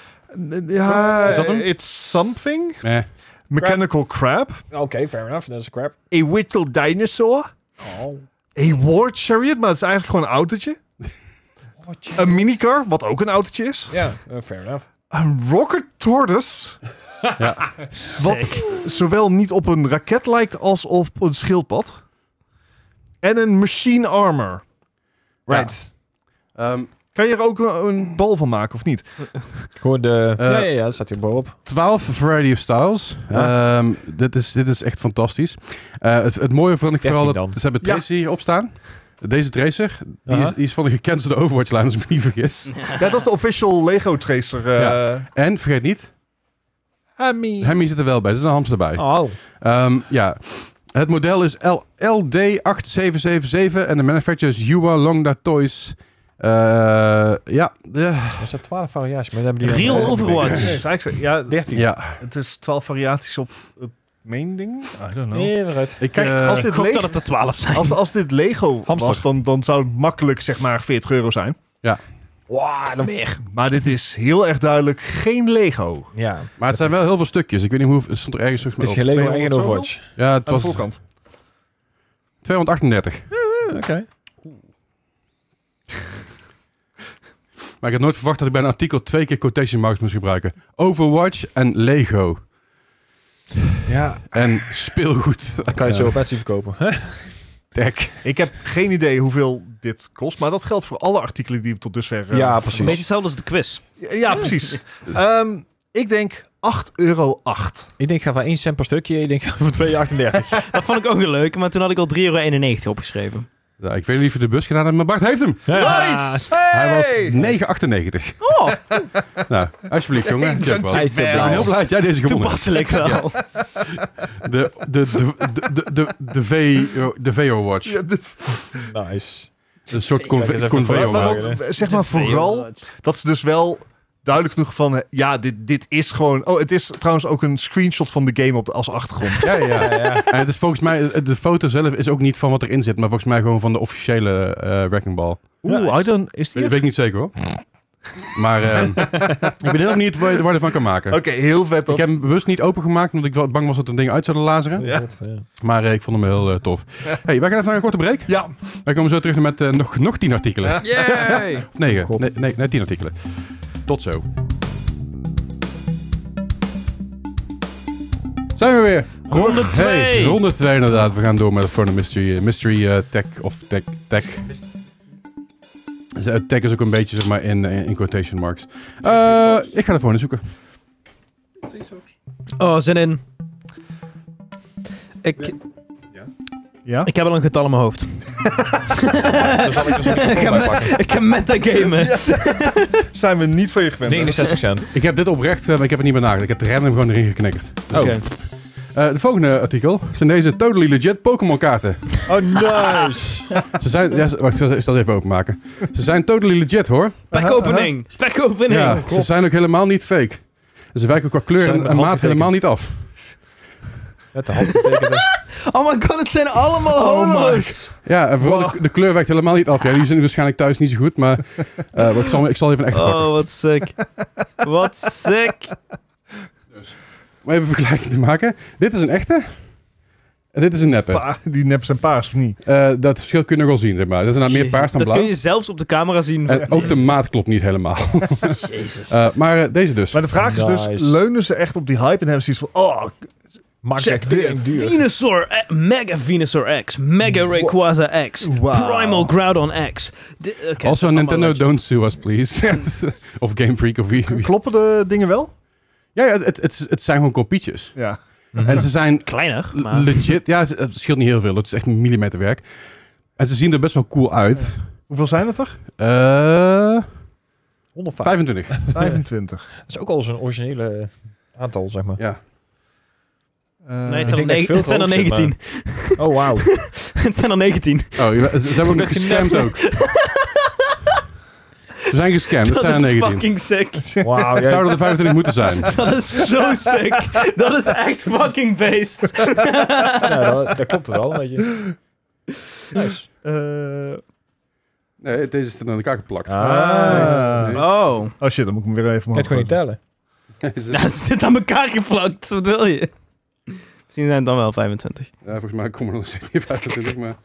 Speaker 4: Ja,
Speaker 1: Is dat hem?
Speaker 4: it's something.
Speaker 1: Eh,
Speaker 4: Mechanical crab.
Speaker 2: Oké, fair enough. Dat is crap.
Speaker 4: A whittle dinosaur.
Speaker 2: Oh.
Speaker 4: A war chariot, maar dat is eigenlijk gewoon een autootje. Een minicar, wat ook een autootje is.
Speaker 2: Ja, eh, fair enough.
Speaker 4: Een rocket tortoise,
Speaker 1: ja.
Speaker 4: wat zowel niet op een raket lijkt als op een schildpad. En een machine armor. Right.
Speaker 1: Ehm,
Speaker 4: Kan je er ook een, een bal van maken of niet?
Speaker 2: Gewoon de...
Speaker 1: Eh,
Speaker 2: ja, ja, ja, dat staat hier bovenop.
Speaker 1: 12 variety of styles. Ehm, dit, is, dit is echt fantastisch. Eh, het, het mooie vond ik
Speaker 2: 13
Speaker 1: vooral
Speaker 2: dan.
Speaker 1: dat ze hebben
Speaker 4: Ja.
Speaker 1: Tracy hierop staan. Deze Tracer, die,
Speaker 2: Aha.
Speaker 1: is, die is van de gecancelde Overwatch-lijn, als ik me niet vergis.
Speaker 4: Ja, dat is de official Lego Tracer. eh
Speaker 1: Ja. En vergeet niet,
Speaker 4: Hammy.
Speaker 1: Hemmy zit er wel bij. Er zit een hamster bij.
Speaker 2: Oh.
Speaker 1: Ehm, ja. Het model is L LD8777 en de manufacturer is Yua Longda Toys. Eh, ja. eh,
Speaker 2: Er zijn 12 variaties, maar dan hebben die...
Speaker 3: Real
Speaker 2: eh,
Speaker 3: Overwatch.
Speaker 4: Nee, is eigenlijk zo- ja,
Speaker 2: 13.
Speaker 1: ja.
Speaker 4: het is 12 variaties op het main ding. I don't know.
Speaker 2: Nee, eruit.
Speaker 1: Ik,
Speaker 4: Kijk,
Speaker 1: eh,
Speaker 4: als dit
Speaker 3: Ik hoop
Speaker 4: leeg
Speaker 3: dat het er 12 zijn.
Speaker 4: Als, als dit Lego
Speaker 2: Hamster.
Speaker 4: was, dan, dan zou het makkelijk zeg maar 40 euro zijn.
Speaker 2: Wauw, dan meer.
Speaker 4: Maar dit is heel erg duidelijk geen Lego.
Speaker 2: Ja,
Speaker 1: maar het zijn wel heel veel stukjes. Ik weet niet hoe... Het stond er ergens terug
Speaker 2: het is
Speaker 1: op.
Speaker 2: geen Lego
Speaker 4: 200
Speaker 2: en Overwatch.
Speaker 1: Ja, het
Speaker 4: Aan de
Speaker 1: was
Speaker 4: voorkant.
Speaker 1: 238.
Speaker 2: Eh, Oké.
Speaker 1: Maar ik had nooit verwacht dat ik bij een artikel twee keer quotation marks moest gebruiken. Overwatch en Lego.
Speaker 2: Ja,
Speaker 1: En speelgoed.
Speaker 2: dan kan je het zo op Etsy verkopen.
Speaker 1: Tech.
Speaker 4: Ik heb geen idee hoeveel dit kost, maar dat geldt voor alle artikelen die we tot dusver... eh,
Speaker 2: Ja,
Speaker 3: Een
Speaker 2: precies.
Speaker 3: beetje hetzelfde als de quiz.
Speaker 4: Ja, ja, precies. Ehm, ik denk 8,08 euro.
Speaker 2: Ik denk, ga van 1 cent per stukje. Ik denk, ga voor 2,38.
Speaker 3: Dat vond ik ook een leuk, maar toen had ik al 3,91 euro opgeschreven.
Speaker 1: Nou, ik weet niet of je de bus gedaan hebt, maar Bart heeft hem.
Speaker 4: Nice! Hey!
Speaker 1: Ah, Hij was 9,98.
Speaker 3: Oh,
Speaker 1: Nou, alsjeblieft jongen.
Speaker 4: Hey,
Speaker 1: Ik ben
Speaker 2: Hij is zo blij.
Speaker 1: heel blij dat jij deze gewonnen hebt.
Speaker 3: toepasselijk wel.
Speaker 1: De, de, de, de, de, de, de, VO de VO Watch.
Speaker 4: Ja, de-
Speaker 2: Nice.
Speaker 1: Een soort
Speaker 2: Kijk eens
Speaker 1: conve-
Speaker 2: even
Speaker 1: conveo
Speaker 2: voor-
Speaker 4: maar
Speaker 1: watch.
Speaker 4: want, zeg maar vooral dat ze dus wel duidelijk genoeg van... eh, Ja, dit, dit is gewoon... Oh, het is trouwens ook een screenshot van de game op de, als achtergrond.
Speaker 1: Ja, ja.
Speaker 2: ja.
Speaker 1: En het is volgens mij, de foto zelf is ook niet van wat erin zit, maar volgens mij gewoon van de officiële eh Wrecking Ball.
Speaker 4: Oeh,
Speaker 2: Nice.
Speaker 4: I don't... Is
Speaker 1: Dat
Speaker 4: die er?
Speaker 1: weet ik niet zeker hoor. Maar ehm, ik ben heel benieuwd waar je, waar je ervan kan maken.
Speaker 4: Oké, heel vet dat
Speaker 1: Ik heb hem bewust niet opengemaakt, omdat ik wel bang was dat een ding uit zouden lazeren.
Speaker 2: Ja.
Speaker 1: Maar eh, ik vond hem heel eh, tof. hey, wij gaan even naar een korte break.
Speaker 4: Ja,
Speaker 1: Wij komen zo terug met eh, nog, nog tien artikelen.
Speaker 3: Yay!
Speaker 1: Of negen.
Speaker 2: God.
Speaker 1: nee, nee, nee, tien artikelen. Tot zo. Zijn we weer.
Speaker 3: Ronde
Speaker 1: Hey,
Speaker 3: twee.
Speaker 1: ronde 2 inderdaad. We gaan door met voor de mystery, eh, mystery eh, tech of tech. tech. Dus, eh, Tech is ook een beetje zeg maar in, in, in quotation marks. Eh, ik ga ervoor naar zoeken.
Speaker 3: Oh, zin in. Ik,
Speaker 4: Ja?
Speaker 3: ik heb al een getal in mijn hoofd.
Speaker 2: Dan zal ik dus een
Speaker 3: ik,
Speaker 2: microfoon
Speaker 3: ga met,
Speaker 2: bijpakken.
Speaker 3: ik ga metagamen.
Speaker 4: Zijn we niet van je gewend.
Speaker 2: 69 cent.
Speaker 1: Ik heb dit oprecht, eh, maar ik heb het niet meer nagedacht. Ik heb het random gewoon erin geknikkerd.
Speaker 2: Oh.
Speaker 3: Oké.
Speaker 1: Eh, de volgende artikel zijn deze totally legit Pokémon kaarten.
Speaker 2: Oh, nice.
Speaker 1: Ze zijn, ja, ze- wacht, ik zal ik zal ze even openmaken. Ze zijn totally legit hoor.
Speaker 3: Pack opening. Pack opening.
Speaker 1: Ja, ze zijn ook helemaal niet fake. Ze wijken qua kleur
Speaker 2: Zijn
Speaker 1: en,
Speaker 2: met
Speaker 1: en
Speaker 2: hand
Speaker 1: maat helemaal
Speaker 2: getekend.
Speaker 1: niet af.
Speaker 2: Met de handgetekende.
Speaker 3: Oh my god, het zijn allemaal
Speaker 4: Oh my
Speaker 3: homo's.
Speaker 1: Ja, en vooral
Speaker 4: Wow.
Speaker 1: de, de kleur werkt helemaal niet af. Ja, die zijn waarschijnlijk thuis niet zo goed, maar eh, maar ik, zal, ik zal even een echte pakken.
Speaker 3: Oh, wat sick. Wat sick.
Speaker 1: Om even een vergelijking te maken. Dit is een echte. En dit is een neppe.
Speaker 4: Pa- die nep zijn paars, of niet?
Speaker 1: Eh, dat verschil kun je nog wel zien, zeg maar. Dat is nou meer paars dan
Speaker 3: dat
Speaker 1: blauw.
Speaker 3: kun je zelfs op de camera zien.
Speaker 1: En ook de maat klopt niet helemaal.
Speaker 3: Jezus.
Speaker 1: Eh, maar eh, deze dus.
Speaker 4: Maar de vraag is dus,
Speaker 2: Nice.
Speaker 4: leunen ze echt op die hype en hebben ze iets van... Oh,
Speaker 2: Max
Speaker 4: Check
Speaker 2: zegt,
Speaker 4: dit.
Speaker 2: "Tering duur."
Speaker 3: Venusaur, eh, Mega Venusaur X, Mega Rayquaza X,
Speaker 4: Wow.
Speaker 3: Primal Groudon X. De, oké,
Speaker 1: also,
Speaker 3: allemaal
Speaker 1: Nintendo,
Speaker 3: leuk.
Speaker 1: don't sue us, please. of Game Freak of wie. wie-
Speaker 4: kloppen de dingen wel?
Speaker 1: Ja, ja het, het, het zijn gewoon kopietjes.
Speaker 4: Ja.
Speaker 2: Mhm.
Speaker 1: En ze zijn
Speaker 3: Kleiner,
Speaker 1: l-
Speaker 3: maar...
Speaker 1: legit. Ja, ze- het scheelt niet heel veel. Het is echt millimeterwerk. En ze zien er best wel cool uit.
Speaker 4: Hoeveel zijn het er?
Speaker 1: Eh
Speaker 2: 105.
Speaker 1: 25.
Speaker 4: 25.
Speaker 2: Dat is ook al zo'n originele aantal, zeg maar.
Speaker 1: Ja.
Speaker 4: Eh,
Speaker 3: Nee,
Speaker 2: ik denk
Speaker 3: het zijn, er
Speaker 2: dat ik
Speaker 3: negen-
Speaker 2: veel
Speaker 3: het zijn er
Speaker 2: te hoog zit,
Speaker 3: 19.
Speaker 2: Oh, wauw.
Speaker 3: het zijn er 19.
Speaker 1: Oh, ja, ze ze hebben ook nog gescamd ook. Ze zijn gescamd. Dat
Speaker 3: Dat,
Speaker 1: zijn er
Speaker 3: is
Speaker 1: 19.
Speaker 3: fucking sick.
Speaker 2: Wauw,
Speaker 1: Het
Speaker 2: jij-
Speaker 1: zouden er 25 moeten zijn.
Speaker 3: Dat is zo sick. Dat is echt fucking beest.
Speaker 2: ja, dat, dat klopt wel, weet je. Nice.
Speaker 3: Eh,
Speaker 1: Nee, deze is er aan elkaar geplakt.
Speaker 4: Ah.
Speaker 1: Nee.
Speaker 3: oh.
Speaker 4: Oh shit, dan moet ik hem weer even
Speaker 2: Net gewoon niet
Speaker 4: gooien.
Speaker 2: tellen.
Speaker 3: Ja, het zit aan elkaar geplakt. Wat wil je? Misschien zijn het dan wel 25.
Speaker 1: Ja, volgens mij komen er nog steeds niet 25, maar...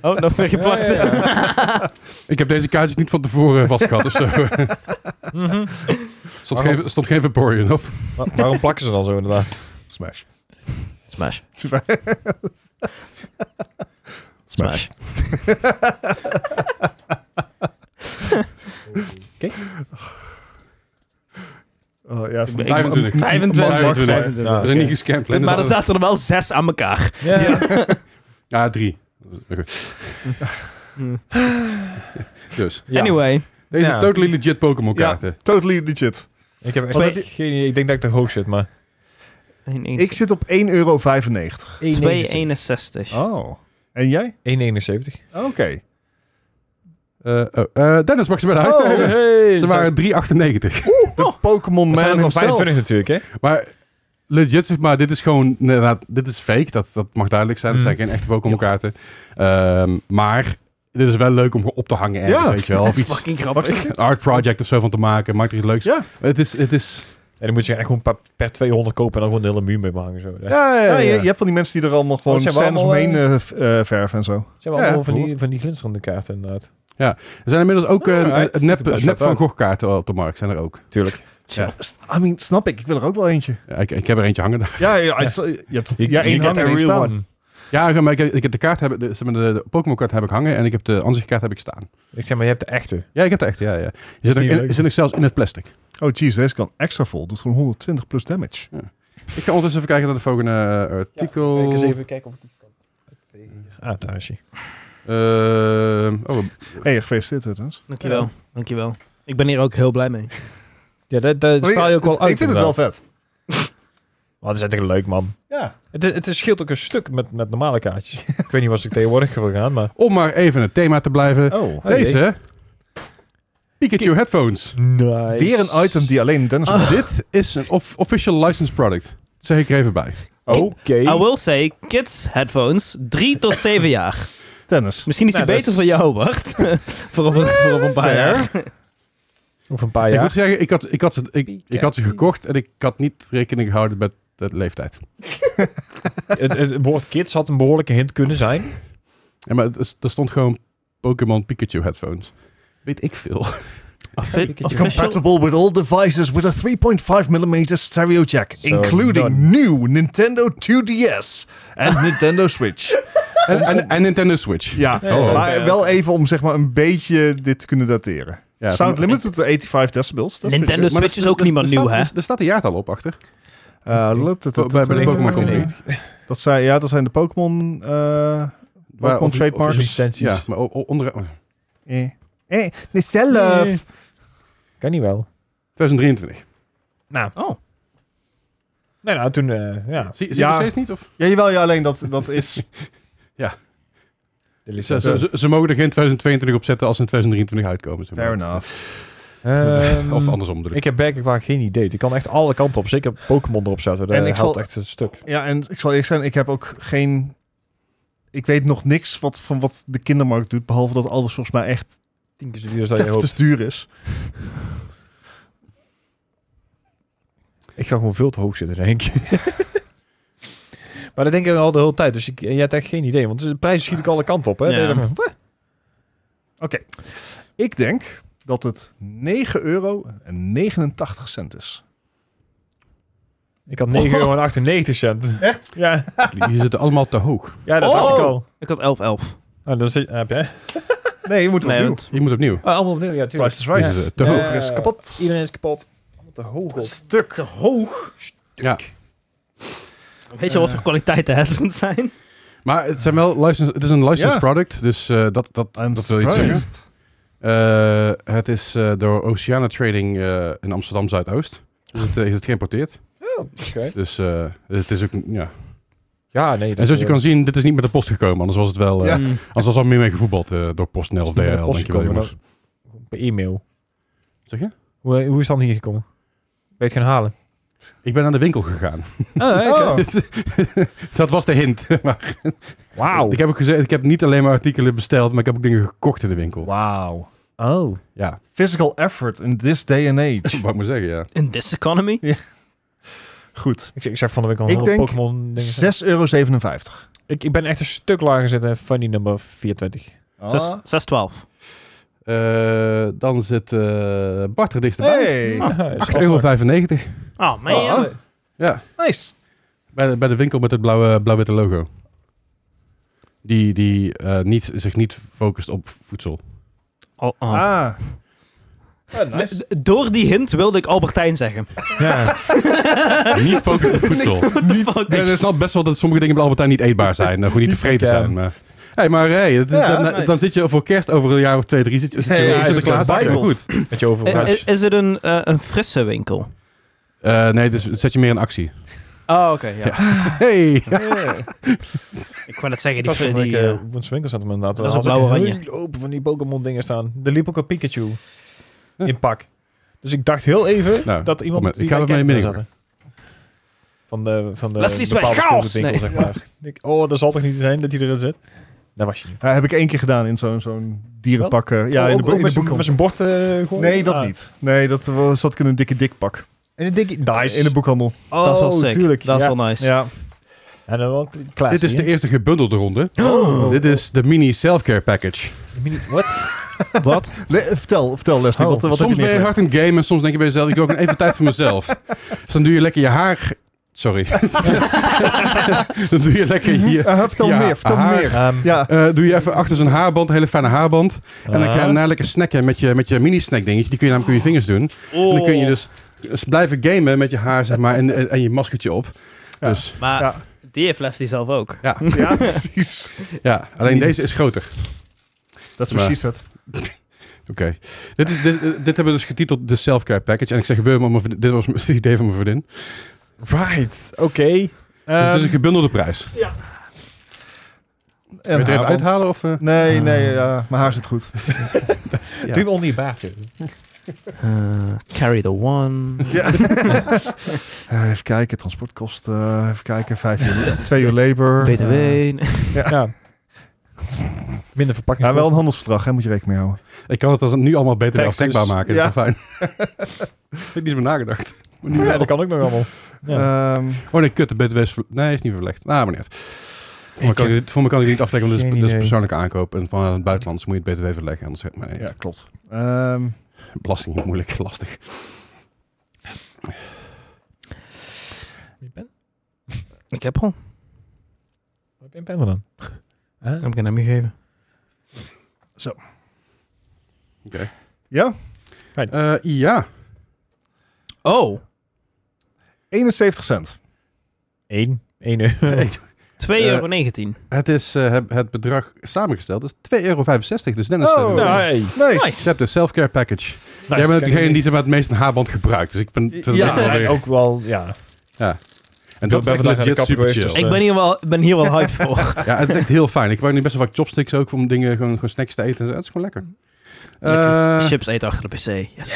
Speaker 3: Oh, nog meer geplakt.
Speaker 2: Ja, ja,
Speaker 1: Ik heb deze kaartjes niet van tevoren vastgehad of zo.
Speaker 2: Mhm.
Speaker 1: stond,
Speaker 2: Waarom?
Speaker 1: geen, stond geen Vaporeon op.
Speaker 2: Wa- waarom plakken ze dan zo inderdaad?
Speaker 4: Smash.
Speaker 3: Smash.
Speaker 4: Smash. Oh, ja,
Speaker 3: Ik ben-
Speaker 1: 25.
Speaker 3: 25.
Speaker 1: 25.
Speaker 3: 25.
Speaker 1: We zijn niet gescampt. hè?
Speaker 3: Maar er zaten er wel zes aan elkaar.
Speaker 2: Ja.
Speaker 1: Ja, drie.
Speaker 3: Hmm.
Speaker 1: dus.
Speaker 2: Ja.
Speaker 3: Anyway.
Speaker 1: Deze
Speaker 2: Ja.
Speaker 1: totally legit Pokémon
Speaker 4: Ja.
Speaker 1: kaarten.
Speaker 4: Totally legit.
Speaker 2: Ik heb echt
Speaker 4: Wat heb
Speaker 2: geen idee. Ik denk dat ik er hoog zit, maar...
Speaker 4: Ik zit op 1,95 euro. 1,91.
Speaker 3: 261.
Speaker 4: Oh. En jij?
Speaker 2: 1,71.
Speaker 4: Oké.
Speaker 1: Eh, oh, eh, Dennis mag ze bij de huis
Speaker 4: Oh,
Speaker 1: nemen.
Speaker 2: Hey,
Speaker 1: Ze waren 3,98.
Speaker 4: De Pokémon
Speaker 2: We zijn
Speaker 4: Man
Speaker 2: er nog
Speaker 4: himself.
Speaker 2: 25 natuurlijk, hè?
Speaker 1: Maar legit zeg maar, dit is gewoon... nee, nou, dit is fake, dat, dat mag duidelijk zijn. Dat
Speaker 2: Mm.
Speaker 1: zijn geen echte Pokémon kaarten. Ehm, maar dit is wel leuk om op te hangen ergens,
Speaker 4: Ja.
Speaker 1: weet je wel. Of iets,
Speaker 3: Fucking
Speaker 4: Wat
Speaker 3: grappig.
Speaker 4: zeg je?
Speaker 1: een art project of zo van te maken. Maakt er iets leuks.
Speaker 4: Ja.
Speaker 1: Het is... Het is
Speaker 2: En dan moet je echt gewoon per, per 200 kopen en dan gewoon de hele muur mee maken. Zo. Ja.
Speaker 1: ja,
Speaker 4: Ja, je, je hebt van die mensen die er allemaal gewoon
Speaker 2: Oh, zijn we
Speaker 4: scènes
Speaker 2: allemaal,
Speaker 4: omheen eh, f- eh, verven en zo.
Speaker 2: Ze hebben allemaal
Speaker 1: Ja,
Speaker 2: van, die, van die glinsterende kaarten inderdaad.
Speaker 1: Er zijn inmiddels ook eh,
Speaker 2: Alright.
Speaker 1: het
Speaker 2: Ziet
Speaker 1: nep,
Speaker 2: er best
Speaker 1: het nep
Speaker 2: wat
Speaker 1: van
Speaker 2: uit.
Speaker 1: Gogh-kaarten op de markt. Zijn er ook.
Speaker 2: Tuurlijk.
Speaker 1: Ja.
Speaker 4: I mean, snap ik. Ik wil er ook wel eentje.
Speaker 1: Ja, ik, ik heb er eentje hangen daar.
Speaker 4: Ja, ja, I- je hebt
Speaker 2: You,
Speaker 4: ja,
Speaker 2: you
Speaker 4: één
Speaker 2: get
Speaker 4: hangt
Speaker 2: a
Speaker 4: en één
Speaker 2: real
Speaker 4: staan.
Speaker 2: one.
Speaker 1: Ja, maar ik, heb- ik heb de kaart, heb, de, zeg maar, de, de Pokémon-kaart heb ik hangen en ik heb de ansichtkaart heb ik staan.
Speaker 2: Ik zeg maar, je hebt de echte.
Speaker 1: Ja, ik heb de echt. Ja, ja. Je zit, nog
Speaker 2: niet
Speaker 1: in,
Speaker 2: leuk.
Speaker 1: je zit nog zelfs in het plastic.
Speaker 4: Oh jeez, deze kan extra vol. Doet gewoon 120 plus damage.
Speaker 1: Ik ga ondertussen even kijken naar de volgende eh, artikel.
Speaker 2: Ik eens even kijken of ik iets kan. Ah, daar is hij.
Speaker 1: Ehm, oh,
Speaker 4: hey, gefeliciteerd hè, dus.
Speaker 3: Dankjewel. Dankjewel. Ik ben hier ook heel blij mee.
Speaker 2: Ja, daar, daar
Speaker 4: Maar
Speaker 2: straal je ook wel
Speaker 4: Oh, het-
Speaker 2: uit.
Speaker 4: Ik vind het wel vet.
Speaker 2: Wat is echt leuk, man.
Speaker 4: Ja.
Speaker 2: Het, het is- scheelt ook een stuk met, met normale kaartjes. ik weet niet wat ik tegenwoordig wil gaan, maar...
Speaker 1: om maar even het thema te blijven.
Speaker 4: Oh.
Speaker 2: Oh, jee.
Speaker 1: Deze. hè? Pikachu headphones.
Speaker 2: Nice.
Speaker 4: Weer een item die alleen Dennis
Speaker 1: Ah.
Speaker 4: mag.
Speaker 1: Dit is een off- official licensed product. Dat zeg ik er even bij.
Speaker 4: Oh,
Speaker 2: Ah,
Speaker 3: I will say, kids headphones, 3 tot 7 jaar.
Speaker 4: Dennis.
Speaker 3: Misschien is die
Speaker 2: Nou, dat
Speaker 3: beter
Speaker 2: is-
Speaker 3: voor jou, Bart. voor, over, voor over een paar
Speaker 2: Fair.
Speaker 3: jaar.
Speaker 2: Of een
Speaker 4: Ah,
Speaker 2: paar
Speaker 1: Ik moet
Speaker 2: jaar.
Speaker 1: zeggen, ik had, ik, had ze, ik, ik had ze gekocht en ik had niet rekening gehouden met de leeftijd.
Speaker 2: het, het woord kids had een behoorlijke hint kunnen zijn.
Speaker 1: Ja, maar het is- er stond gewoon Pokémon Pikachu headphones. Weet ik veel.
Speaker 3: Offi- official,
Speaker 4: Compatible with all devices with a 3.5mm stereo jack, including
Speaker 2: done.
Speaker 4: new Nintendo 2DS en Nintendo Switch.
Speaker 1: En, en, en Nintendo Switch.
Speaker 4: Ja,
Speaker 1: Oh.
Speaker 4: maar
Speaker 3: oké,
Speaker 4: wel even om zeg maar een beetje dit te kunnen dateren.
Speaker 1: Ja,
Speaker 4: Sound limited to 85 decibels. Dat is pretty
Speaker 3: Nintendo
Speaker 1: maar
Speaker 3: Switch
Speaker 1: er-
Speaker 3: is ook
Speaker 1: er-
Speaker 3: niet meer
Speaker 1: er
Speaker 3: nieuw,
Speaker 1: staat-
Speaker 3: hè?
Speaker 1: Er, er staat een jaartal op achter.
Speaker 4: good. Eh, lut- lut- lut-
Speaker 1: Bij- bij de
Speaker 4: lut-
Speaker 1: Pokémon
Speaker 4: lut-
Speaker 1: Company.
Speaker 4: lut- Dat zijn, ja, dat zijn de Pokémon... eh
Speaker 1: Waar
Speaker 4: Pokémon
Speaker 1: offi-
Speaker 4: trademarks.
Speaker 1: officieel-
Speaker 2: Licenties.
Speaker 1: Ja, maar o- o- onder... oh,
Speaker 4: eh, eh, de zelf.
Speaker 2: Nee. Kan niet wel.
Speaker 1: 2023.
Speaker 2: Nou,
Speaker 3: Oh.
Speaker 2: nee, nou toen, eh, ja.
Speaker 1: Zie, zie je
Speaker 4: Ja.
Speaker 1: het steeds niet? Of?
Speaker 4: Ja, jawel, ja, alleen dat, dat is...
Speaker 2: De
Speaker 1: Ze,
Speaker 2: licentie. dus-
Speaker 1: ze, ze mogen er geen 2022 op zetten als ze in 2023 uitkomen. zeg maar.
Speaker 4: Fair enough.
Speaker 2: Ehm,
Speaker 1: of andersom bedoel ik.
Speaker 2: Ik heb werkelijk waar geen idee. Ik kan echt alle kanten op. Zeker Pokémon erop zetten. Dat
Speaker 4: En ik
Speaker 2: helpt
Speaker 4: zal-
Speaker 2: echt een stuk.
Speaker 4: Ja, en ik zal eerlijk zijn, ik heb ook geen... Ik weet nog niks wat, van wat de kindermarkt doet, behalve dat alles volgens mij echt
Speaker 2: Tien keer zo duur als dat je hoopt.
Speaker 4: te duur is.
Speaker 2: Ik ga gewoon veel te hoog zitten, denk ik. maar dat denk ik al de hele tijd. Dus ik, jij hebt echt geen idee. Want de prijzen schiet ik alle kanten op. Hè?
Speaker 3: Ja.
Speaker 2: Dan denk ik van, "Wat?"
Speaker 4: Ik denk dat het 9 euro en 89 cent is.
Speaker 2: Ik had 9,98 euro. cent.
Speaker 4: Echt?
Speaker 2: Ja,
Speaker 1: Die zitten allemaal te hoog.
Speaker 2: ja dat dacht
Speaker 4: Oh.
Speaker 2: ik al.
Speaker 3: Ik had 11, 11.
Speaker 2: Ah, dan zit, heb jij?
Speaker 4: Nee, je moet het
Speaker 3: Nee,
Speaker 4: opnieuw.
Speaker 3: want-
Speaker 1: Je moet opnieuw.
Speaker 2: Ah, allemaal opnieuw, ja, tuurlijk.
Speaker 4: Price is right.
Speaker 1: Dit is, eh, te
Speaker 2: Ja.
Speaker 1: hoog.
Speaker 4: Over is kapot.
Speaker 2: Iedereen is kapot. Allemaal te hoog op.
Speaker 4: Stuk. Te hoog.
Speaker 1: Ja.
Speaker 3: Weet je wat voor kwaliteiten het moet zijn?
Speaker 1: Maar het, zijn wel license, het is een licensed
Speaker 4: Ja.
Speaker 1: product, dus eh, dat, dat,
Speaker 4: I'm
Speaker 1: dat wil je zeggen.
Speaker 4: surprised.
Speaker 1: Eh, het is eh, door Oceana Trading eh, in Amsterdam Zuidoost. Dus het eh, is het geïmporteerd. Dus eh, het is ook. Ja.
Speaker 2: Ja, nee. eh,
Speaker 1: En zoals je kan zien, dit is niet met de post gekomen. Anders was het wel. eh
Speaker 4: Ja.
Speaker 3: Mm.
Speaker 1: Anders was al meer mee gevoetbald eh, door PostNL of
Speaker 2: Is het met de
Speaker 1: DHL.
Speaker 2: post
Speaker 1: Denk je wel,
Speaker 2: gekomen,
Speaker 1: jongens.
Speaker 2: Per e-mail.
Speaker 1: Zeg je?
Speaker 2: Hoe, hoe is het dan hier gekomen? Weet gaan halen.
Speaker 1: Ik ben naar de winkel gegaan.
Speaker 2: Ah,
Speaker 4: Oh.
Speaker 1: dat was de hint. maar
Speaker 2: Wauw.
Speaker 1: ik heb ook gezegd, ik heb niet alleen maar artikelen besteld, maar ik heb ook dingen gekocht in de winkel.
Speaker 4: Wow.
Speaker 2: Oh.
Speaker 1: Ja,
Speaker 4: Physical effort in this day and age.
Speaker 1: wat ik maar zeggen, ja.
Speaker 3: In this economy?
Speaker 4: Goed.
Speaker 2: Ik, ik zag van de week al
Speaker 4: Ik
Speaker 2: een
Speaker 4: denk
Speaker 2: Pokémon
Speaker 4: 6,57 euro.
Speaker 2: Ik, ik ben echt een stuk lager zitten van die nummer 24.
Speaker 4: Ah.
Speaker 3: 6, 6, 12.
Speaker 1: Eh, dan zit eh Bart er dichterbij.
Speaker 4: Hey.
Speaker 2: Ah, dat is
Speaker 1: 8,95 euro.
Speaker 3: Oh man.
Speaker 4: Oh.
Speaker 1: Ja,
Speaker 4: Nice.
Speaker 1: bij de, bij de winkel met het blauwe- blauw-witte logo. Die, die eh, niet, zich niet focust op voedsel.
Speaker 3: Oh, oh.
Speaker 4: Ah.
Speaker 3: D- Door die hint wilde ik Albertijn zeggen.
Speaker 2: Ja.
Speaker 1: niet focust op voedsel.
Speaker 4: Niet.
Speaker 1: Ik snap best wel dat sommige dingen bij de Albertijn niet eetbaar zijn. eh, Gewoon niet tevreden
Speaker 2: verkeerd.
Speaker 1: zijn. Maar, hey, maar hey, het is-
Speaker 4: Ja,
Speaker 1: dan,
Speaker 4: nice.
Speaker 1: dan zit je voor kerst over een jaar of twee, drie. Zit, zit,
Speaker 4: Ja,
Speaker 1: je-
Speaker 4: ja,
Speaker 1: zit
Speaker 4: is
Speaker 1: er
Speaker 4: het
Speaker 1: klaar.
Speaker 4: zo
Speaker 1: Zit je
Speaker 4: bijteld?
Speaker 1: goed.
Speaker 2: Met je overal.
Speaker 3: Eh, Is, is het een, eh, een frisse winkel?
Speaker 1: Eh, nee, dus zet je meer in actie.
Speaker 3: Oh, oké. ja.
Speaker 1: Hey.
Speaker 2: Eh,
Speaker 3: Ik wou net
Speaker 2: Ik
Speaker 3: zeggen, die...
Speaker 2: was
Speaker 3: die,
Speaker 2: van die,
Speaker 3: eh,
Speaker 2: uh, ons winkelcentrum inderdaad.
Speaker 3: dat is
Speaker 2: Daar
Speaker 3: op
Speaker 2: hadden ze
Speaker 3: blauw-oranje.
Speaker 2: heel open van die Pokémon dingen staan. Er liep ook een Pikachu in pak. Dus ik dacht heel even
Speaker 1: Nou,
Speaker 2: dat
Speaker 1: kom maar.
Speaker 2: iemand
Speaker 1: Ik ga
Speaker 2: mij
Speaker 1: ermee
Speaker 2: kende
Speaker 1: binnen.
Speaker 2: zat. Van de, van de
Speaker 3: Leslie is bij
Speaker 2: bepaalde
Speaker 3: chaos!
Speaker 2: speelgoedwinkel,
Speaker 3: Nee.
Speaker 2: zeg maar. Ik, oh, dat zal toch niet zijn dat hij erin zit? Daar was je niet.
Speaker 4: Ja, heb ik één keer gedaan in zo'n zo'n dierenpak. eh, ja,
Speaker 2: Oh,
Speaker 4: in
Speaker 2: ook-
Speaker 4: de, bo-
Speaker 2: ook
Speaker 4: in de
Speaker 2: met z'n-
Speaker 4: boekhandel.
Speaker 2: met zijn bord eh gooien?
Speaker 4: Nee, dat
Speaker 2: Ah.
Speaker 4: niet. Nee, dat was, zat ik in een dikke dikpak.
Speaker 2: En dan denk ik, nice.
Speaker 4: In de boekhandel.
Speaker 2: oh,
Speaker 3: dat is wel sick.
Speaker 2: Tuurlijk,
Speaker 3: dat is
Speaker 2: ja.
Speaker 3: wel nice.
Speaker 4: Ja.
Speaker 2: En dan wel klaar.
Speaker 1: Dit is de eerste gebundelde ronde.
Speaker 2: Oh.
Speaker 1: Dit is de mini self-care package.
Speaker 2: Wat? Wat?
Speaker 4: Le- eh, vertel, vertel Leslie.
Speaker 2: Oh,
Speaker 4: wat, wat
Speaker 1: soms
Speaker 4: heb je
Speaker 1: ben je hard in het game en soms denk je bij jezelf, ik wil ook een even tijd voor mezelf. Dus dan doe je lekker je haar... Sorry. dan doe je lekker hier...
Speaker 4: neergelegd? Eh, vertel
Speaker 1: Ja,
Speaker 4: meer, vertel
Speaker 1: haar.
Speaker 4: meer.
Speaker 2: Ehm,
Speaker 4: Ja,
Speaker 1: eh, doe je even achter zijn haarband, een hele fijne haarband. En dan
Speaker 2: ah.
Speaker 1: kan je daarna lekker snacken met je, met je mini-snack dingetje. Die kun je namelijk op je vingers doen. En dan kun
Speaker 3: Oh.
Speaker 1: je dus, dus blijven gamen met je haar zeg maar, en, en, en je maskertje op.
Speaker 4: Ja.
Speaker 1: Dus
Speaker 3: Maar
Speaker 4: Ja.
Speaker 3: die heeft Leslie zelf ook.
Speaker 1: ja,
Speaker 4: ja precies.
Speaker 1: ja, alleen deze is groter.
Speaker 4: Dat is
Speaker 1: Maar-
Speaker 4: precies het.
Speaker 1: Oké. Dit, is- dit, dit hebben we dus getiteld de self-care package. En ik zeg we, maar mijn vriendin- dit was het idee van mijn vriendin.
Speaker 2: Right, oké.
Speaker 1: dus
Speaker 2: Ehm,
Speaker 1: het is een gebundelde prijs.
Speaker 4: En
Speaker 1: Wil je het even
Speaker 4: haar, nou, want-
Speaker 1: uithalen? Of, eh?
Speaker 4: Nee, nee, ja, mijn haar zit goed.
Speaker 1: Ja.
Speaker 2: Doe hem onder je baard. joh.
Speaker 3: Eh, carry the one.
Speaker 4: Ja. Eh, even kijken, transportkosten. eh, even kijken, vijf uur, twee uur labor.
Speaker 3: BTW.
Speaker 2: Ja. Minder verpakking.
Speaker 4: Ja, Nou, wel een handelsverdrag, hè, moet je rekening mee houden.
Speaker 1: Ik kan het als nu allemaal beter weer
Speaker 4: Texas.
Speaker 1: aftrekbaar maken. dus
Speaker 4: Ja.
Speaker 1: Dat is wel fijn. ik heb niet eens meer nagedacht.
Speaker 2: Ja, dat kan ook nog allemaal. Ja.
Speaker 4: Ehm,
Speaker 1: Oh nee, kut. De BTW is... ver- Nee, is niet verlegd. Nou, maar niet. Voor me kan ik, dit- voor me kan ik dit niet aftrekken, want dit is,
Speaker 2: Geen
Speaker 1: dit is
Speaker 2: idee.
Speaker 1: persoonlijke aankoop. En van het buitenland dus moet je het BTW verleggen. Anders maar nee,
Speaker 4: ja, klopt. Ehm,
Speaker 1: belasting is moeilijk, lastig.
Speaker 2: Heb je pen?
Speaker 3: Ik heb al.
Speaker 2: Heb je een pen van dan?
Speaker 3: Ik heb ik aan hem gegeven.
Speaker 4: ja,
Speaker 1: Eh, ja.
Speaker 3: Oh,
Speaker 4: 71 cent.
Speaker 2: Eén. Eén euro.
Speaker 3: 2,19 euro. 19.
Speaker 1: Eh, Het, is, eh, het- het bedrag samengesteld is 2,65 euro. Dus Dennis,
Speaker 4: Oh.
Speaker 1: eh,
Speaker 4: Nou,
Speaker 1: accept
Speaker 2: Nee.
Speaker 4: Nice.
Speaker 1: de self-care package. Jij bent ook degene die ze maar het meest een haarband gebruikt. Dus ik ben... vind het ook wel
Speaker 2: Ja,
Speaker 1: weer-
Speaker 2: en ook wel, ja.
Speaker 1: en dat
Speaker 2: is echt
Speaker 1: ben ik
Speaker 2: naar de
Speaker 1: legit
Speaker 2: kapper
Speaker 1: super
Speaker 2: geweest,
Speaker 1: chill.
Speaker 2: dus,
Speaker 3: Ik ben hier wel, ben hier wel hyped voor.
Speaker 1: Ja, het is echt heel fijn. Ik gebruik nu best wel vaak chopsticks ook om dingen, gewoon, gewoon snacks te eten. en zo. Het is gewoon lekker.
Speaker 3: Lekker
Speaker 1: Eh,
Speaker 3: chips eten achter de pc. Yes.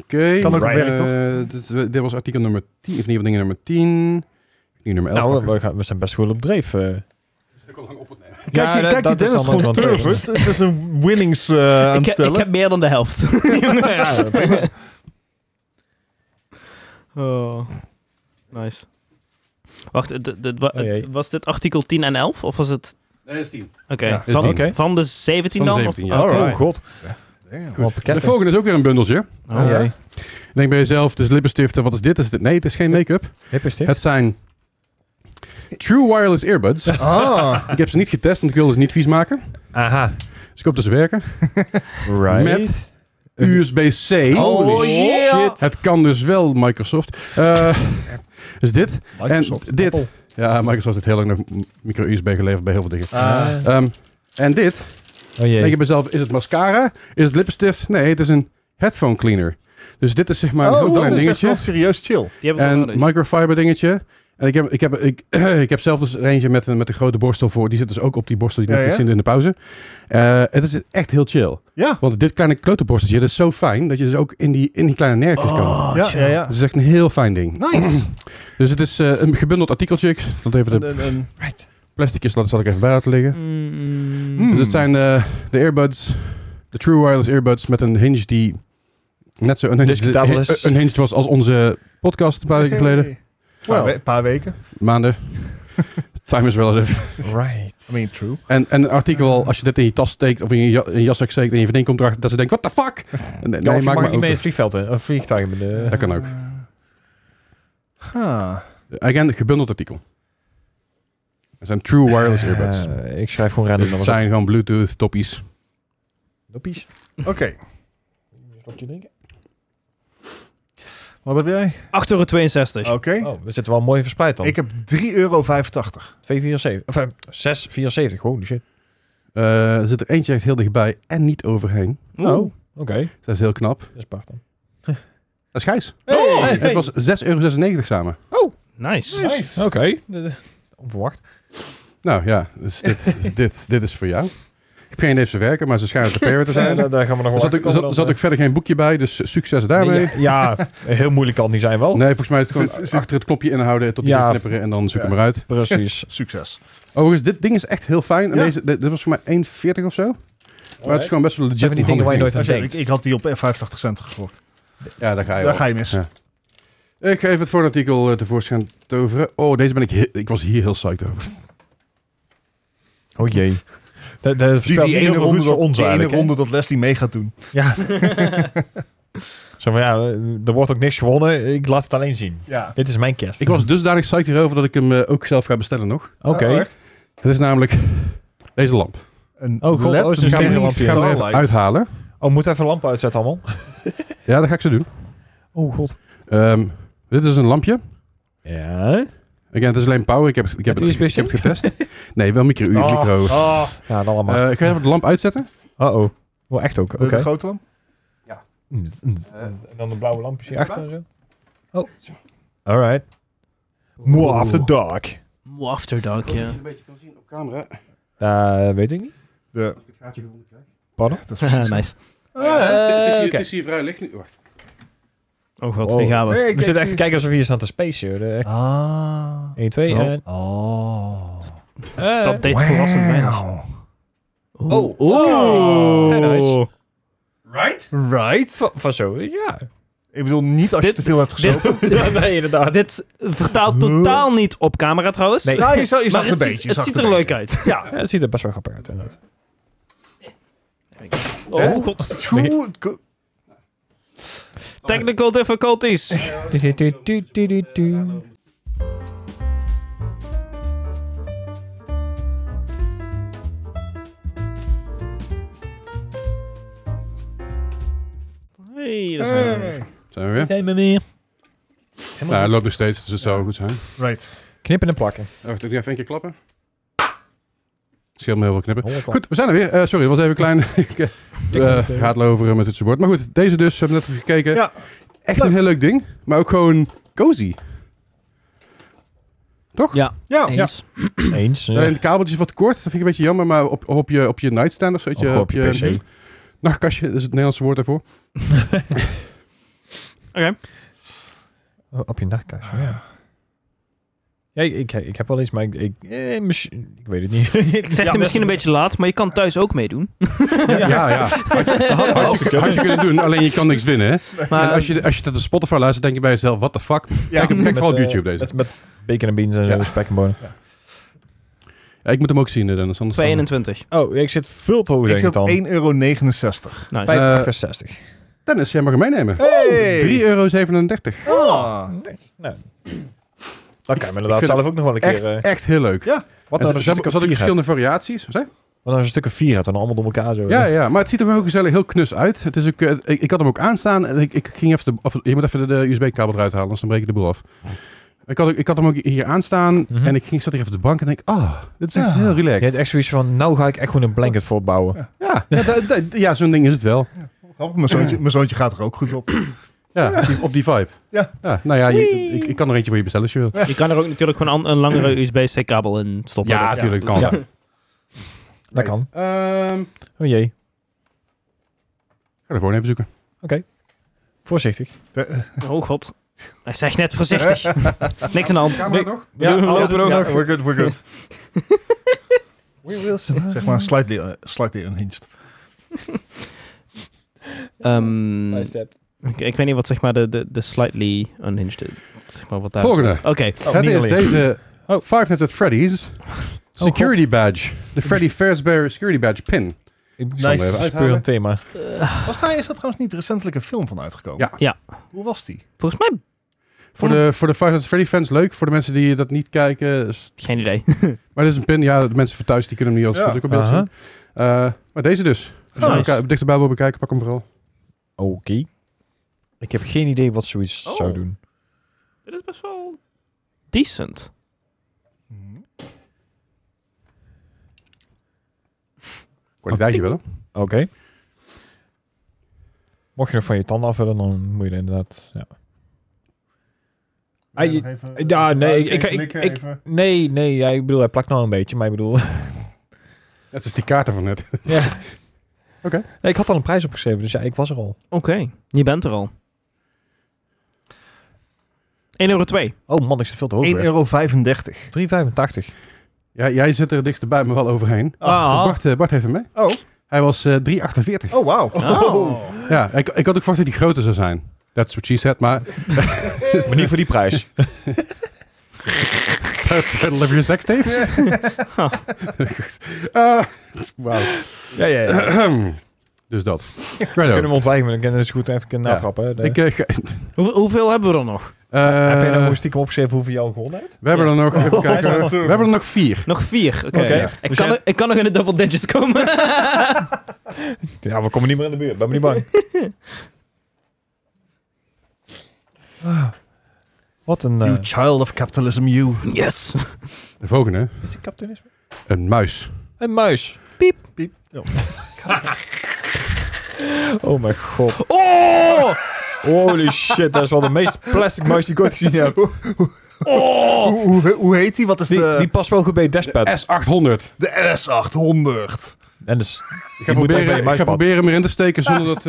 Speaker 1: Oké.
Speaker 4: Kan ook op
Speaker 1: Eh,
Speaker 4: werk, toch?
Speaker 1: dit, is- eh, dit was artikel nummer 10, of in ieder geval dingen nummer 10. Nu nummer 11.
Speaker 2: Nou,
Speaker 1: pakken.
Speaker 2: we, gaan, we zijn best goed op dreef. eh.
Speaker 4: Kijk,
Speaker 2: Ja,
Speaker 4: die-
Speaker 2: dat-
Speaker 4: kijk
Speaker 2: dat
Speaker 4: die
Speaker 2: is
Speaker 4: Dennis
Speaker 2: dan
Speaker 4: gewoon
Speaker 2: ook wel een
Speaker 4: turven. Het is een winnings eh, aan
Speaker 3: ik,
Speaker 4: het
Speaker 3: heb, ik
Speaker 4: tellen.
Speaker 3: heb meer dan de helft.
Speaker 2: Ja, prima.
Speaker 3: oh. Nice. Wacht, het- het- het wa-
Speaker 2: Oh, jee.
Speaker 3: het- was dit artikel 10 en 11? Of was het...
Speaker 1: Nee, dat is 10.
Speaker 3: Oké,
Speaker 4: Ja,
Speaker 2: is
Speaker 3: van,
Speaker 2: die. Oké.
Speaker 3: van de 17
Speaker 1: Van
Speaker 3: dan?
Speaker 1: de
Speaker 3: of-
Speaker 1: 17, ja.
Speaker 3: oh,
Speaker 4: Alright.
Speaker 2: Oh god. Allemaal
Speaker 1: De
Speaker 2: pakketten.
Speaker 1: volgende is ook weer een bundeltje.
Speaker 3: oh,
Speaker 4: Ja.
Speaker 1: Denk bij jezelf, dus lippenstift. Wat is dit? Is dit? Nee, het is geen make-up.
Speaker 2: Hip is dit.
Speaker 1: Het zijn True Wireless Earbuds.
Speaker 4: Ah,
Speaker 1: Ik heb ze niet getest, want ik wilde ze niet vies maken.
Speaker 2: Aha.
Speaker 1: Dus ik hoop dat ze werken.
Speaker 2: Right.
Speaker 1: Met USB-C.
Speaker 4: Oh, yeah.
Speaker 1: shit. Het kan dus wel Microsoft. Eh, dus dit. En dit.
Speaker 2: Apple.
Speaker 1: Ja, Microsoft heeft heel lang nog micro-USB geleverd bij heel veel dingen.
Speaker 4: Ah.
Speaker 1: Ehm, en dit.
Speaker 2: Oh jee.
Speaker 1: Denk je bij jezelf, is het mascara? Is het lippenstift? Nee, het is een headphone cleaner. Dus dit is zeg maar een heel
Speaker 4: oh, dat
Speaker 1: klein
Speaker 4: is echt wel
Speaker 1: dingetje.
Speaker 4: serieus chill.
Speaker 3: Die hebben we wel
Speaker 1: En
Speaker 3: nodig.
Speaker 1: microfiber dingetje. En ik heb, ik heb, ik, ik heb zelf dus er eentje met een, met een grote borstel voor. Die zit dus ook op die borstel die ik
Speaker 4: Ja,
Speaker 1: net
Speaker 4: ja.
Speaker 1: liet zien in de pauze. Eh, het is echt heel chill.
Speaker 4: Ja.
Speaker 1: Want dit kleine klote borsteltje, dat is zo fijn. Dat je dus ook in die, in die kleine nerfjes kan.
Speaker 3: Oh,
Speaker 4: ja,
Speaker 3: chill.
Speaker 4: ja, ja.
Speaker 1: Het is echt een heel fijn ding.
Speaker 4: Nice.
Speaker 1: Dus het is eh, een gebundeld artikeltje. Ik stond even de
Speaker 4: En- en-
Speaker 1: plasticjes, dat zal ik even bij laten liggen.
Speaker 3: Mm.
Speaker 4: Hmm.
Speaker 1: Dus het zijn eh, de earbuds, de True Wireless earbuds met een hinge die net zo unhinged,
Speaker 2: Discutabel is.
Speaker 1: een hinge was als onze podcast een paar weken geleden.
Speaker 4: Hey. Paar, we- paar weken.
Speaker 1: Maanden. Time is relative.
Speaker 2: Right.
Speaker 4: I mean, true.
Speaker 1: En, en een artikel, als je dit in je tas steekt of in je, ja- in je jaszak steekt en je vriendin komt erachter dat ze denkt, what the fuck? En- Nee,
Speaker 2: Ja, of je
Speaker 1: maak
Speaker 2: mag
Speaker 1: maar
Speaker 2: niet mee
Speaker 1: open.
Speaker 2: het vliegveld in. Of vliegtuig in de...
Speaker 1: Dat kan ook.
Speaker 4: Eh, Huh.
Speaker 1: Again, gebundeld artikel. Het zijn True Wireless earbuds.
Speaker 2: Eh, ik schrijf gewoon random
Speaker 1: Dus het
Speaker 2: nummers op.
Speaker 1: zijn gewoon Bluetooth toppies.
Speaker 2: Doppies.
Speaker 4: Oké, wat heb jij?
Speaker 3: 8,62 euro.
Speaker 4: Oké.
Speaker 2: Oh, we zitten wel mooi verspreid dan.
Speaker 4: Ik heb 3,85 euro.
Speaker 2: 2,74. Of eh, 6,74. Holy shit.
Speaker 1: Eh, er zit er eentje echt heel dichtbij en niet overheen.
Speaker 2: Oh, oké.
Speaker 1: Dat is heel knap.
Speaker 2: Dat is Bart dan. Oh,
Speaker 1: Dat is Gijs.
Speaker 4: Hey.
Speaker 1: En Het was 6,96 euro samen.
Speaker 3: Nice.
Speaker 4: Nice.
Speaker 2: Oké. Eh, Onverwacht.
Speaker 1: Nou ja, dus dit, dit, dit is voor jou. Ik heb geen idee of ze werken, maar ze schijnen te peren te zijn.
Speaker 2: Eh, daar, daar gaan we nog
Speaker 1: Er
Speaker 2: wel
Speaker 1: zat,
Speaker 2: achter
Speaker 1: ook,
Speaker 2: komen
Speaker 1: zat,
Speaker 2: dan,
Speaker 1: zat
Speaker 2: eh.
Speaker 1: ook verder geen boekje bij, dus ja, succes daarmee.
Speaker 2: Ja, ja, heel moeilijk kan die zijn wel.
Speaker 1: Nee, volgens mij is het gewoon
Speaker 4: Zit- zit-
Speaker 1: achter het knopje inhouden tot die
Speaker 2: Ja.
Speaker 1: weer knipperen en dan zoek
Speaker 4: Ja.
Speaker 1: hem eruit.
Speaker 2: Precies.
Speaker 4: Succes.
Speaker 1: Overigens, dit ding is echt heel fijn. En
Speaker 4: Ja.
Speaker 1: deze, dit, dit was voor mij 1,40 of zo. Maar het is
Speaker 2: Alright.
Speaker 1: gewoon best wel legit.
Speaker 2: Zijn van die
Speaker 1: een
Speaker 2: dingen waar
Speaker 1: handig
Speaker 2: je nooit aan
Speaker 4: Oh, shit,
Speaker 2: denkt.
Speaker 4: ik, ik had die op 85 cent gekocht.
Speaker 1: ding. Ja, daar ga je
Speaker 4: Daar
Speaker 1: op.
Speaker 4: ga je mis.
Speaker 1: Ja. Ik geef het voorartikel eh, tevoorschijn toveren. Oh, deze ben ik... he- Ik was hier heel psyched over.
Speaker 2: Oh jee. Dat dat voorspelt niet heel veel goeds voor ons
Speaker 4: die ene
Speaker 2: eigenlijk. hè?
Speaker 4: ronde dat Leslie mee gaat doen.
Speaker 2: Ja. Zo van ja, eh, er wordt ook niks gewonnen. Ik laat het alleen zien.
Speaker 4: Ja.
Speaker 2: Dit is mijn kerst.
Speaker 1: Ik was dusdanig psyched hierover dat ik hem eh, ook zelf ga bestellen nog.
Speaker 2: Oké.
Speaker 4: Oh, echt?
Speaker 1: Het is namelijk deze lamp.
Speaker 4: Een
Speaker 2: Oh, god,
Speaker 4: LED
Speaker 2: oh, is er een
Speaker 4: mini
Speaker 2: cameralampje?
Speaker 1: Ik ga hem er even
Speaker 4: Starlight.
Speaker 1: uithalen.
Speaker 2: Oh, moet even lampen uitzetten allemaal?
Speaker 1: Ja, dat ga ik zo doen.
Speaker 2: Oh god.
Speaker 1: Ehm, dit is een lampje.
Speaker 2: Ja.
Speaker 1: Again, het is alleen power. Ik heb, het- ik heb,
Speaker 2: Met
Speaker 1: het, ik
Speaker 2: USB-C?
Speaker 1: heb het getest. Nee, wel micro.
Speaker 4: Oh,
Speaker 1: micro.
Speaker 4: oh.
Speaker 2: Ja, dan allemaal.
Speaker 1: Eh, ik ga even de lamp uitzetten.
Speaker 2: oh oh. Oh, echt ook. Oké. Hm,
Speaker 4: De, de grote lamp?
Speaker 1: Eh,
Speaker 2: En dan de blauwe lampjes hierachter en zo. Oh. Alright. More after dark.
Speaker 3: Moe After Dark, ja.
Speaker 1: een beetje kan zien op camera.
Speaker 2: Daar weet ik niet.
Speaker 4: De,
Speaker 1: Ik het gaatje gevonden krijg.
Speaker 2: Pardon?
Speaker 4: dat is precies-
Speaker 3: nice.
Speaker 4: Ah, ja.
Speaker 2: oké.
Speaker 1: Eh, hier vrij licht nu. Wacht.
Speaker 3: Oh god,
Speaker 2: Wow.
Speaker 3: wie gaan we?
Speaker 4: Nee,
Speaker 2: We zitten echt te
Speaker 4: zie-
Speaker 2: kijken alsof we hier staan te space, joh. De- Echt.
Speaker 4: Ah.
Speaker 2: 1, 2
Speaker 1: Oh.
Speaker 2: en...
Speaker 4: Oh.
Speaker 2: eh.
Speaker 3: Dat deed verrassend weinig.
Speaker 4: Wow.
Speaker 2: Oh.
Speaker 3: Oh.
Speaker 2: Hey, nice.
Speaker 1: Right?
Speaker 4: Right?
Speaker 2: Van zo, ja.
Speaker 4: Ik bedoel, niet als je
Speaker 3: Dit-
Speaker 4: te veel hebt gezopen.
Speaker 3: Dit,
Speaker 2: ja nee, inderdaad.
Speaker 3: dit vertaalt totaal niet op camera trouwens.
Speaker 2: Nee.
Speaker 4: Nou, je, zou- je
Speaker 3: maar
Speaker 4: zag
Speaker 3: het,
Speaker 4: het een
Speaker 3: ziet-
Speaker 4: beetje.
Speaker 3: het ziet er leuk uit.
Speaker 4: Ja.
Speaker 2: Ja, het ziet er best wel grappig uit, inderdaad.
Speaker 4: Hè?
Speaker 3: Oh god.
Speaker 4: Goed. Go-
Speaker 3: Technical difficulties. Hey, dat zijn we.
Speaker 4: Hey.
Speaker 1: Zijn we weer?
Speaker 2: Zijn we weer.
Speaker 1: Nou, het loopt nog steeds, dus het zou
Speaker 4: Ja.
Speaker 1: goed zijn.
Speaker 4: Right.
Speaker 2: Knippen en plakken.
Speaker 1: Oh, Wacht, ik doe even één keer klappen. Scheelt me heel veel knippen. Goed, we zijn er weer. Eh, sorry, dat was even klein. ik eh, eh, raadel over eh, met het support. Maar goed, deze dus. We hebben net even gekeken.
Speaker 4: Ja.
Speaker 1: Echt een heel leuk ding. Maar ook gewoon cozy.
Speaker 4: Ja.
Speaker 3: Eens.
Speaker 2: Eens. eh,
Speaker 1: Alleen de kabeltjes wat kort, dat vind ik een beetje jammer, maar op, op, je, op je nightstand of zo, weet je,
Speaker 2: Of
Speaker 1: op je,
Speaker 2: PC.
Speaker 1: Nachtkastje is het Nederlandse woord daarvoor.
Speaker 3: Oké.
Speaker 2: Oh, op je nachtkastje, ja. Ah. Ja, ik, ik, ik heb wel eens, maar ik, ik, eh, misschien- ik weet het niet.
Speaker 3: Ik zeg het misschien een beetje laat, maar je kan thuis ook meedoen.
Speaker 1: Ja, ja. Oh, Had, je, had je- had je kunnen doen, alleen je kan niks winnen. Hè?
Speaker 3: Maar
Speaker 1: en als je, als je dat op Spotify luistert, denk je bij jezelf, what the fuck?
Speaker 4: Ja.
Speaker 1: Kijk, kijk vooral op
Speaker 2: eh,
Speaker 1: YouTube deze.
Speaker 2: Met, met bacon en beans en
Speaker 1: Ja.
Speaker 2: zo, spek en bonen.
Speaker 1: Ja, ik moet hem ook zien, eh, Dennis. Anders dan-
Speaker 3: 221.
Speaker 2: Oh, ik zit veel te hoog,
Speaker 4: Ik
Speaker 2: denk ik
Speaker 4: zit op
Speaker 2: dan. Eh,
Speaker 4: 1,69 euro.
Speaker 3: Nice.
Speaker 1: Vijf-
Speaker 2: 568.
Speaker 1: Dennis, jij mag hem meenemen.
Speaker 4: Hey!
Speaker 1: 3,37 euro.
Speaker 4: Ah.
Speaker 2: Dat kan je me inderdaad
Speaker 1: vind
Speaker 2: zelf ook nog wel een
Speaker 1: Echt,
Speaker 2: keer... eh,
Speaker 1: echt heel leuk.
Speaker 4: Ja,
Speaker 2: wat
Speaker 1: En
Speaker 2: nou
Speaker 1: ze-
Speaker 2: een
Speaker 1: ze
Speaker 2: stuk
Speaker 1: hebben
Speaker 2: of
Speaker 1: ze hadden
Speaker 2: vier hebt.
Speaker 1: verschillende variaties. Wat zei je?
Speaker 2: Wat nou een stuk of vier hebt en allemaal door elkaar zo.
Speaker 1: Ja, ja, maar het ziet er wel heel gezellig, heel knus uit. Het is ook, eh, ik, ik had hem ook aanstaan en ik, ik ging even de, of, je moet even de, de USB-kabel eruit halen, anders dan breek ik de boel af. Ik had, ook- ik had hem ook hier aanstaan
Speaker 2: Mhm.
Speaker 1: en ik ging, zat hier even op de bank en denk, ah, dit is echt
Speaker 4: Ja.
Speaker 1: heel
Speaker 2: Je hebt
Speaker 1: relaxed.
Speaker 2: echt zoiets van, nou ga ik echt gewoon een blanket voor bouwen.
Speaker 1: Ja, ja, dat- dat- ja zo'n ding is het wel.
Speaker 4: Grappig, mijn zoontje, mijn zoontje gaat er ook goed op.
Speaker 1: Ja, op die- op die vibe.
Speaker 4: Ja.
Speaker 1: nou ja, je- ik, ik kan er eentje voor je bestellen als je wilt.
Speaker 3: Je kan er ook natuurlijk gewoon an- een langere USB-C kabel in stoppen.
Speaker 1: Ja, natuurlijk kan.
Speaker 2: Ja.
Speaker 1: dat.
Speaker 2: Dat kan.
Speaker 1: Ehm,
Speaker 2: Oh jee,
Speaker 1: ga er gewoon even zoeken.
Speaker 2: voorzichtig.
Speaker 4: Eh,
Speaker 3: Oh god. Hij zegt net voorzichtig. Niks aan de hand.
Speaker 1: maar nog?
Speaker 2: Ja,
Speaker 3: we
Speaker 2: alles
Speaker 3: lopen er ook nog.
Speaker 4: We're good, we're good. Zeg maar slightly, eh, slightly unhinged.
Speaker 3: Ehm, ik, ik weet niet wat zeg maar de, de, de slightly unhinged is. Zeg maar wat daar...
Speaker 1: Volgende.
Speaker 3: Oké.
Speaker 1: het
Speaker 2: niet
Speaker 1: is
Speaker 2: alleen.
Speaker 1: deze
Speaker 2: Oh.
Speaker 1: Five Nights at Freddy's security badge. De Freddy Fazbear security badge pin.
Speaker 2: Ik
Speaker 1: zal hem even
Speaker 2: nice,
Speaker 1: uithalen.
Speaker 2: speurend thema.
Speaker 3: Eh,
Speaker 4: Was daar, is daar trouwens niet recentelijk een film van uitgekomen?
Speaker 1: Ja.
Speaker 4: Hoe was die?
Speaker 3: Volgens mij
Speaker 1: Voor
Speaker 3: Ja.
Speaker 1: de, voor de Five Nights at Freddy fans leuk. Voor de mensen die dat niet kijken. s-
Speaker 3: geen idee.
Speaker 1: Maar dit is een pin. Ja, de mensen van thuis die kunnen hem niet als
Speaker 4: Ja.
Speaker 1: natuurlijk op beeld
Speaker 2: Aha.
Speaker 1: zien. Eh, maar deze dus. Als je hem
Speaker 4: Nice.
Speaker 1: elkaar- dichterbij wil bekijken, pak hem vooral.
Speaker 2: Oké. Ik heb geen idee wat zoiets
Speaker 3: Oh.
Speaker 2: zou doen.
Speaker 3: Dit is best wel decent.
Speaker 1: Kwaliteitje wel, hè?
Speaker 2: Oké. Mocht je nog van je tanden af willen, dan moet je er inderdaad... Ja. Ah, je- ja, nee, ik- ik- ik- ik- Nee, nee, ja, ik bedoel, hij plakt nou een beetje, maar ik bedoel...
Speaker 1: Het is die kaarten van net.
Speaker 2: ja.
Speaker 1: Oké.
Speaker 2: Nee, ik had al een prijs opgeschreven, dus ja, ik was er al.
Speaker 3: Oké. Je bent er al. 1,2 euro.
Speaker 2: Oh man, ik zit veel te hoog.
Speaker 4: 1,35
Speaker 2: weer.
Speaker 4: euro.
Speaker 2: 3,85.
Speaker 1: Ja, jij zit er dichterbij, maar wel overheen. Dus
Speaker 2: Ah,
Speaker 1: Bart, eh, Bart heeft hem mee.
Speaker 4: Oh.
Speaker 1: Hij was eh 3,48.
Speaker 4: Oh, wauw.
Speaker 3: Oh.
Speaker 1: Ja, ik, ik had ook verwacht dat die groter zou zijn. That's what she said, maar...
Speaker 2: maar niet voor die prijs.
Speaker 1: Deliver your sex tape? Goed. Eh, Wauw.
Speaker 2: ja, ja, ja.
Speaker 1: dus dat.
Speaker 2: We
Speaker 1: Righto.
Speaker 2: kunnen hem ontwijken, maar dan kunnen we zo goed even kunnen
Speaker 1: Ja.
Speaker 2: natrappen. hè. De-
Speaker 1: Ik, eh, ga-
Speaker 3: Hoeveel, hoeveel hebben we er nog?
Speaker 1: eh,
Speaker 2: heb je nou gewoon stiekem opgeschreven hoeveel je al gewonnen hebt?
Speaker 1: we hebben er nog... Even kijken.
Speaker 4: hij staat
Speaker 1: we
Speaker 4: er.
Speaker 1: hebben er nog vier.
Speaker 3: Nog vier. Oké.
Speaker 2: Oké.
Speaker 3: Ja. Ik, kan, ik kan nog in de double digits komen.
Speaker 2: Ja, we komen niet meer in de buurt. Ben me niet bang. Ah, Wat een... eh,
Speaker 4: You child of capitalism, you.
Speaker 3: yes.
Speaker 1: De volgende.
Speaker 2: is dit kapitalisme?
Speaker 1: Een muis.
Speaker 2: Een muis.
Speaker 4: Piep. Ja.
Speaker 2: Oh mijn god.
Speaker 3: Oh!
Speaker 2: Holy shit, dat is wel de meest plastic muis die ik ooit gezien heb.
Speaker 3: Oh!
Speaker 4: Hoe, hoe, hoe heet die? Wat is
Speaker 2: Die,
Speaker 4: de...
Speaker 2: die past wel goed bij je dashpad.
Speaker 1: S800.
Speaker 4: De S800.
Speaker 2: En dus,
Speaker 1: Ik ga,
Speaker 2: moet ook bij
Speaker 1: proberen,
Speaker 2: je
Speaker 1: ik ga
Speaker 2: muispad.
Speaker 1: proberen hem erin te steken zonder dat eh,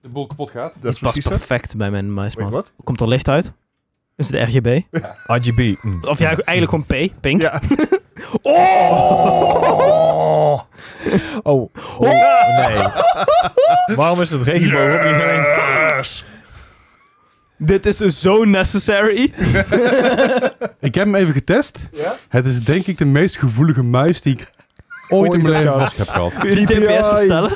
Speaker 1: de boel kapot gaat.
Speaker 4: Dat is
Speaker 3: Die past
Speaker 4: precies het.
Speaker 3: perfect bij mijn muismaat.
Speaker 4: wat?
Speaker 3: Komt er licht uit? Is het RGB?
Speaker 2: RGB.
Speaker 3: Of ja,
Speaker 2: dus-
Speaker 3: eigenlijk gewoon P, pink.
Speaker 4: Ja.
Speaker 2: Oh! Oh, nee. Waarom is het regenboog ook niet alleen?
Speaker 4: Yes.
Speaker 3: Dit is dus zo necessary.
Speaker 1: Ik heb hem even getest.
Speaker 4: Ja?
Speaker 1: Het is denk ik de meest gevoelige muis die ik ooit in mijn leven vast heb gehad.
Speaker 3: Kun je de TPS verstellen?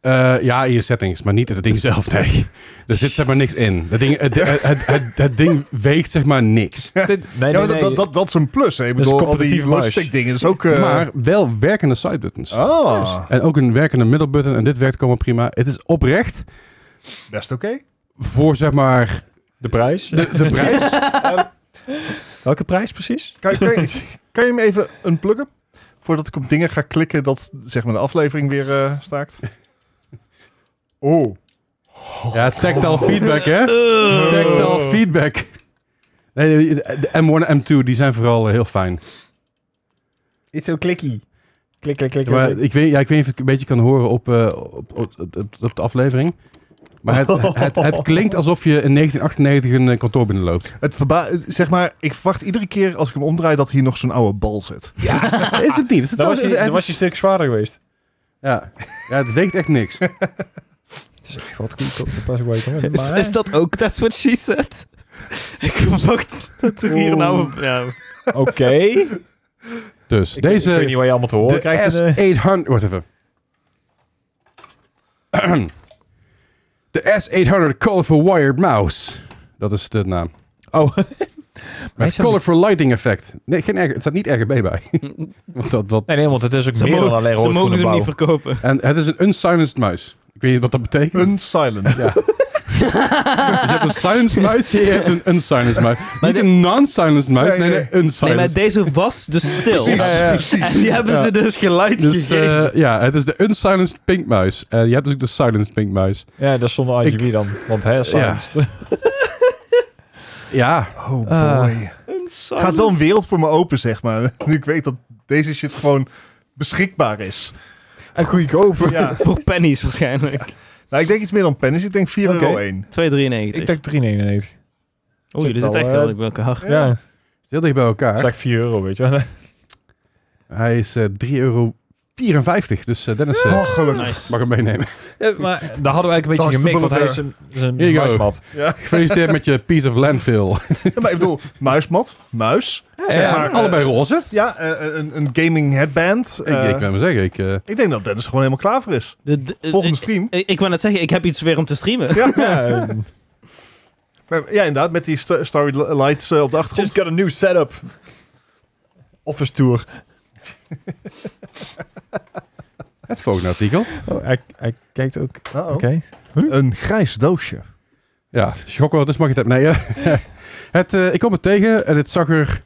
Speaker 1: Eh, ja, in je settings, maar niet in het ding zelf, nee. Er zit zeg maar niks in. Dat ding, het, het, het, het- het ding weegt zeg maar niks.
Speaker 2: Dit- Nee,
Speaker 4: Ja,
Speaker 2: nee,
Speaker 4: maar dat,
Speaker 2: nee.
Speaker 4: dat, dat, dat is een plus. Hè. Ik
Speaker 2: is
Speaker 4: bedoel, al die
Speaker 2: competitief muis.
Speaker 4: Logitech dingen. Dat is ook... eh,
Speaker 1: Maar wel werkende sidebuttons.
Speaker 4: Ah,
Speaker 1: En ook een werkende middelbutton. En dit werkt allemaal prima. Het is oprecht
Speaker 4: best oké.
Speaker 1: voor zeg maar
Speaker 2: De prijs?
Speaker 1: de, de prijs.
Speaker 2: Welke prijs precies?
Speaker 4: Kan, kan, kan je hem even unpluggen? Voordat ik op dingen ga klikken dat zeg maar, de aflevering weer eh, staakt. Oh.
Speaker 1: Ja, tactile feedback hè.
Speaker 3: Eh.
Speaker 1: Tactile feedback. Nee, de de M1 en M2 die zijn vooral eh, heel fijn.
Speaker 2: It's so clicky. Klik, klik, klik.
Speaker 1: Ja, maar
Speaker 2: klik.
Speaker 1: ik, weet, ja, ik weet niet of je het een beetje kan horen op, eh, op, op, op- op de aflevering. Maar het, het, het klinkt alsof je in 1998 een eh, kantoor binnenloopt.
Speaker 4: Het verba zeg maar, ik verwacht iedere keer als ik hem omdraai dat hier nog zo'n oude bal zit.
Speaker 1: Is het niet? Is het
Speaker 2: Dan
Speaker 1: wel-
Speaker 2: was, je,
Speaker 1: het
Speaker 2: dan
Speaker 1: is-
Speaker 2: was je stuk zwaarder geweest.
Speaker 1: ja. ja, het weegt echt niks. Dus
Speaker 2: Het is echt wat goed op de pas waar je kan winnen,
Speaker 3: Is,
Speaker 2: maar,
Speaker 3: is dat ook That's What She Said? ik verwacht dat er hier nou... Ja.
Speaker 2: hè. Oké. Ik-
Speaker 1: Dus
Speaker 2: Ik,
Speaker 1: deze...
Speaker 2: weet niet wat je allemaal te horen krijgt. in, eh,
Speaker 1: De S800... Wacht even. De S800 Colorful Wired Mouse. Dat is de naam.
Speaker 2: Oh.
Speaker 1: Met
Speaker 2: Mensen-
Speaker 1: Colorful Lighting Effect. Nee, geen, R- het staat niet RGB bij. Want dat, dat,
Speaker 2: Nee, nee, want het is ook
Speaker 3: Ze
Speaker 2: meer dan alleen
Speaker 3: mogen, ze
Speaker 2: rood groene
Speaker 3: mogen ze hem niet
Speaker 2: blauw.
Speaker 3: verkopen.
Speaker 1: en het is een unsilenced muis. Ik weet niet wat dat betekent.
Speaker 4: Een silent.
Speaker 1: Ja. Dus je hebt een silenced muis en je hebt een unsilenced muis. Niet
Speaker 3: dit-
Speaker 1: een non-silenced muis,
Speaker 4: Nee,
Speaker 1: nee,
Speaker 4: nee.
Speaker 1: nee, unsilenced.
Speaker 3: Nee, maar deze was dus stil.
Speaker 1: Precies. Ja, ja,
Speaker 3: En die hebben ze dus geluid
Speaker 1: dus
Speaker 3: gegeven.
Speaker 1: eh, ja, het is de unsilenced pink muis. En je hebt dus ook de silenced pink muis.
Speaker 2: Ja, dat is zonder RGB dan. Want hij is
Speaker 1: Ja.
Speaker 2: silenced.
Speaker 1: Ja,
Speaker 4: Oh boy.
Speaker 2: Ah.
Speaker 4: Gaat wel een wereld voor me open, zeg maar. Nu ik weet dat deze shit gewoon beschikbaar is.
Speaker 2: En goedkoper.
Speaker 4: Ja.
Speaker 3: Voor pennies waarschijnlijk.
Speaker 4: Nou, ik denk iets meer dan pennies. Ik denk 4,01
Speaker 2: Oké.
Speaker 4: euro.
Speaker 2: Ik
Speaker 3: 2,93.
Speaker 2: denk 3,99.
Speaker 3: Oh, jullie
Speaker 2: zit
Speaker 3: zitten echt
Speaker 2: al,
Speaker 3: wel
Speaker 2: eh,
Speaker 3: ik ben hard.
Speaker 2: Ja. ja.
Speaker 1: is heel dicht bij elkaar.
Speaker 2: Dat is eigenlijk 4 euro, weet je wel.
Speaker 1: Hij is eh 3,54 euro. Dus eh, Dennis eh,
Speaker 4: Oh, gelukkig.
Speaker 3: Nice.
Speaker 1: mag hem meenemen.
Speaker 2: Ja, maar daar hadden we eigenlijk een
Speaker 4: Dat
Speaker 2: beetje
Speaker 4: is de
Speaker 2: gemikt, want hij
Speaker 4: bullet
Speaker 2: is een, is een
Speaker 1: Here you go.
Speaker 2: muismat.
Speaker 4: Ja.
Speaker 1: Gefeliciteerd met je piece of landfill.
Speaker 4: Ja, maar ik bedoel, muismat, muis. Zeg
Speaker 2: ja.
Speaker 4: maar, eh,
Speaker 1: Allebei roze.
Speaker 4: Ja, eh, een, een gaming headband.
Speaker 1: Ik,
Speaker 4: Eh,
Speaker 1: ik wil maar zeggen, ik, eh,
Speaker 4: ik denk dat Dennis er gewoon helemaal klaar voor is.
Speaker 3: De- de- eh,
Speaker 4: Volgende
Speaker 3: ik-
Speaker 4: stream.
Speaker 3: Ik, ik wou net zeggen, ik heb iets weer om te streamen.
Speaker 4: Ja,
Speaker 2: Ja, eh,
Speaker 4: ja inderdaad, met die sta- starry lights eh, op de achtergrond.
Speaker 2: Just got a new setup. Office tour.
Speaker 1: het volgende artikel.
Speaker 2: hij, hij kijkt ook. Oh. Oké.
Speaker 4: Uh-oh. Een grijs doosje.
Speaker 1: Ja, schokken, dus mag je het hebben. Nee, eh, het, eh, ik kwam het tegen en het zag er,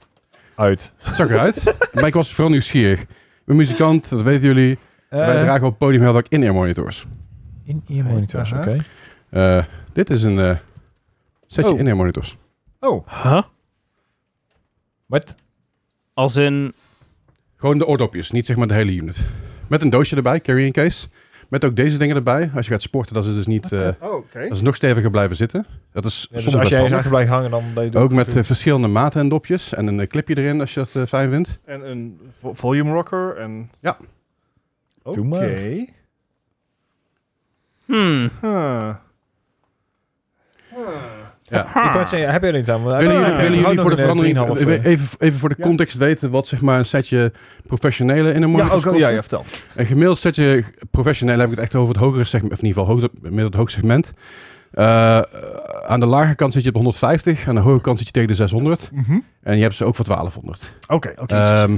Speaker 2: Uit.
Speaker 1: het zag eruit. maar ik was vooral nieuwsgierig. Ik ben muzikant, dat weten jullie.
Speaker 2: Eh,
Speaker 4: Eh.
Speaker 1: Wij dragen op het podium heel vaak in-ear monitors.
Speaker 2: in je monitors,
Speaker 4: Aha.
Speaker 2: oké.
Speaker 1: Eh, dit is een eh, setje
Speaker 4: Oh.
Speaker 1: in-ear monitors.
Speaker 4: Oh,
Speaker 3: Huh?
Speaker 2: dus Wat?
Speaker 3: Als in...
Speaker 1: Gewoon de oordopjes, niet zeg maar de hele unit. Met een doosje erbij, carrying case. Met ook deze dingen erbij. Als je gaat sporten, dat is dus niet... eh,
Speaker 4: oh oké.
Speaker 1: Dat is nog steviger blijven zitten. Dat is
Speaker 2: Ja, dus
Speaker 1: soms best
Speaker 2: als jij eens
Speaker 1: handig.
Speaker 2: achter blijft hangen, dan... dat je doet-
Speaker 1: Ook met eh, verschillende maten en dopjes. En een eh, clipje erin als je dat eh, fijn vindt.
Speaker 4: En een vo- volume rocker en...
Speaker 1: Ja.
Speaker 4: Oké.
Speaker 2: Doe maar.
Speaker 3: Hmm.
Speaker 4: Huh.
Speaker 1: Ja.
Speaker 2: Ik wou het zeggen, heb je er niet aan? want hij-
Speaker 1: Willen
Speaker 2: hij-
Speaker 1: jullie,
Speaker 4: ja,
Speaker 2: hij
Speaker 1: willen jullie
Speaker 2: houdt
Speaker 1: voor de
Speaker 2: nog een, eh,
Speaker 1: verandering
Speaker 2: 3,5, eh,
Speaker 1: even, even voor de
Speaker 4: Ja.
Speaker 1: context weten wat zeg maar een setje professionele in een
Speaker 4: Ja,
Speaker 1: monitor
Speaker 4: ook,
Speaker 1: kost?
Speaker 4: ja, ja, vertel.
Speaker 1: Een gemiddeld setje professionele heb ik het echt over het hogere segment, of in ieder geval hoog, midden het hoog segment. Eh, aan de lage kant zit je op 150, aan de hoge kant zit je tegen de 600
Speaker 4: Mhm.
Speaker 1: en je hebt ze ook voor 1200.
Speaker 4: Oké, oké.
Speaker 2: Eh,
Speaker 1: Ehm,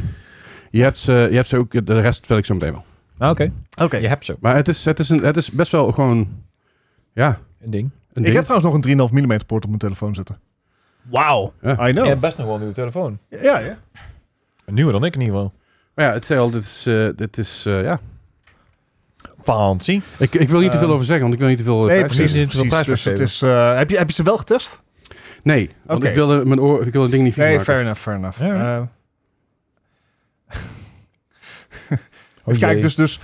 Speaker 1: je, hebt ze, je hebt ze ook, de rest vertel ik zo meteen wel.
Speaker 2: Ah, Oké,
Speaker 4: Oké.
Speaker 2: je hebt zo.
Speaker 1: Maar het is, het is, een, het is best wel gewoon. Ja.
Speaker 2: Een ding.
Speaker 1: Een
Speaker 4: Ik
Speaker 1: ding.
Speaker 4: heb trouwens nog een 3,5 mm poort op mijn telefoon zitten.
Speaker 3: Wauw.
Speaker 4: I know.
Speaker 2: Je
Speaker 4: Ja,
Speaker 2: hebt best nog wel een nieuwe telefoon.
Speaker 4: ja. ja.
Speaker 2: Een nieuwe dan ik in ieder geval.
Speaker 1: Maar ja, het zei al, dit is. eh, dit is eh, ja.
Speaker 2: Fancy.
Speaker 1: ik, ik wil niet te veel
Speaker 4: Eh,
Speaker 1: over zeggen, want ik wil niet te veel. eh,
Speaker 4: Nee,
Speaker 1: prijs
Speaker 4: precies.
Speaker 1: geven.
Speaker 2: niet veel
Speaker 4: precies.
Speaker 2: prijs
Speaker 4: Dus het
Speaker 2: geven.
Speaker 4: is, eh, heb, je, heb je ze wel getest?
Speaker 1: Nee, want
Speaker 4: Oké.
Speaker 1: ik wilde mijn oor, ik wilde het ding niet vies
Speaker 4: Nee,
Speaker 1: maken.
Speaker 4: fair enough, fair enough.
Speaker 2: Ja, ja.
Speaker 4: Eh,
Speaker 2: Oh
Speaker 4: Even kijken, dus, dus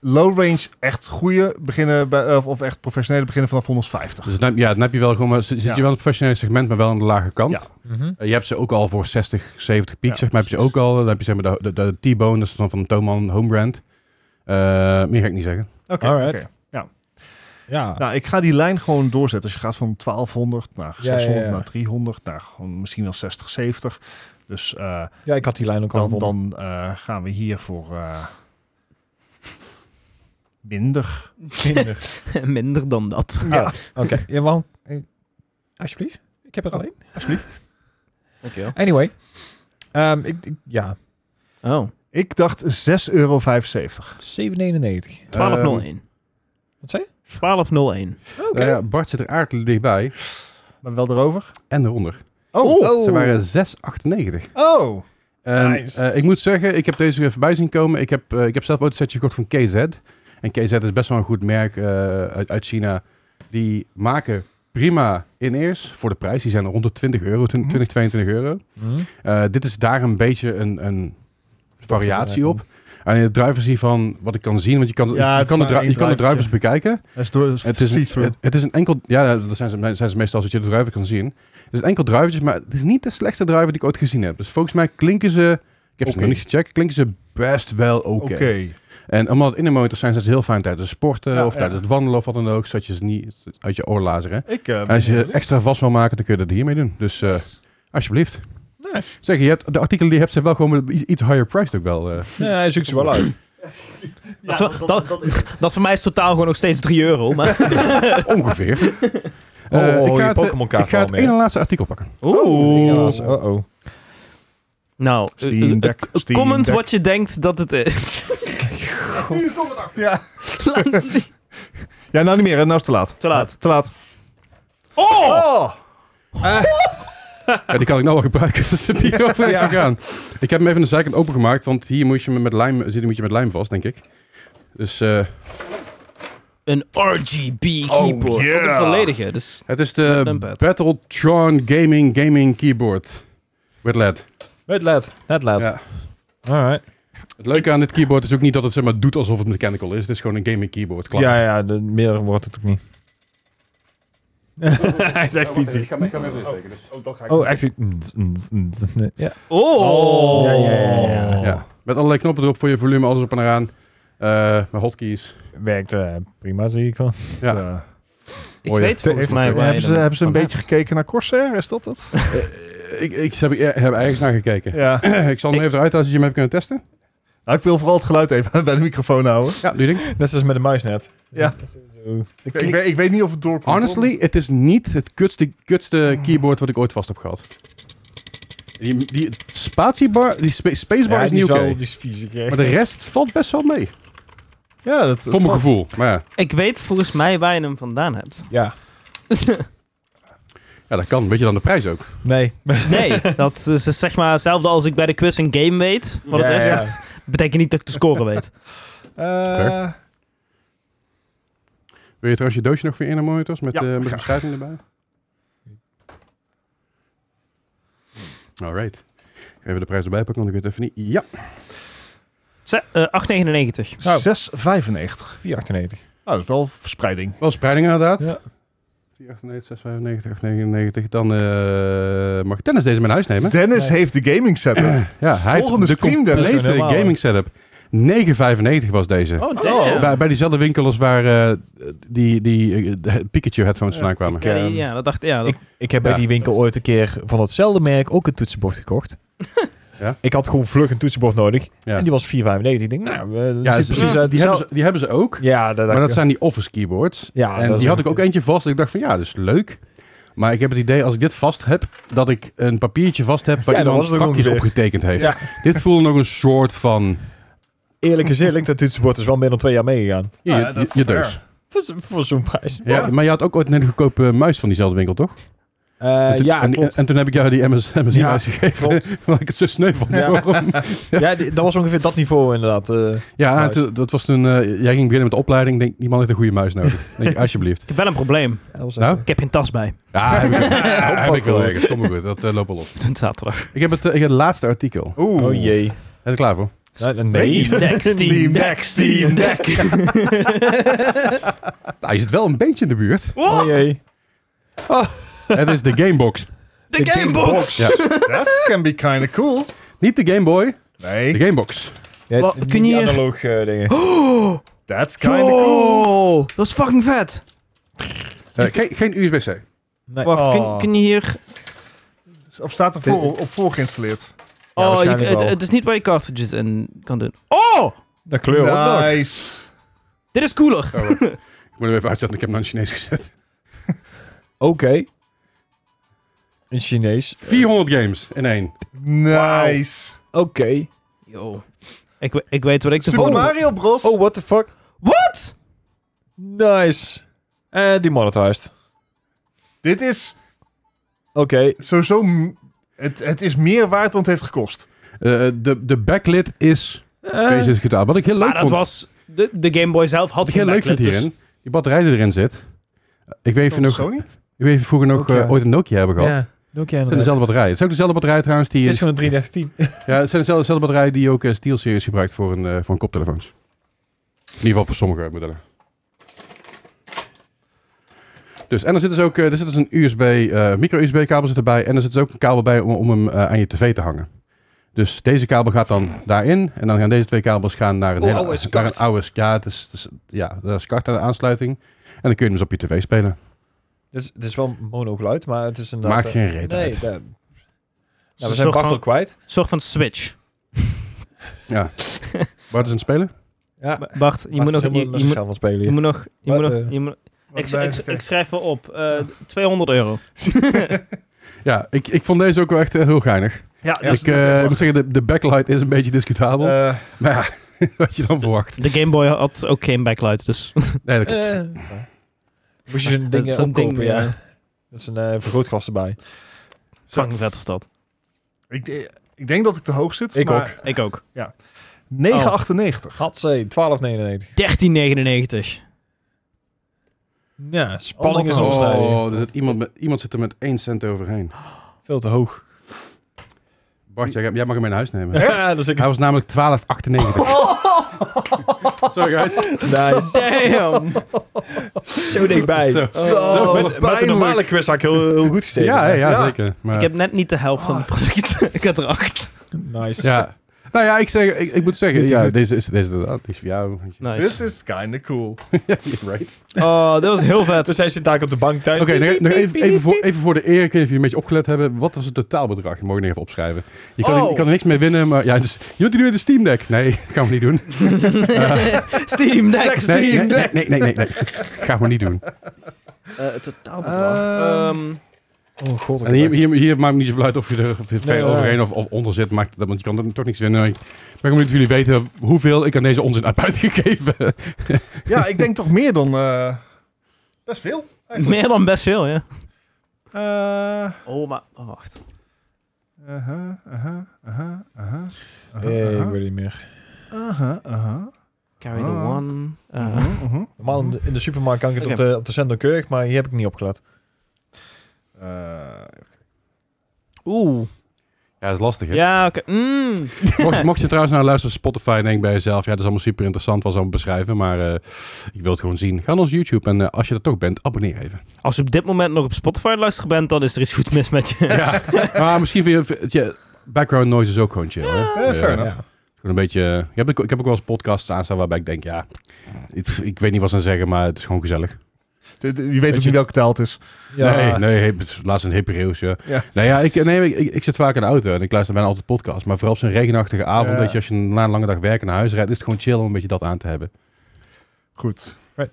Speaker 4: low range, echt goede beginnen bij, eh, of, of echt professionele beginnen vanaf 150.
Speaker 1: Dus dan, heb- ja, dan heb je wel gewoon. maar Zit, zit
Speaker 4: Ja.
Speaker 1: je wel in het professionele segment, maar wel aan de lage kant.
Speaker 4: Ja.
Speaker 2: Mhm.
Speaker 1: Eh, je hebt ze ook al voor 60, 70 piek,
Speaker 4: Ja,
Speaker 1: zeg maar. Heb je ze ook al. Dan heb je zeg maar de, de, de T-Bone, dat is dan van Toman Homebrand. Eh meer ga ik niet zeggen.
Speaker 4: Oké,
Speaker 2: Alright.
Speaker 4: oké.
Speaker 2: Ja.
Speaker 4: Nou, ik ga die lijn gewoon doorzetten. Dus je gaat van 1200 naar
Speaker 2: Ja,
Speaker 4: 600
Speaker 2: ja, ja.
Speaker 4: naar 300 naar gewoon misschien wel 60, 70. Dus eh,
Speaker 2: ja, ik had die lijn ook al
Speaker 4: dan,
Speaker 2: gevonden.
Speaker 4: dan eh, gaan we hier voor eh, minder.
Speaker 2: Minder.
Speaker 3: Minder dan dat.
Speaker 4: Ja.
Speaker 2: Oké. Ja, waarom? eh, Alsjeblieft. Ik heb het alleen.
Speaker 3: Dankjewel.
Speaker 2: Anyway. Ehm, ik, ik- ja,
Speaker 3: Oh.
Speaker 4: Ik dacht 6,75 euro.
Speaker 2: 7,99.
Speaker 1: Ehm,
Speaker 3: 1201.
Speaker 2: Wat zei je?
Speaker 3: 1201.
Speaker 2: Oké.
Speaker 1: Nou ja, Bart zit er aardig dichtbij
Speaker 4: Maar wel erover.
Speaker 1: en eronder.
Speaker 4: Oh, oh.
Speaker 1: Ze waren 6,98. En,
Speaker 4: Nice.
Speaker 1: eh, ik moet zeggen, ik heb deze weer voorbij zien komen. Ik heb, eh, ik heb zelf ooit een setje gekocht van KZ. En KZ is best wel een goed merk eh, uit, uit China. Die maken prima in-ears voor de prijs. Die zijn rond de 20 euro, 20,
Speaker 4: Mhm.
Speaker 1: 22 euro.
Speaker 2: Hm?
Speaker 1: Eh, dit is daar een beetje een, een variatie op. En in het drivers hiervan, wat ik kan zien, want je kan,
Speaker 4: Ja,
Speaker 1: je
Speaker 4: het
Speaker 1: kan,
Speaker 4: is
Speaker 1: de,
Speaker 4: maar
Speaker 1: dri-
Speaker 4: één
Speaker 1: je kan de drivers
Speaker 4: drivertje.
Speaker 1: bekijken.
Speaker 4: Het is, door, het is
Speaker 1: Het is, een,
Speaker 4: see-through.
Speaker 1: het, het is een enkel... Ja, dat zijn ze, zijn ze meestal als je de druiven kan zien. Het is een enkel druivertjes, maar het is niet de slechtste druiven die ik ooit gezien heb. Dus volgens mij klinken ze... Ik heb ze
Speaker 4: Oké.
Speaker 1: nog niet gecheckt. Klinken ze best wel oké.
Speaker 4: Oké.
Speaker 1: En omdat het in de motor zijn, zijn ze dus heel fijn tijdens het sporten
Speaker 4: Ja,
Speaker 1: of
Speaker 4: ja.
Speaker 1: tijdens het wandelen of wat dan ook. Zodat je ze niet uit je oor lazeren.
Speaker 4: Ik, eh,
Speaker 1: En als je
Speaker 4: ben-
Speaker 1: het extra vast wil maken, dan kun je dat hiermee doen. Dus eh, alsjeblieft.
Speaker 2: Nice.
Speaker 1: Zeg, je hebt, de artikelen die je hebt zijn wel gewoon iets, iets higher priced ook wel. eh.
Speaker 2: Ja, hij zoekt ze wel uit.
Speaker 3: Dat, is wel- dat- dat voor mij is totaal gewoon nog steeds 3 euro. Maar...
Speaker 1: ongeveer.
Speaker 2: Oh,
Speaker 1: Eh,
Speaker 2: oh,
Speaker 1: ik
Speaker 2: je
Speaker 1: ga het, eh,
Speaker 2: Pokémon-kaart
Speaker 1: Ik ga
Speaker 2: wel
Speaker 1: het
Speaker 2: mee.
Speaker 1: ene en laatste artikel pakken.
Speaker 2: Oeh.
Speaker 4: Oeh. Oh,
Speaker 2: Uh-oh.
Speaker 3: Oh. Nou, eh,
Speaker 4: Steam
Speaker 3: eh, eh,
Speaker 4: Deck, Steam
Speaker 3: comment
Speaker 4: Deck.
Speaker 3: wat je denkt dat het is.
Speaker 4: Ja. ja, nou niet meer. hè. Nou is het te laat.
Speaker 3: Te laat.
Speaker 4: Te laat.
Speaker 3: Oh!
Speaker 4: Oh!
Speaker 2: Eh.
Speaker 1: Ja, die kan ik nou wel gebruiken. Dat is een bier over
Speaker 2: Ja.
Speaker 1: gegaan. Ik heb hem even aan de zijkant opengemaakt, want hier moet je hem met lijm, zit, moet je met lijm vast, denk ik. Dus eh,
Speaker 3: Een RGB keyboard. Ook
Speaker 4: yeah.
Speaker 3: een volledige. Dus
Speaker 1: het is de
Speaker 3: Numpad.
Speaker 1: Battletron Gaming Gaming Keyboard. With E LED.
Speaker 2: Met led. Net led.
Speaker 1: Ja.
Speaker 2: Alright.
Speaker 1: Het leuke aan dit keyboard is ook niet dat het zeg maar, doet alsof het mechanical is. Het is gewoon een gaming keyboard. Klaar.
Speaker 2: Ja, ja. De, meer wordt het ook niet. Hij is echt
Speaker 1: Ik
Speaker 2: fietsig.
Speaker 1: ga hem ik ga hem even insteken. Dus.
Speaker 2: Oh, echt. fiets- Ja.
Speaker 3: oh!
Speaker 2: Oh. Ja, ja, ja, ja.
Speaker 1: Ja. Met allerlei knoppen erop voor je volume, alles op en eraan. Eh, met hotkeys.
Speaker 2: Werkt eh, prima, zie ik wel.
Speaker 1: Ja.
Speaker 4: Eh,
Speaker 3: Ik
Speaker 1: Mooi.
Speaker 3: weet volgens
Speaker 4: heeft-
Speaker 3: mij waar je
Speaker 4: hebben, ze,
Speaker 3: hem
Speaker 4: hebben ze een
Speaker 3: vandaan-
Speaker 4: beetje gekeken naar Corsair? Is dat het?
Speaker 1: ik ik heb, ik heb ergens naar gekeken.
Speaker 4: Ja.
Speaker 1: ik zal hem even eruit als je hem even kunnen testen.
Speaker 4: Nou, ik wil vooral het geluid even bij de microfoon houden.
Speaker 1: Ja, doe je ding.
Speaker 2: Net zoals met de muis net.
Speaker 4: Ja. Ik, ik, weet, ik weet niet of het doorkomt.
Speaker 1: Honestly, het is niet het kutste, kutste keyboard wat ik ooit vast heb gehad. Die, die spatiebar, die spa- spacebar
Speaker 2: Ja,
Speaker 1: is
Speaker 2: die
Speaker 1: niet
Speaker 2: is
Speaker 1: oké.
Speaker 2: wel- die is vies, ik-
Speaker 1: Maar de rest valt best wel mee.
Speaker 4: Ja, dat, dat
Speaker 1: Voor mijn gevoel. Maar ja,
Speaker 3: Ik weet volgens mij waar je hem vandaan hebt.
Speaker 2: Ja.
Speaker 1: ja, dat kan. Weet je dan de prijs ook?
Speaker 2: Nee.
Speaker 3: Nee, dat is dus zeg maar hetzelfde als ik bij de quiz een game weet. Wat
Speaker 2: Ja,
Speaker 3: het is.
Speaker 2: ja.
Speaker 3: Dat betekent niet dat ik de score weet.
Speaker 4: Eh,
Speaker 1: Fair. Wil je trouwens je doosje nog voor in de monitors met,
Speaker 4: Ja,
Speaker 1: eh, met de
Speaker 4: graag.
Speaker 1: beschrijving erbij? Alright. Even de prijs erbij pakken, want ik weet even niet. Ja,
Speaker 3: Ze- eh, 8,99.
Speaker 2: Nou.
Speaker 4: 6,95.
Speaker 2: 498.
Speaker 4: Nou, dat is wel verspreiding.
Speaker 1: wel spreiding inderdaad.
Speaker 2: Ja.
Speaker 1: 498, 695, 899. Dan eh, mag Dennis deze mee naar huis nemen.
Speaker 4: Dennis
Speaker 2: Nee.
Speaker 4: heeft de gaming setup.
Speaker 1: Ja, hij
Speaker 4: Volgende
Speaker 1: heeft de
Speaker 4: stream,
Speaker 2: dus.
Speaker 4: Dennis.
Speaker 1: complete
Speaker 2: Helemaal, hè?
Speaker 1: gaming setup. 9,95 was deze.
Speaker 3: Oh, damn.
Speaker 1: Bij, bij diezelfde winkel als waar eh, die, die eh, de Pikachu headphones vandaan kwamen.
Speaker 2: ik-
Speaker 3: Ja, die- ja, dat dacht ja, dat-
Speaker 2: Ik, ik heb bij
Speaker 1: Ja.
Speaker 2: die winkel ooit een keer van datzelfde merk ook een toetsenbord gekocht.
Speaker 1: Ja?
Speaker 2: Ik had gewoon vlug een toetsenbord nodig.
Speaker 1: Ja.
Speaker 2: En die was 4,95. Ik denk, nou, eh, dat
Speaker 1: Ja,
Speaker 2: zit
Speaker 1: ze-
Speaker 2: precies uit
Speaker 1: die, hebben ze, die hebben ze ook.
Speaker 2: Ja, dat dacht
Speaker 1: Maar dat
Speaker 2: ik
Speaker 1: zijn die office keyboards.
Speaker 2: Ja, dat
Speaker 1: en
Speaker 2: is
Speaker 1: die had
Speaker 2: ook-
Speaker 1: ik ook eentje vast. Ik dacht van ja, dat is leuk. Maar ik heb het idee, als ik dit vast heb, dat ik een papiertje vast heb waar
Speaker 2: Ja, dat
Speaker 1: iemand
Speaker 2: was het ook
Speaker 1: vakjes
Speaker 2: ongeveer.
Speaker 1: opgetekend heeft.
Speaker 2: Ja.
Speaker 1: Dit voelde nog een soort van...
Speaker 2: Eerlijk gezegd, dat toetsenbord is wel meer dan twee jaar meegegaan.
Speaker 1: Ja,
Speaker 4: Ah,
Speaker 1: je,
Speaker 4: ja, dat
Speaker 1: je-
Speaker 4: is
Speaker 1: je dus.
Speaker 4: fair.
Speaker 1: deus.
Speaker 2: Voor, zo- voor zo'n prijs.
Speaker 1: Ja,
Speaker 4: Ja.
Speaker 1: Maar je had ook ooit een hele goedkope muis van diezelfde winkel, toch?
Speaker 2: Eh,
Speaker 1: En toen-
Speaker 2: ja,
Speaker 1: en,
Speaker 2: klopt.
Speaker 1: en toen heb ik jou die MS, MSI
Speaker 2: Ja,
Speaker 1: muis gegeven.
Speaker 2: klopt.
Speaker 1: Omdat ik het zo sneu vond.
Speaker 2: Ja.
Speaker 1: Waarom?
Speaker 2: ja, die- dat was ongeveer dat niveau inderdaad. eh.
Speaker 1: Ja, en
Speaker 2: Muis.
Speaker 1: toen- dat was toen... eh, jij ging beginnen met de opleiding. Ik Denk, die man heeft een goede muis nodig. Denk je, alsjeblieft.
Speaker 3: ik heb wel een probleem.
Speaker 2: Ja, dat was
Speaker 1: Nou?
Speaker 2: echt-
Speaker 3: Ik heb geen tas bij.
Speaker 1: Ja, heb ik, ja, heb ik wel
Speaker 2: wel.
Speaker 1: ergens. Kom maar goed. Dat eh, loopt wel op.
Speaker 3: Tot zaterdag.
Speaker 1: Ik heb het, eh, ik heb het laatste artikel.
Speaker 4: Oeh.
Speaker 2: Oh jee.
Speaker 1: Ben je er klaar voor?
Speaker 2: Nou, dan ben je
Speaker 4: Nee.
Speaker 2: niet.
Speaker 3: Deck, Steam Deck, Steam
Speaker 4: Deck.
Speaker 1: Nou, je zit wel een beetje in de buurt.
Speaker 2: Oh jee.
Speaker 1: Het is de Gamebox.
Speaker 3: De Gamebox!
Speaker 1: Ja.
Speaker 4: That can be kinda cool.
Speaker 1: Niet de Game Boy, de
Speaker 4: Nee,
Speaker 1: Gamebox.
Speaker 2: Ja,
Speaker 3: Wat,
Speaker 2: die
Speaker 3: kun je hier-
Speaker 2: analoog eh, dingen.
Speaker 4: that's kinda cool.
Speaker 3: Dat is fucking vet.
Speaker 1: Eh, geen, geen USB-C.
Speaker 2: Nee.
Speaker 3: Wacht, kun,
Speaker 4: Oh.
Speaker 3: kun je hier...
Speaker 4: Of staat er voor, op voor geïnstalleerd?
Speaker 2: Ja,
Speaker 3: oh, je-
Speaker 2: waarschijnlijk
Speaker 3: het,
Speaker 2: wel.
Speaker 3: het is niet waar je cartridges in kan doen. Oh!
Speaker 2: De kleur ook nog.
Speaker 4: nice.
Speaker 3: Dit is cooler.
Speaker 1: Oh, wacht. ik moet hem even uitzetten, ik heb hem naar het Chinees gezet.
Speaker 2: Oké. Een Chinees.
Speaker 1: 400 games in één.
Speaker 4: Nice.
Speaker 2: Oké.
Speaker 3: Yo. Ik, we- ik weet wat ik de
Speaker 4: Super
Speaker 3: volgende...
Speaker 4: Mario Bros.
Speaker 2: Oh, what the fuck?
Speaker 3: What?
Speaker 2: Nice. Eh, demonetized.
Speaker 4: Dit is
Speaker 2: Oké.
Speaker 4: sowieso... m- Het, het is meer waard dan het heeft gekost.
Speaker 1: Eh, de, de backlit is
Speaker 2: Eh,
Speaker 1: deze gedaan. Wat ik heel leuk
Speaker 3: Maar dat
Speaker 1: vond.
Speaker 3: was... De, de Game Boy zelf
Speaker 1: wat
Speaker 3: had
Speaker 1: ik heel
Speaker 3: geen
Speaker 1: leuk vind
Speaker 3: backlit, dus-
Speaker 1: hierin. Die batterij die erin zit. Ik weet even
Speaker 4: Van
Speaker 1: nog.
Speaker 4: Sony?
Speaker 1: Ik weet even vroeger nog
Speaker 2: Nokia.
Speaker 1: eh, ooit een Nokia hebben gehad.
Speaker 2: ja. Nokia
Speaker 1: Het zijn
Speaker 2: inderdaad.
Speaker 1: dezelfde batterij. Het is ook dezelfde batterij trouwens die...
Speaker 2: Dit
Speaker 1: is-
Speaker 2: is van een 3310.
Speaker 1: Ja, het zijn dezelfde, dezelfde batterij die ook eh, SteelSeries gebruikt voor een, eh, voor een koptelefoons. In ieder geval voor sommige modellen. Dus, en er zit dus ook eh, er zit dus een USB, eh, micro-USB kabel zit erbij en er zit dus ook een kabel bij om, om hem eh, aan je tv te hangen. Dus deze kabel gaat dan daarin en dan gaan deze twee kabels gaan naar een
Speaker 2: Oh,
Speaker 1: hele
Speaker 2: oude SCART.
Speaker 1: naar een oude SC ja, het is, het is- ja, daar is SCART aan de aansluiting. En dan kun je hem dus op je tv spelen.
Speaker 2: Het is, het is wel mono geluid, maar het is inderdaad...
Speaker 1: Maakt
Speaker 2: eh,
Speaker 1: geen reet
Speaker 2: Nee,
Speaker 1: uit.
Speaker 2: daar-
Speaker 3: Ze
Speaker 2: nou, we zijn
Speaker 3: zorgen
Speaker 2: Bart al
Speaker 3: gewoon-
Speaker 2: kwijt.
Speaker 3: Soort van Switch.
Speaker 1: Ja. Bart is aan het spelen?
Speaker 2: Ja,
Speaker 3: Ba- Bart, je moet nog... Je, je moet,
Speaker 2: van spelen.
Speaker 3: je moet nog... Je
Speaker 2: Wat,
Speaker 3: moet nog,
Speaker 2: eh,
Speaker 3: je moet-
Speaker 4: Wat
Speaker 3: ik,
Speaker 4: wij-
Speaker 3: ik, ik schrijf wel op. eh, 200 euro.
Speaker 1: Ja, ik, ik vond deze ook wel echt eh, heel geinig.
Speaker 4: Ja,
Speaker 1: ik, eh, ik moet zeggen, de, de backlight is een beetje discutabel.
Speaker 2: Eh,
Speaker 1: Maar ja, wat je dan verwacht.
Speaker 3: De Game Boy had ook geen backlight, dus...
Speaker 1: Nee, dat klopt.
Speaker 2: eh, Moest je zo'n
Speaker 3: dat
Speaker 2: ding
Speaker 3: is
Speaker 2: eh,
Speaker 3: een
Speaker 2: omkopen,
Speaker 3: ding,
Speaker 2: ja.
Speaker 3: ja.
Speaker 2: Dat is een eh, vergrootglas erbij.
Speaker 3: Fucking vet is dat.
Speaker 4: ik, de- ik denk dat ik te hoog zit.
Speaker 2: Ik
Speaker 4: maar
Speaker 2: ook.
Speaker 3: Ik ook.
Speaker 4: 9,98.
Speaker 2: Hatsé, 12,99.
Speaker 3: 13,99.
Speaker 2: Ja, spanning is
Speaker 4: Oh.
Speaker 2: ontstijgen.
Speaker 1: Oh, er zit iemand, met, iemand zit er met 1 cent overheen.
Speaker 2: Veel te hoog.
Speaker 1: Bart, jij, jij mag hem mee naar huis nemen.
Speaker 2: Ja, dus ik...
Speaker 1: Hij was namelijk 12,98. Sorry guys.
Speaker 2: Nice.
Speaker 3: Damn!
Speaker 2: Zo dichtbij.
Speaker 1: Zo.
Speaker 4: Zo,
Speaker 2: met, met
Speaker 4: pijnlijk.
Speaker 2: een normale quiz had ik heel, heel goed gezeten.
Speaker 1: Ja, hè, ja,
Speaker 4: Ja.
Speaker 1: zeker. Maar,
Speaker 3: Ik heb net niet de helft van het
Speaker 4: Ah.
Speaker 3: product. ik had er acht.
Speaker 2: Nice.
Speaker 1: ja. Nou ja, ik, zeg, ik, ik moet zeggen,
Speaker 4: Dit is
Speaker 1: ja,
Speaker 4: goed.
Speaker 1: deze is, deze is inderdaad, die is voor jou. weet je.
Speaker 4: This
Speaker 3: Nice.
Speaker 4: is kinda cool.
Speaker 1: right.
Speaker 3: Oh, dat was heel vet.
Speaker 2: Dus hij zit daar op de bank thuis.
Speaker 1: Oké, nog- nog even, even, voor, even voor de eer, ik weet niet of jullie een beetje opgelet hebben. Wat was het totaalbedrag? Je mag het even opschrijven. Je kan,
Speaker 3: Oh.
Speaker 1: je kan er niks mee winnen, maar ja, dus, je doet nu de Steam Deck. Nee, gaan we niet doen.
Speaker 3: Steam Deck.
Speaker 4: Steam
Speaker 1: nee, nee,
Speaker 4: Deck.
Speaker 1: Nee, nee, nee, nee. Ga maar niet doen.
Speaker 4: Ehm,
Speaker 2: Eh, Oh god, ik
Speaker 1: En hier, hier, hier maakt het niet zoveel uit of je er of je er ver
Speaker 2: Nee, ja.
Speaker 1: overheen of, of onder zit. Maakt, dat- want je kan er toch niks winnen. Maar ik ben benieuwd of jullie weten hoeveel ik aan deze onzin heb uitgegeven.
Speaker 4: Ja, ik denk toch meer dan... eh, best veel. eigenlijk.
Speaker 3: meer dan best veel, ja.
Speaker 4: Eh,
Speaker 3: Oh, maar... Oh, wacht.
Speaker 4: aha, aha, aha, aha, aha,
Speaker 2: Nee, ik
Speaker 4: aha,
Speaker 2: weet niet meer.
Speaker 4: aha, aha,
Speaker 3: Carry the
Speaker 4: Ah.
Speaker 3: one. Eh,
Speaker 4: aha, aha.
Speaker 2: Normaal in de, in de supermarkt kan ik het
Speaker 3: Oké.
Speaker 2: op de, op de zender keurig, maar hier heb ik niet opgelet.
Speaker 4: Eh,
Speaker 3: Oeh.
Speaker 1: Ja, dat is lastig. Hè?
Speaker 3: Ja, oké. Mm.
Speaker 1: Mocht, mocht je trouwens naar luisteren op Spotify en denk bij jezelf... Ja, dat is allemaal super interessant, was allemaal beschrijven. Maar eh, ik wil het gewoon zien. Ga naar ons YouTube en eh, als je er toch bent, abonneer even.
Speaker 3: Als je op dit moment nog op Spotify luistert bent, dan is er iets goed mis met je.
Speaker 1: ja, maar misschien vind je... vind je- background noise is ook gewoon chill. Hè?
Speaker 4: eh, fair enough.
Speaker 2: Ja.
Speaker 1: Gewoon een beetje... Ik heb, ook- ik heb ook wel eens podcasts aanstaan waarbij ik denk... Ja, ik, ik weet niet wat ze aan zeggen, maar het is gewoon gezellig.
Speaker 4: dit- Je weet ook niet welke taal het is.
Speaker 2: Ja.
Speaker 1: Nee, nee, hip- het is laatst een Hebreeuws, ja.
Speaker 4: Ja.
Speaker 1: Nou ja, ik, nee, ik, ik, ik zit vaak in de auto en ik luister bijna altijd podcast. Maar vooral op zo'n regenachtige avond,
Speaker 4: Ja.
Speaker 1: weet je, als je na een lange dag werken naar huis rijdt, is het gewoon chill om een beetje dat aan te hebben.
Speaker 4: Goed.
Speaker 2: Right.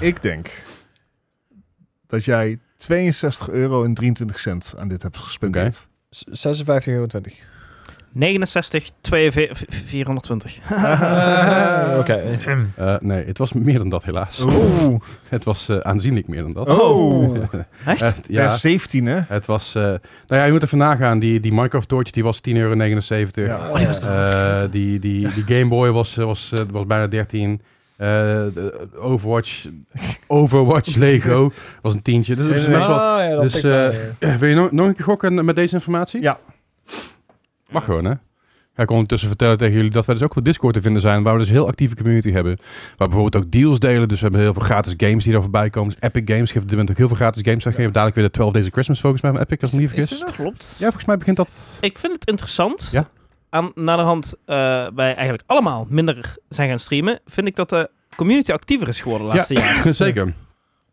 Speaker 4: Ik denk dat jij 62 euro en 23 cent aan dit hebt gespendeerd.
Speaker 2: 56,20 euro. 20.
Speaker 3: 69, 42, 420.
Speaker 4: Ah,
Speaker 2: Oké.
Speaker 1: Eh, nee, het was meer dan dat helaas.
Speaker 4: Oeh.
Speaker 1: Het was eh, aanzienlijk meer dan dat.
Speaker 4: Oh.
Speaker 3: Echt?
Speaker 1: Eh,
Speaker 4: Ja.
Speaker 1: ja,
Speaker 4: 17 hè?
Speaker 1: het was... eh, nou ja, je moet even nagaan. Die, die Minecraft-toortje, die was 10,79 euro.
Speaker 4: Ja.
Speaker 3: Oh, die was ik allemaal
Speaker 1: Eh,
Speaker 3: vergeten.
Speaker 1: die, die, die Game Boy was, eh, was, eh, was bijna 13. Eh, de Overwatch, Overwatch Lego was een tientje. Dus het is
Speaker 4: Nee,
Speaker 1: best
Speaker 4: nee.
Speaker 1: wel...
Speaker 2: Ah, ja, dat
Speaker 1: Dus,
Speaker 2: tikt het.
Speaker 1: eh, Wil je nog, nog een keer gokken met deze informatie?
Speaker 4: Ja.
Speaker 1: Mag gewoon, hè? Ga ik ondertussen vertellen tegen jullie dat wij dus ook op Discord te vinden zijn, waar we dus een heel actieve community hebben. Waar bijvoorbeeld ook deals delen. Dus we hebben heel veel gratis games die daar voorbij komen. Dus Epic Games geeft op dit moment ook heel veel gratis games. Wij geven dadelijk weer de 12 Days of Christmas volgens mij van Epic, als ik me niet
Speaker 3: Is
Speaker 1: vergis.
Speaker 3: dat
Speaker 1: Ja,
Speaker 3: zo? Klopt.
Speaker 1: volgens mij begint dat...
Speaker 3: Ik vind het interessant.
Speaker 1: Ja?
Speaker 3: Aan, naar de hand eh, wij eigenlijk allemaal minder zijn gaan streamen, vind ik dat de community actiever is geworden de laatste jaren.
Speaker 1: Zeker.
Speaker 3: Dat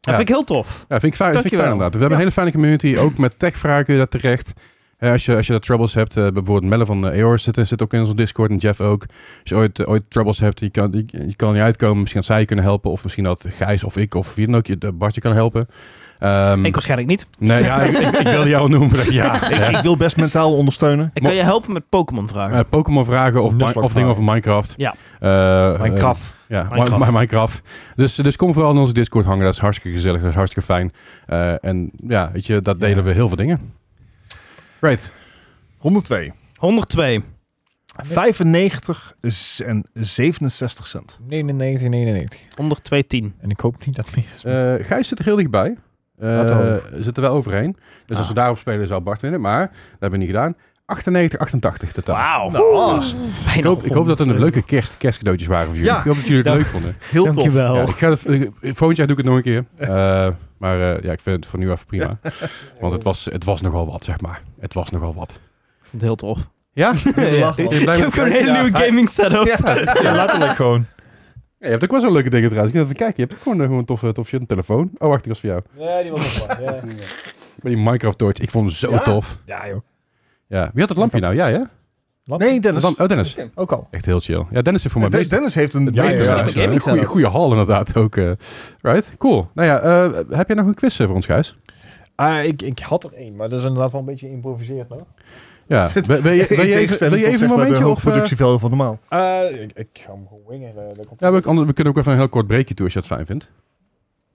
Speaker 3: vind ik heel tof.
Speaker 1: Ja, vind ik fijn, vind ik
Speaker 3: Dankjewel.
Speaker 1: fijn inderdaad. We hebben een hele fijne community. Ook met techvragen kun je daar terecht. Eh, als, je, als je daar troubles hebt, eh, bijvoorbeeld Melle van eh, Eor zit, zit ook in onze Discord en Jeff ook. Als je ooit, eh, ooit troubles hebt, je kan, je, je kan er niet uitkomen. Misschien dat zij je kunnen helpen. Of misschien dat Gijs of ik of wie dan ook je de Bartje kan helpen.
Speaker 4: Mm.
Speaker 1: Ehm,
Speaker 3: Ik waarschijnlijk niet.
Speaker 1: nee, ja, ik, ik, ik wilde jou noemen. maar Ja,
Speaker 4: Ik, ik wil best mentaal ondersteunen.
Speaker 3: Ik kan je helpen met Pokémon vragen.
Speaker 1: Eh, Pokémon vragen of,
Speaker 2: Nuzlocke
Speaker 1: mi- of dingen
Speaker 2: vragen.
Speaker 1: over Minecraft.
Speaker 3: Ja.
Speaker 1: Eh,
Speaker 2: Mijn
Speaker 1: eh,
Speaker 2: kraf.
Speaker 1: Ja,
Speaker 3: Minecraft.
Speaker 1: Minecraft. Minecraft. Dus, dus kom vooral in onze Discord hangen. Dat is hartstikke gezellig. Dat is hartstikke fijn. Eh, en ja, weet je, dat delen
Speaker 2: Ja.
Speaker 1: we heel veel dingen. Right.
Speaker 4: 102.
Speaker 3: 102.
Speaker 4: 95 en 67 cent.
Speaker 2: 99, 99.
Speaker 3: 102, 10.
Speaker 2: En ik hoop niet dat meer is.
Speaker 1: Eh Gijs zit er heel dichtbij. Eh, eh,
Speaker 2: hopen.
Speaker 1: zitten wel overheen. Dus als we daarop spelen zou Bart winnen, maar dat hebben we niet gedaan. 98, 88 totaal.
Speaker 3: Wauw.
Speaker 4: Nou,
Speaker 3: Dus bijna
Speaker 1: Ik hoop, ik hoop dat het een
Speaker 3: 100.
Speaker 1: leuke kerst, kerstcadeautjes waren voor jullie.
Speaker 4: Ja.
Speaker 1: Ik hoop dat jullie het
Speaker 3: Ja.
Speaker 1: leuk vonden.
Speaker 4: Heel tof.
Speaker 3: Dankjewel.
Speaker 1: Ja, ik ga, het- eh, volgend jaar doe ik het nog een keer. Eh, maar eh, ja, ik vind het voor nu even prima. Want het was, het was nogal wat, zeg maar. Het was nogal wat.
Speaker 3: Ik vond het heel tof.
Speaker 1: Ja?
Speaker 4: Jullie lachen
Speaker 1: Ik
Speaker 4: wel.
Speaker 1: ben blij
Speaker 3: ik heb
Speaker 1: met-
Speaker 3: gewoon een hele
Speaker 1: Ja.
Speaker 3: nieuwe gaming setup.
Speaker 2: Ja, letterlijk gewoon.
Speaker 1: Ja, je hebt ook wel zo'n leuke dingen trouwens. Ik dacht, kijk, je hebt ook gewoon, eh, gewoon tof, tof shit. Een telefoon. Oh, wacht, die was voor jou.
Speaker 2: Ja, die was nog ja.
Speaker 1: Maar die Minecraft torch, ik vond hem zo
Speaker 2: Ja?
Speaker 1: tof.
Speaker 2: ja, joh.
Speaker 1: Ja. Wie had het lampje nou? Jij, hè?
Speaker 4: Nee, Dennis.
Speaker 1: Dan- oh, Dennis.
Speaker 2: Ook al.
Speaker 1: Echt heel chill. Ja, Dennis heeft voor mij
Speaker 4: De-
Speaker 1: meest...
Speaker 4: Dennis heeft een...
Speaker 1: Het
Speaker 2: Ja,
Speaker 1: meeste
Speaker 2: ja, ja.
Speaker 1: gedaan.
Speaker 3: Zelfs een gaming
Speaker 1: Goeie-
Speaker 3: setup.
Speaker 1: goede haal inderdaad ook. eh. right, cool. Nou ja, eh, heb je nog een quiz eh, voor ons, Gijs?
Speaker 2: Ah, ik, ik had er één, maar dat is inderdaad wel een beetje geïmproviseerd. Nou.
Speaker 1: Ja.
Speaker 4: Dit-
Speaker 1: Wil wil je, wil je even, wil je even een momentje?
Speaker 4: de
Speaker 1: Of, eh,
Speaker 4: productievel van normaal.
Speaker 2: ik, ik ga hem gewoon wingen. eh, dat komt
Speaker 1: ja, we, anders- we kunnen ook even een heel kort breekje toe als je dat fijn vindt.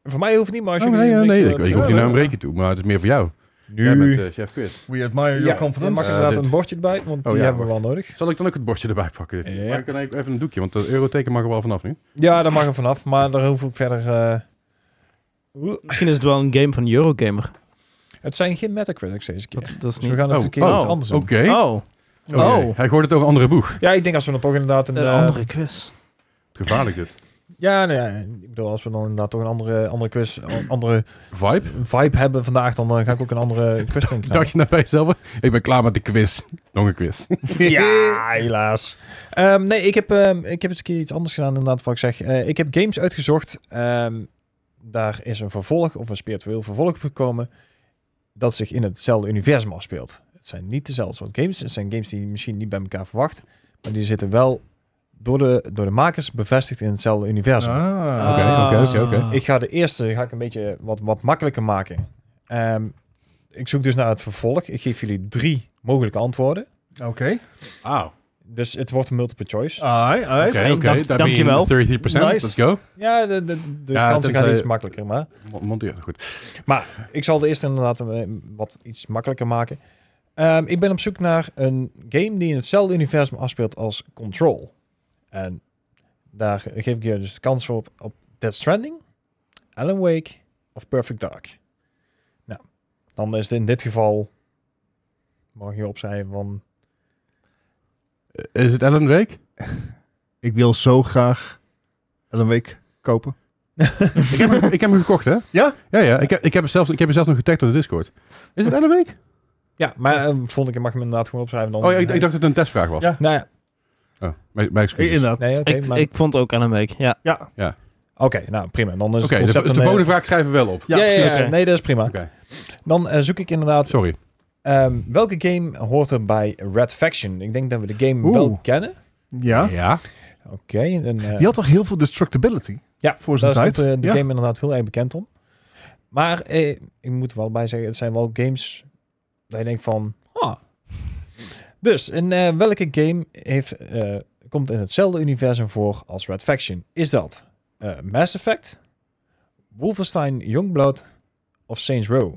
Speaker 2: Voor mij hoeft het niet, maar als
Speaker 1: Oh,
Speaker 2: jullie
Speaker 1: nee,
Speaker 2: een
Speaker 1: nee, nee,
Speaker 2: beetje-
Speaker 1: ik, ik hoef niet naar een breekje toe, maar het is meer voor jou. Jij
Speaker 2: Nu.
Speaker 1: bent eh, chef quiz.
Speaker 4: We admire your
Speaker 2: ja, dan
Speaker 4: confidence.
Speaker 2: mag
Speaker 1: Eh,
Speaker 2: ik inderdaad
Speaker 1: dit.
Speaker 2: een bordje erbij, want
Speaker 1: Oh,
Speaker 2: die
Speaker 1: ja,
Speaker 2: hebben we wel nodig.
Speaker 1: Zal ik dan ook het bordje erbij pakken? Dit?
Speaker 2: Ja.
Speaker 1: Maar ik kan even even een doekje, want de euroteken mag er wel vanaf nu.
Speaker 2: Ja, daar mag er vanaf, maar daar hoef ik verder... eh, oeh.
Speaker 3: Misschien is het wel een game van Eurogamer.
Speaker 2: Het zijn geen Metacritics deze keer.
Speaker 3: Dat, dat is
Speaker 2: Dus we
Speaker 3: niet...
Speaker 2: gaan het een keer iets anders
Speaker 1: oké.
Speaker 2: doen.
Speaker 3: Oh,
Speaker 1: Oké.
Speaker 3: Oh.
Speaker 1: Hij gooit het over een andere boeg.
Speaker 2: Ja, ik denk als we dan toch inderdaad een...
Speaker 3: een
Speaker 2: eh,
Speaker 3: andere quiz.
Speaker 1: Gevaarlijk dit.
Speaker 2: Ja, nou ja, ik bedoel, als we dan inderdaad toch een andere, andere quiz, een andere
Speaker 1: Vibe?
Speaker 2: vibe hebben vandaag, dan eh, ga ik ook een andere quiz denken.
Speaker 1: Dacht je naar bij jezelf? Ik ben klaar met de quiz. Nog een quiz.
Speaker 2: Ja, helaas. Ehm, nee, ik heb, ehm, ik heb eens een keer iets anders gedaan inderdaad, wat ik zeg. Eh, ik heb games uitgezocht. Ehm, daar is een vervolg of een spiritueel vervolg op gekomen dat zich in hetzelfde universum afspeelt. Het zijn niet dezelfde soort games. Het zijn games die je misschien niet bij elkaar verwacht, maar die zitten wel door de, door de makers bevestigd in hetzelfde universum.
Speaker 4: Ah.
Speaker 1: Oké, oké, oké, oké.
Speaker 3: Ah.
Speaker 2: Ik ga de eerste ga ik een beetje wat, wat makkelijker maken. Ehm, ik zoek dus naar het vervolg. Ik geef jullie drie mogelijke antwoorden.
Speaker 4: Oké.
Speaker 1: Wauw.
Speaker 2: Dus het wordt een multiple choice.
Speaker 4: Alright, alright.
Speaker 1: Oké,
Speaker 3: Dank-
Speaker 1: oké. Daar ben je
Speaker 3: dankjewel.
Speaker 1: 33%. Let's go.
Speaker 2: Ja, de, de, de
Speaker 1: Ja,
Speaker 2: kansen
Speaker 1: tenzij-
Speaker 2: gaan iets makkelijker. Maar
Speaker 1: Mo- Monteer, goed.
Speaker 2: ik zal de eerste inderdaad eh, wat iets makkelijker maken. Ehm, ik ben op zoek naar een game die in hetzelfde universum afspeelt als Control. En daar geef ik je dus de kans voor op, op Death Stranding, Alan Wake of Perfect Dark. Nou, dan is het in dit geval... Mag je opzij van...
Speaker 1: Eh, Is het Ellen Week?
Speaker 4: Ik wil zo graag een week kopen.
Speaker 1: ik, heb hem, ik heb hem gekocht, hè?
Speaker 4: Ja?
Speaker 1: Ja, ja. Ik heb, ik heb, hem, zelfs, ik heb hem zelfs nog getagd door de Discord. Is het Ellen Week?
Speaker 2: Ja, maar eh, vond ik, je mag hem inderdaad gewoon opschrijven. Dan,
Speaker 1: Oh ja, ik, ik dacht dat het een testvraag was.
Speaker 4: Ja.
Speaker 2: Nou ja,
Speaker 1: Oh, mijn, mijn
Speaker 4: I-
Speaker 1: excuses.
Speaker 4: Inderdaad.
Speaker 2: nee, oké.
Speaker 3: ik,
Speaker 2: maar-
Speaker 3: ik vond ook Alan Wake, ja.
Speaker 4: Ja.
Speaker 2: Oké, nou prima. Dan is
Speaker 1: Oké,
Speaker 2: het
Speaker 1: de- dus de,
Speaker 2: concept een-
Speaker 1: volgende vraag schrijven we wel op.
Speaker 4: Ja,
Speaker 2: Ja, ja, ja,
Speaker 4: precies.
Speaker 2: ja. nee, dat is prima.
Speaker 1: Oké.
Speaker 2: Dan eh, zoek ik inderdaad
Speaker 1: Sorry.
Speaker 2: ehm, welke game hoort er bij Red Faction. Ik denk dat we de game
Speaker 4: Oeh.
Speaker 2: wel kennen.
Speaker 4: Ja.
Speaker 1: Ja.
Speaker 2: Oké, en, eh,
Speaker 4: Die had toch heel veel destructibility?
Speaker 2: ja,
Speaker 4: voor zijn
Speaker 2: daar stond
Speaker 4: tijd.
Speaker 2: eh, de
Speaker 4: Ja.
Speaker 2: game inderdaad heel erg bekend om. Maar eh, ik moet er wel bij zeggen, het zijn wel games dat je denkt van, ah. Dus, in eh, welke game heeft, eh, komt in hetzelfde universum voor als Red Faction? Is dat eh, Mass Effect, Wolfenstein Youngblood of Saints Row?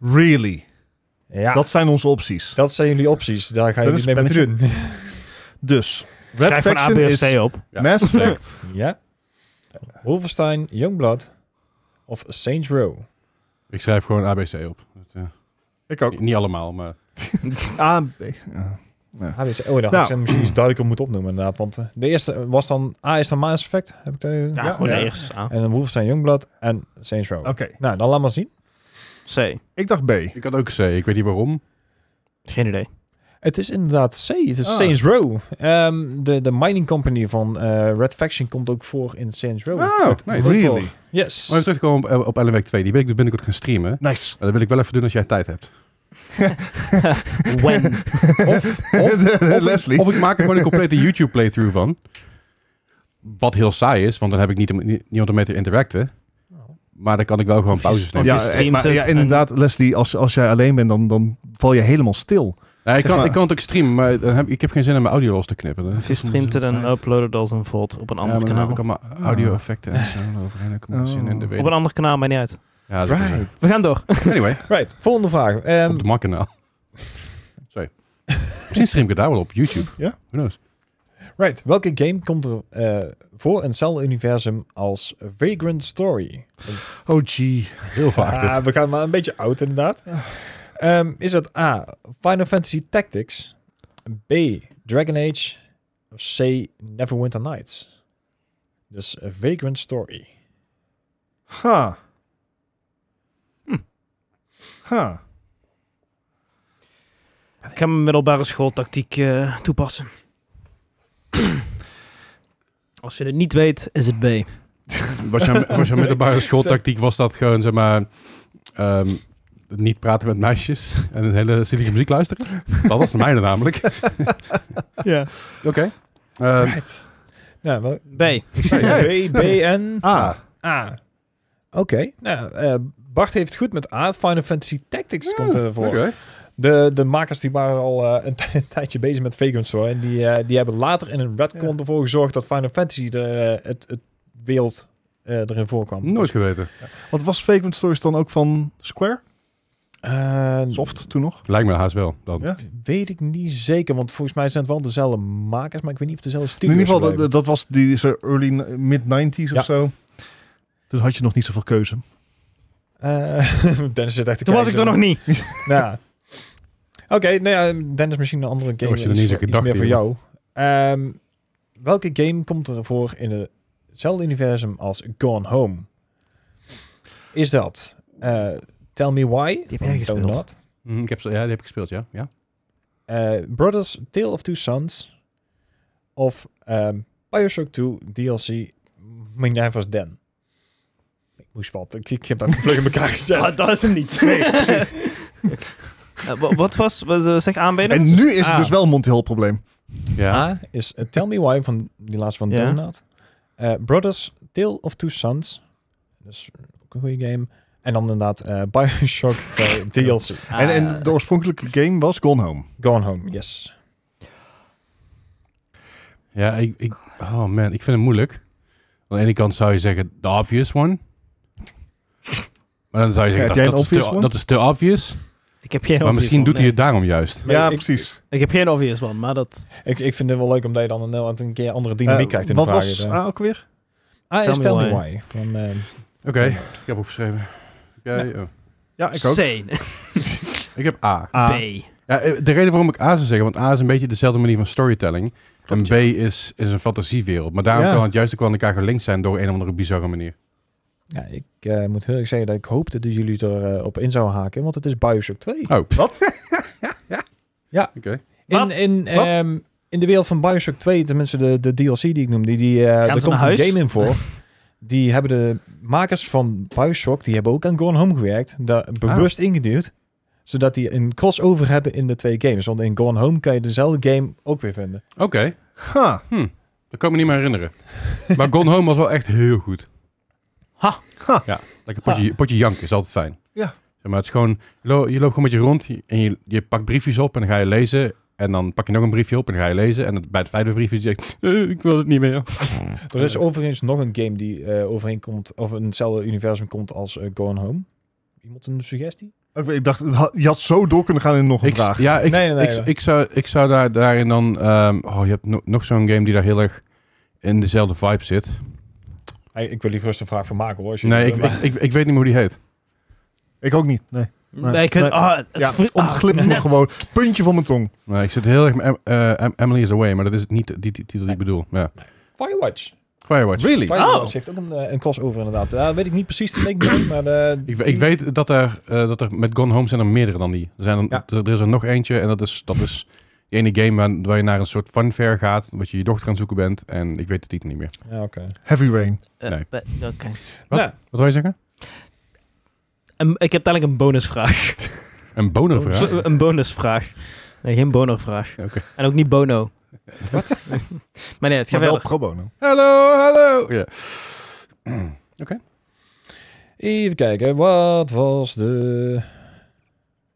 Speaker 4: Really?
Speaker 2: Ja.
Speaker 4: Dat zijn onze opties.
Speaker 2: Dat zijn jullie opties. Daar ga je
Speaker 4: Dat
Speaker 2: niet
Speaker 4: is
Speaker 2: mee moeten doen.
Speaker 4: Dus, Red
Speaker 3: Schrijf van
Speaker 4: Faction is
Speaker 3: ABFC op.
Speaker 1: Ja.
Speaker 4: Mass Effect.
Speaker 2: Ja. Wolfenstein, Youngblood of Saints Row.
Speaker 1: Ik schrijf gewoon ABC op. Dat, eh,
Speaker 4: ik ook.
Speaker 1: Niet allemaal, maar...
Speaker 4: A, B. Ja.
Speaker 2: Ah, dus- oh, dan
Speaker 4: Nou.
Speaker 2: had ik ze misschien iets duidelijker moeten opnoemen inderdaad. Want eh, de eerste was dan... A is dan Mass Effect. Heb ik dat
Speaker 3: Ja,
Speaker 4: Ja,
Speaker 3: gewoon
Speaker 4: ja.
Speaker 3: eerst. A.
Speaker 2: En dan Wolfenstein, Youngblood en Saints Row.
Speaker 4: Oké,
Speaker 2: Nou, dan laat maar zien.
Speaker 3: C.
Speaker 4: ik dacht B.
Speaker 1: Ik had ook C. Ik weet niet waarom.
Speaker 3: Geen idee.
Speaker 2: Het is inderdaad C. Het is
Speaker 4: Ah.
Speaker 2: Saints Row. Ehm, de, de mining company van eh, Red Faction komt ook voor in Saints Row.
Speaker 1: Oh, nice.
Speaker 4: Ah, Really?
Speaker 2: Yes.
Speaker 1: Maar even terugkomen eh, op, op Ellen Week 2. Die ben ik dus binnenkort gaan streamen.
Speaker 4: Nice.
Speaker 1: Maar dat wil ik wel even doen als jij tijd hebt.
Speaker 3: When?
Speaker 1: Of, of, of,
Speaker 4: Leslie.
Speaker 1: Ik, of ik maak er gewoon een complete YouTube playthrough van. Wat heel saai is, want dan heb ik niet om, nie- niemand om mee te interacten.
Speaker 3: Oh.
Speaker 1: Maar dan kan ik wel gewoon pauzes nemen.
Speaker 3: je
Speaker 4: Ja,
Speaker 3: streamt
Speaker 4: eh, maar,
Speaker 3: het
Speaker 4: ja,
Speaker 3: en-
Speaker 4: inderdaad, Leslie, als, als jij alleen bent, dan, dan val je helemaal stil.
Speaker 1: Nee, ik,
Speaker 4: Zeg
Speaker 1: kan,
Speaker 4: maar-
Speaker 1: ik kan het ook streamen, maar dan heb, ik heb geen zin om mijn audio los te knippen. Dat
Speaker 3: Of je
Speaker 1: is
Speaker 3: streamt het en
Speaker 1: fijn.
Speaker 3: uploadt het als een VOD op een
Speaker 1: ja,
Speaker 3: ander
Speaker 1: maar dan
Speaker 3: kanaal.
Speaker 1: heb ik allemaal audio-effecten en zo overheen. Dan kom ik
Speaker 4: Oh.
Speaker 1: zin in de
Speaker 3: Op een
Speaker 1: wereld.
Speaker 3: ander kanaal, maar niet uit.
Speaker 1: Ja, dat is ook
Speaker 4: Right.
Speaker 3: We gaan door.
Speaker 1: zo. Anyway,
Speaker 2: Right, volgende vraag. Ehm,
Speaker 1: op de makkanaal. Sorry. Misschien stream ik het daar wel op YouTube.
Speaker 4: Ja?
Speaker 1: Who knows?
Speaker 2: Right, welke game komt er eh, voor in hetzelfde universum als Vagrant Story?
Speaker 4: Oh gee.
Speaker 1: Heel vaak dit. Ah.
Speaker 2: Ah, we gaan maar een beetje oud inderdaad. Ehm, is dat A, Final Fantasy Tactics, B, Dragon Age, of C, Neverwinter Nights? Dus eh, Vagrant Story.
Speaker 4: Ha.
Speaker 3: Hm.
Speaker 4: Ha.
Speaker 3: Ik ga mijn middelbare schooltactiek eh, toepassen. Als je het niet weet, is het B.
Speaker 1: Was jouw, was jouw middelbare schooltactiek, was dat gewoon, zeg maar, ehm, niet praten met meisjes en een hele zielige muziek luisteren? Dat was mijn namelijk.
Speaker 4: Ja.
Speaker 1: Oké. Ehm,
Speaker 2: Right. Nou, wel,
Speaker 3: B.
Speaker 2: B, B en
Speaker 4: Ah.
Speaker 2: A. Oké, nou, eh, Bart heeft het goed met A. Final Fantasy Tactics
Speaker 1: Ja,
Speaker 2: komt ervoor.
Speaker 1: oké.
Speaker 2: De, de makers die waren al eh, een, t- een tijdje bezig met Vagrant Story. En die, eh, die hebben later in een retcon
Speaker 4: Ja.
Speaker 2: ervoor gezorgd dat Final Fantasy er, eh, het, het beeld eh, erin voorkwam.
Speaker 1: Nooit geweten.
Speaker 4: Wat was Vagrant Stories dan ook van Square?
Speaker 2: Eh,
Speaker 4: Soft toen nog?
Speaker 1: Lijkt me haast wel. Dan.
Speaker 4: Ja.
Speaker 2: weet ik niet zeker, want volgens mij zijn het wel dezelfde makers, maar ik weet niet of het dezelfde
Speaker 4: In
Speaker 2: studio is.
Speaker 4: ieder geval, dat- dat, dat was die zo early mid-90s
Speaker 2: Ja.
Speaker 4: of zo. Toen had je nog niet zoveel keuze.
Speaker 2: gebleven. Eh, Dennis zit echt te
Speaker 3: Toen was ik
Speaker 2: kijken
Speaker 3: er
Speaker 2: zo.
Speaker 3: nog niet.
Speaker 2: Ja. Oké, nou ja, Dennis, misschien een andere game.
Speaker 1: was je er niet
Speaker 2: iets,
Speaker 1: zo
Speaker 2: iets
Speaker 1: gedacht,
Speaker 2: meer voor
Speaker 1: joh.
Speaker 2: jou. Ehm, welke game komt er voor in hetzelfde universum als Gone Home? Is dat eh, Tell Me Why?
Speaker 3: heb
Speaker 2: van
Speaker 3: jij
Speaker 2: Don't
Speaker 3: gespeeld.
Speaker 2: Nod,
Speaker 1: Hm, ik heb, ze- ja, die heb ik gespeeld, ja. ja.
Speaker 2: eh, Brothers Tale of Two Sons? Of ehm Bioshock 2 DLC Minerva's Den? Ik moest wat. Ik, ik heb dat vlug in elkaar gezet.
Speaker 3: Ah, dat is hem niet. Eh, wa- wat was, was eh, zeg aanbenen?
Speaker 4: En nu is
Speaker 2: ah.
Speaker 4: het dus wel een mondiaal probleem.
Speaker 1: ja.
Speaker 2: A is eh, Tell Me Why van die laatste van
Speaker 3: Ja.
Speaker 2: Donut. Eh, Brothers, Tale of Two Sons. Dat is ook een goede game. En dan inderdaad eh, Bioshock 2 DLC.
Speaker 3: Ah.
Speaker 4: en, en de oorspronkelijke game was Gone Home.
Speaker 2: Gone Home, yes.
Speaker 1: Ja, ik, ik, oh man, ik vind het moeilijk. Aan de ene kant zou je zeggen, the obvious one. Maar dan zou je
Speaker 4: Ja, heb
Speaker 1: zeggen, dat,
Speaker 4: jij een
Speaker 1: dat is
Speaker 4: obvious
Speaker 1: te,
Speaker 4: one?
Speaker 1: dat is te obvious.
Speaker 3: ik heb geen
Speaker 1: maar
Speaker 3: obvious
Speaker 1: misschien
Speaker 3: one,
Speaker 1: doet hij
Speaker 3: nee.
Speaker 1: het daarom juist.
Speaker 2: Nee,
Speaker 4: ja,
Speaker 2: ik-
Speaker 4: precies.
Speaker 3: Ik heb geen obvious one, maar dat...
Speaker 2: Ik, ik vind het wel leuk omdat je dan een, heel- een keer andere dynamiek
Speaker 4: Eh,
Speaker 2: krijgt in
Speaker 4: wat
Speaker 2: de vragen.
Speaker 4: was Ah,
Speaker 2: Dus, eh,
Speaker 4: A ook weer?
Speaker 2: A is Tell Me Why. van, eh,
Speaker 1: Oké, ik heb opgeschreven. Jij, oh.
Speaker 4: Ja, ik ook. Ah.
Speaker 3: C.
Speaker 1: Ik heb A.
Speaker 4: A.
Speaker 3: B.
Speaker 1: Ja, eh, de reden waarom ik A zou zeggen, want A is een beetje dezelfde manier van storytelling. en
Speaker 3: Klopt,
Speaker 1: B is, is een fantasiewereld. Maar daarom
Speaker 4: Ja.
Speaker 1: kan het juist ook wel aan elkaar gelinkt zijn door een of andere bizarre manier.
Speaker 2: ja, ik eh, moet heel erg zeggen dat ik hoopte dat jullie er eh, op in zouden haken, want het is Bioshock 2.
Speaker 1: Oh,
Speaker 4: Wat?
Speaker 1: oké.
Speaker 2: In,
Speaker 3: Wat?
Speaker 2: in,
Speaker 4: Wat?
Speaker 2: ehm, in de wereld van Bioshock 2, tenminste de, de DLC die ik noemde, die, eh,
Speaker 3: ze
Speaker 2: daar
Speaker 3: naar
Speaker 2: komt een
Speaker 3: huis?
Speaker 2: game in voor. Die hebben de makers van Bioshock, die hebben ook aan Gone Home gewerkt, daar
Speaker 3: Ah.
Speaker 2: bewust ingeduwd. Zodat die een crossover hebben in de twee games. Want in Gone Home kan je dezelfde game ook weer vinden.
Speaker 1: Oké,
Speaker 4: Ha.
Speaker 1: dat kan ik me niet meer herinneren. maar Gone Home was wel echt heel goed.
Speaker 3: Ha.
Speaker 4: Ha.
Speaker 1: Ja, lekker potje, potje janken is altijd fijn.
Speaker 4: Ja.
Speaker 1: Zeg maar het is gewoon, je lo- je loopt gewoon met je rond en je, je pakt briefjes op en dan ga je lezen. En dan pak je nog een briefje op en dan ga je lezen. En het- bij het vijfde briefje zeg je, "Eh, ik wil het niet meer.
Speaker 2: Er is overigens nog een game die eh, overeenkomt, of in hetzelfde universum komt als eh, Gone Home. Iemand een suggestie?
Speaker 4: Ik, weet- ik dacht, het had- je had zo door kunnen gaan in nog een
Speaker 1: Ik,
Speaker 4: vraag.
Speaker 1: ja, ik,
Speaker 2: Nee, nee, nee,
Speaker 1: ik,
Speaker 2: nee.
Speaker 1: ik zou, ik zou daar, daarin dan... ehm, oh, je hebt no- nog zo'n game die daar heel erg in dezelfde vibe zit.
Speaker 2: Hey, ik wil hier gerust een vraag van maken hoor. als je-
Speaker 1: Nee, ik,
Speaker 2: maar-
Speaker 1: ik, ik, ik weet niet meer hoe die heet.
Speaker 4: Ik ook niet, nee.
Speaker 3: Nee, ik weet...
Speaker 4: nee.
Speaker 3: ah, het
Speaker 4: Ja,
Speaker 3: vri- ah,
Speaker 4: ontglipt me
Speaker 3: net.
Speaker 4: gewoon. Puntje van mijn tong.
Speaker 1: Maar ik zit heel erg met Em- eh, Em- Emily is Away, maar dat is niet die die titel die ik bedoel. Ja.
Speaker 2: Firewatch.
Speaker 1: Firewatch.
Speaker 4: Really?
Speaker 2: Firewatch
Speaker 3: Oh.
Speaker 2: heeft ook een, eh, een crossover inderdaad. Daar weet ik niet precies de link mee, maar... eh,
Speaker 1: Ik,
Speaker 2: die-
Speaker 1: ik weet dat er, eh, dat er met Gone Home zijn er meerdere dan die. Er, zijn er,
Speaker 2: Ja.
Speaker 1: er is er nog eentje en dat is, dat is die ene game waar, waar je naar een soort funfair gaat. Wat je je dochter aan het zoeken bent. En ik weet de titel niet meer.
Speaker 2: Ja, oké.
Speaker 4: Heavy Rain.
Speaker 3: Eh,
Speaker 1: Nee.
Speaker 3: be- Oké.
Speaker 1: Wat?
Speaker 2: Nou,
Speaker 1: Wat wil je zeggen?
Speaker 3: Een- Ik heb dadelijk een bonusvraag.
Speaker 1: Een bonervraag?
Speaker 3: Bo- een bonusvraag. Nee, geen bonervraag.
Speaker 1: Oké.
Speaker 3: En ook niet bono. Wat? maar nee, het gaat
Speaker 4: Maar wel
Speaker 3: wel.
Speaker 4: pro bono.
Speaker 1: Hallo, hallo! Oh, Ja.
Speaker 2: even kijken, wat was de...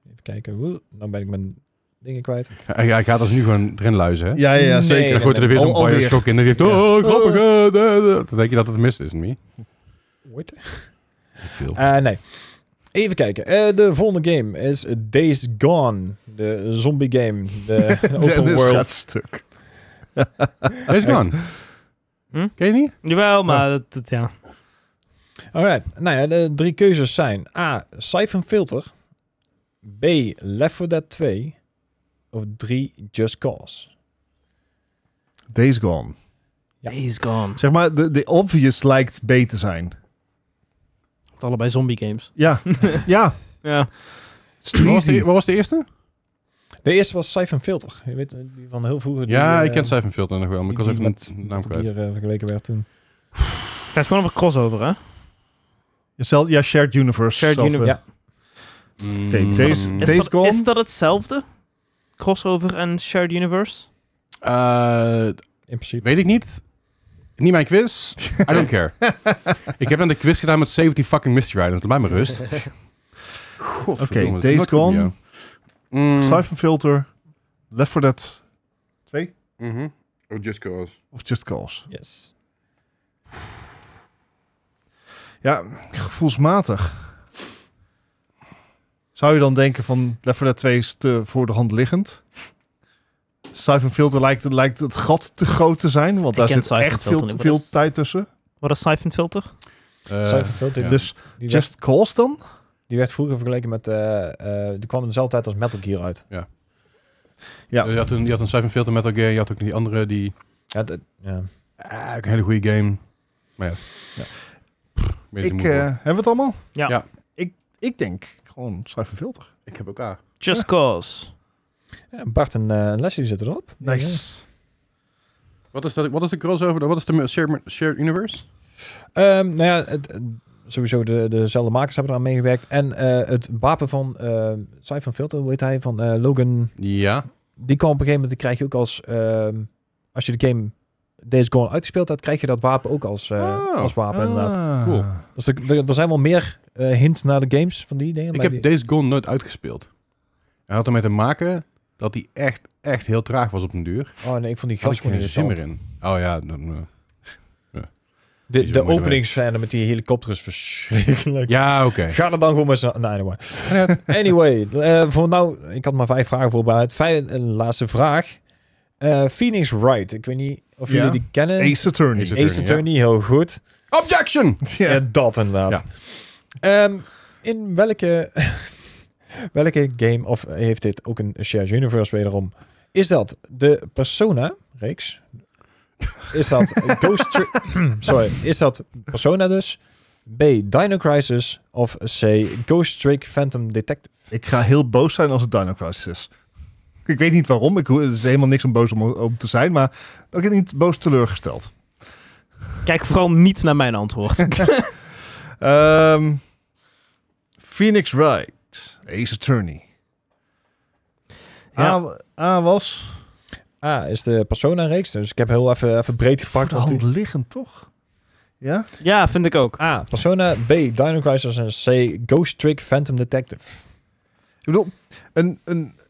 Speaker 2: Even kijken, woe, nou ben ik mijn dingen kwijt.
Speaker 1: Hij, hij gaat ons nu gewoon erin luizen, hè?
Speaker 4: Ja, ja,
Speaker 2: Nee.
Speaker 4: zeker.
Speaker 1: Dan gooit hij er weer
Speaker 4: Al-
Speaker 1: zo'n
Speaker 4: alweer.
Speaker 1: Bioshock in. En die heeft, oh, grappig. eh, eh, eh. Dan denk je dat het mist is, niet?
Speaker 2: What?
Speaker 1: Veel.
Speaker 2: Eh, nee. Even kijken, eh, de volgende game is Days Gone. De zombie game, de
Speaker 4: Dennis
Speaker 2: open
Speaker 4: gaat
Speaker 2: world.
Speaker 4: stuk.
Speaker 1: Days Gone.
Speaker 3: Hm?
Speaker 1: Ken je niet?
Speaker 3: Jawel, maar dat, dat- ja.
Speaker 2: Alright, nou ja, de drie keuzes zijn A, Siphon Filter, B, Left 4 Dead 2 of 3, Just Cause.
Speaker 4: Days Gone.
Speaker 2: Ja.
Speaker 3: Days Gone.
Speaker 4: Zeg maar, de, de obvious lijkt B te zijn.
Speaker 3: Het allebei zombie games.
Speaker 4: Ja, ja.
Speaker 3: Ja.
Speaker 4: It's too
Speaker 1: Wat was,
Speaker 4: easy.
Speaker 1: de, wat was de eerste?
Speaker 2: De eerste was Siphon Filter, je weet eh, die van heel vroeger.
Speaker 1: ja,
Speaker 2: die,
Speaker 1: ik ken
Speaker 2: eh,
Speaker 1: Siphon Filter nog wel, maar ik was
Speaker 2: die
Speaker 1: even
Speaker 2: met-
Speaker 1: met naam
Speaker 2: dat
Speaker 1: kwijt.
Speaker 2: hier eh, vergeleken werd toen.
Speaker 3: Het gaat gewoon over crossover, hè?
Speaker 4: Zelf- ja, Shared Universe.
Speaker 2: Shared
Speaker 4: zelfde.
Speaker 2: Universe,
Speaker 4: Oké,
Speaker 1: Mm.
Speaker 4: Days-
Speaker 1: Mm.
Speaker 3: Is,
Speaker 4: Days
Speaker 3: dat,
Speaker 4: Gone?
Speaker 3: is dat hetzelfde? Crossover en Shared Universe?
Speaker 1: Eh,
Speaker 2: in principe.
Speaker 1: weet ik niet. Niet mijn quiz. I don't care. ik heb net een quiz gedaan met 17 fucking Mystery Riders. Laat mij maar rust. Godverdomme,
Speaker 4: Oké,
Speaker 1: dat is
Speaker 4: Days
Speaker 1: nooit goed met
Speaker 4: Gone.
Speaker 1: jou. Mm.
Speaker 4: Siphon Filter. Left 4 Dead 2.
Speaker 1: Mhm. Oh, Just Cause.
Speaker 4: Of Just Cause.
Speaker 2: Yes.
Speaker 4: Ja, gevoelsmatig. Zou je dan denken van Left 4 Dead 2 is te voor de hand liggend? Siphon Filter lijkt, lijkt het gat te groot te zijn, want
Speaker 3: Ik
Speaker 4: daar
Speaker 3: ken
Speaker 4: zit
Speaker 3: Siphon
Speaker 4: echt
Speaker 3: Filter
Speaker 4: veel,
Speaker 3: niet, maar
Speaker 4: veel
Speaker 3: dat is-
Speaker 4: tijd tussen.
Speaker 3: Wat is Siphon Filter?
Speaker 1: Eh,
Speaker 2: Siphon Filter,
Speaker 1: ja.
Speaker 4: Dus
Speaker 2: die, werd,
Speaker 4: Just Cause dan?
Speaker 2: die werd vroeger vergeleken met, eh, eh, die kwam in dezelfde tijd als Metal Gear uit.
Speaker 4: Ja.
Speaker 1: Je had een, je had een Siphon Filter Metal Gear. Je had ook die andere, die...
Speaker 2: Ja, dat- ja.
Speaker 1: Ah, ook een hele goede game. Maar ja. ja. Pff, weet
Speaker 4: Ik,
Speaker 1: niet
Speaker 4: eh,
Speaker 1: hoe-
Speaker 4: hebben we het allemaal?
Speaker 3: Ja.
Speaker 1: Ja.
Speaker 4: Ik, ik denk gewoon Siphon Filter.
Speaker 1: ik heb ook A.
Speaker 3: Just Cause.
Speaker 2: Ja, Bart en eh, Leslie zitten erop.
Speaker 4: Nice.
Speaker 1: Wat is, dat, wat is de crossover? Wat is de shared, shared universe?
Speaker 2: Ehm, nou ja, het, eh, sowieso de, dezelfde makers hebben eraan meegewerkt. En eh, het wapen van eh Siphon Filter, hoe heet hij, van eh, Logan...
Speaker 1: Ja.
Speaker 2: Die kwam op een gegeven moment, die krijg je ook als... ehm, als je de game Days Gone uitgespeeld hebt, krijg je dat wapen ook als, eh,
Speaker 1: Oh.
Speaker 2: als wapen inderdaad.
Speaker 4: Ah.
Speaker 1: Cool.
Speaker 2: Dus er, er- er zijn wel meer eh, hints naar de games van die dingen.
Speaker 1: Ik
Speaker 2: maar
Speaker 1: heb
Speaker 2: die-
Speaker 1: Days Gone nooit uitgespeeld. Hij had ermee te maken dat hij echt, echt heel traag was op den duur.
Speaker 2: Oh nee, ik vond die
Speaker 1: Had
Speaker 2: gast
Speaker 1: ik
Speaker 2: gewoon
Speaker 1: geen zin meer
Speaker 2: interessant.
Speaker 1: in. Oh ja, dan, eh. Die
Speaker 2: De,
Speaker 1: is
Speaker 2: de
Speaker 1: wel mooi
Speaker 2: openingsscène met die helikopter is verschrikkelijk.
Speaker 1: eh. ja oké.
Speaker 2: Ga er dan gewoon maar zo... Nee, anyway.
Speaker 1: Ja,
Speaker 2: Anyway, eh, voor nou, ik had maar vijf vragen voorbereid. Vijf, eh, laatste vraag. Eh, Phoenix Wright. Ik weet niet of
Speaker 4: Ja.
Speaker 2: jullie die kennen.
Speaker 4: Ace Attorney.
Speaker 1: Ace
Speaker 2: Ace Attorney, heel goed.
Speaker 1: Objection!
Speaker 4: Ja.
Speaker 2: Eh, dat inderdaad. Ehm, in welke, welke game, of heeft dit ook een shared universe wederom? Is dat de Persona-reeks? Is dat Ghost Tri- Sorry, is dat Persona dus? B, Dino Crisis? Of C, Ghost Trick Phantom Detective?
Speaker 4: Ik ga heel boos zijn als het Dino Crisis is. Ik weet niet waarom. Ik, er is helemaal niks om boos om, om te zijn. Maar ook niet boos teleurgesteld.
Speaker 3: Kijk vooral niet naar mijn antwoord.
Speaker 4: Ehm, Phoenix Wright. Ace Attorney. Ah,
Speaker 3: Ja.
Speaker 4: A, A was...
Speaker 2: A is de Persona-reeks. Dus ik heb heel even, even breed gepakt.
Speaker 4: Voor de
Speaker 2: want
Speaker 4: hand liggend, toch? Ja?
Speaker 3: ja, vind ik ook.
Speaker 2: die- A, Persona. B, Dino Crisis. En C, Ghost Trick Phantom Detective.
Speaker 4: Ik bedoel, een, een
Speaker 1: net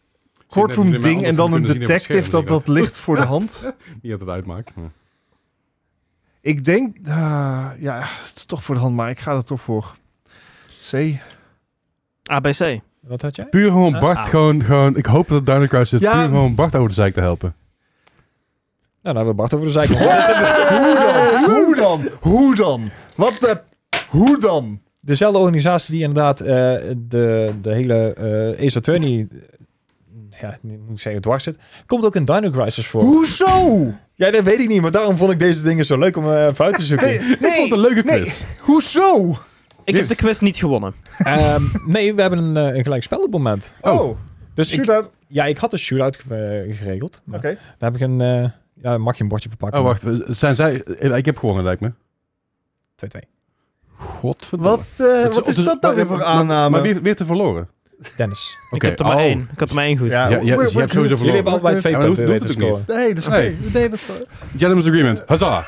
Speaker 4: courtroom
Speaker 1: niet meer
Speaker 4: ding
Speaker 1: aan,
Speaker 4: en
Speaker 1: of
Speaker 4: dan
Speaker 1: we
Speaker 4: een
Speaker 1: kunnen zien op het
Speaker 4: detective.
Speaker 1: scherm,
Speaker 4: Dat, dat ligt voor de hand.
Speaker 1: Niet dat het uitmaakt. maar-
Speaker 4: Ik denk, ah, ja, het is toch voor de hand, maar ik ga er toch voor. C.
Speaker 3: ABC.
Speaker 2: Wat had jij?
Speaker 1: Puur gewoon
Speaker 2: Eh,
Speaker 1: Bart,
Speaker 3: ah.
Speaker 1: gewoon, gewoon... Ik hoop dat Dino Crisis
Speaker 4: Ja.
Speaker 1: puur gewoon Bart over de zeik te helpen.
Speaker 2: Nou, dan hebben we Bart over de zijkant.
Speaker 4: Hoe dan? Hoe dan? Hoe dan? Wat de... Hoe dan?
Speaker 2: Dezelfde organisatie die inderdaad eh, de, de hele eh Ace Attorney... Ja, niet- moet ik zeggen, dwars zit. Komt ook in Dino Crisis voor.
Speaker 4: Hoezo?
Speaker 2: Ja, dat weet ik niet. Maar daarom vond ik deze dingen zo leuk om eh, even uit te zoeken.
Speaker 1: Ik vond het een leuke
Speaker 4: nee.
Speaker 1: quiz.
Speaker 4: Hoezo?
Speaker 3: Ik heb de quiz niet gewonnen.
Speaker 2: Ehm, nee, we hebben een, eh, een gelijk spel op het moment.
Speaker 1: Oh.
Speaker 2: Dus ik,
Speaker 4: shootout.
Speaker 2: ja, ik had een shootout ge- geregeld. Maar
Speaker 4: Oké.
Speaker 2: Daar heb ik een... eh, ja, mag je een bordje verpakken.
Speaker 1: Oh, wacht. Zijn zij... Ik heb gewonnen, lijkt me.
Speaker 2: 2-2.
Speaker 1: Godverdomme.
Speaker 4: Wat, eh,
Speaker 1: Het
Speaker 4: wat is
Speaker 1: het
Speaker 4: dat nou weer
Speaker 1: maar-
Speaker 4: voor
Speaker 1: maar-
Speaker 4: aanname?
Speaker 1: Maar weer, weer te verloren.
Speaker 2: Dennis.
Speaker 3: ik heb er maar
Speaker 1: oh.
Speaker 3: één. Ik had er maar één goed.
Speaker 4: Ja.
Speaker 1: Ja, ja,
Speaker 4: We're-
Speaker 1: dus je
Speaker 4: we're
Speaker 1: hebt sowieso
Speaker 4: good.
Speaker 2: Jullie
Speaker 1: verloren.
Speaker 2: hebben allebei twee
Speaker 1: Ja, maar
Speaker 2: punten
Speaker 1: dat
Speaker 2: weten
Speaker 1: hoeft-
Speaker 2: te
Speaker 1: dat hoeft
Speaker 2: scoren.
Speaker 4: Nee, dat is oké.
Speaker 1: Hey.
Speaker 4: Nee, dat is wel-
Speaker 1: Gentleman's Agreement. Huzzah.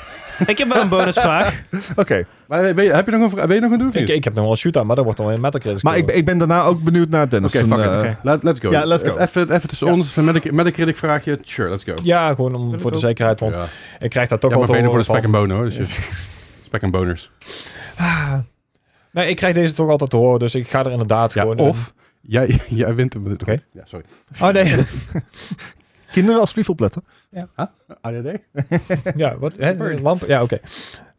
Speaker 3: Ik heb wel een bonusvraag.
Speaker 4: Oké.
Speaker 1: Maar eh, ben je- heb je nog een, vra- ben je nog een doel?
Speaker 2: Ik, ik heb nog wel een shootout, maar dat wordt al in Metal Crisis.
Speaker 4: Maar ik, ben- ik ben daarna ook benieuwd naar Dennis.
Speaker 1: Oké, fuck it.
Speaker 4: eh,
Speaker 1: Oké, Let, let's go.
Speaker 4: Ja, let's go.
Speaker 1: Even, even tussen
Speaker 4: Ja.
Speaker 1: ons. Even Metacritic, Metacritic vraagje. Sure, let's go.
Speaker 2: Ja, gewoon om,
Speaker 3: ik
Speaker 2: voor de
Speaker 3: ook.
Speaker 2: zekerheid, want
Speaker 1: Ja,
Speaker 2: ik krijg daar toch
Speaker 1: ja
Speaker 2: wel eh,
Speaker 1: maar
Speaker 2: te
Speaker 1: beter voor de spek en
Speaker 2: horen van-
Speaker 1: bonen hoor. Dus je- spek en boners.
Speaker 2: Nee, ik krijg deze toch altijd te horen, dus ik ga er inderdaad
Speaker 1: Ja,
Speaker 2: gewoon...
Speaker 1: of jij, jij wint hem. Oké.
Speaker 2: Oké.
Speaker 1: Ja, sorry.
Speaker 2: Oh nee.
Speaker 4: Kinderen alsjeblieft opletten.
Speaker 1: ADD?
Speaker 2: Ja, wat? Hè? Lamp? Ja, oké.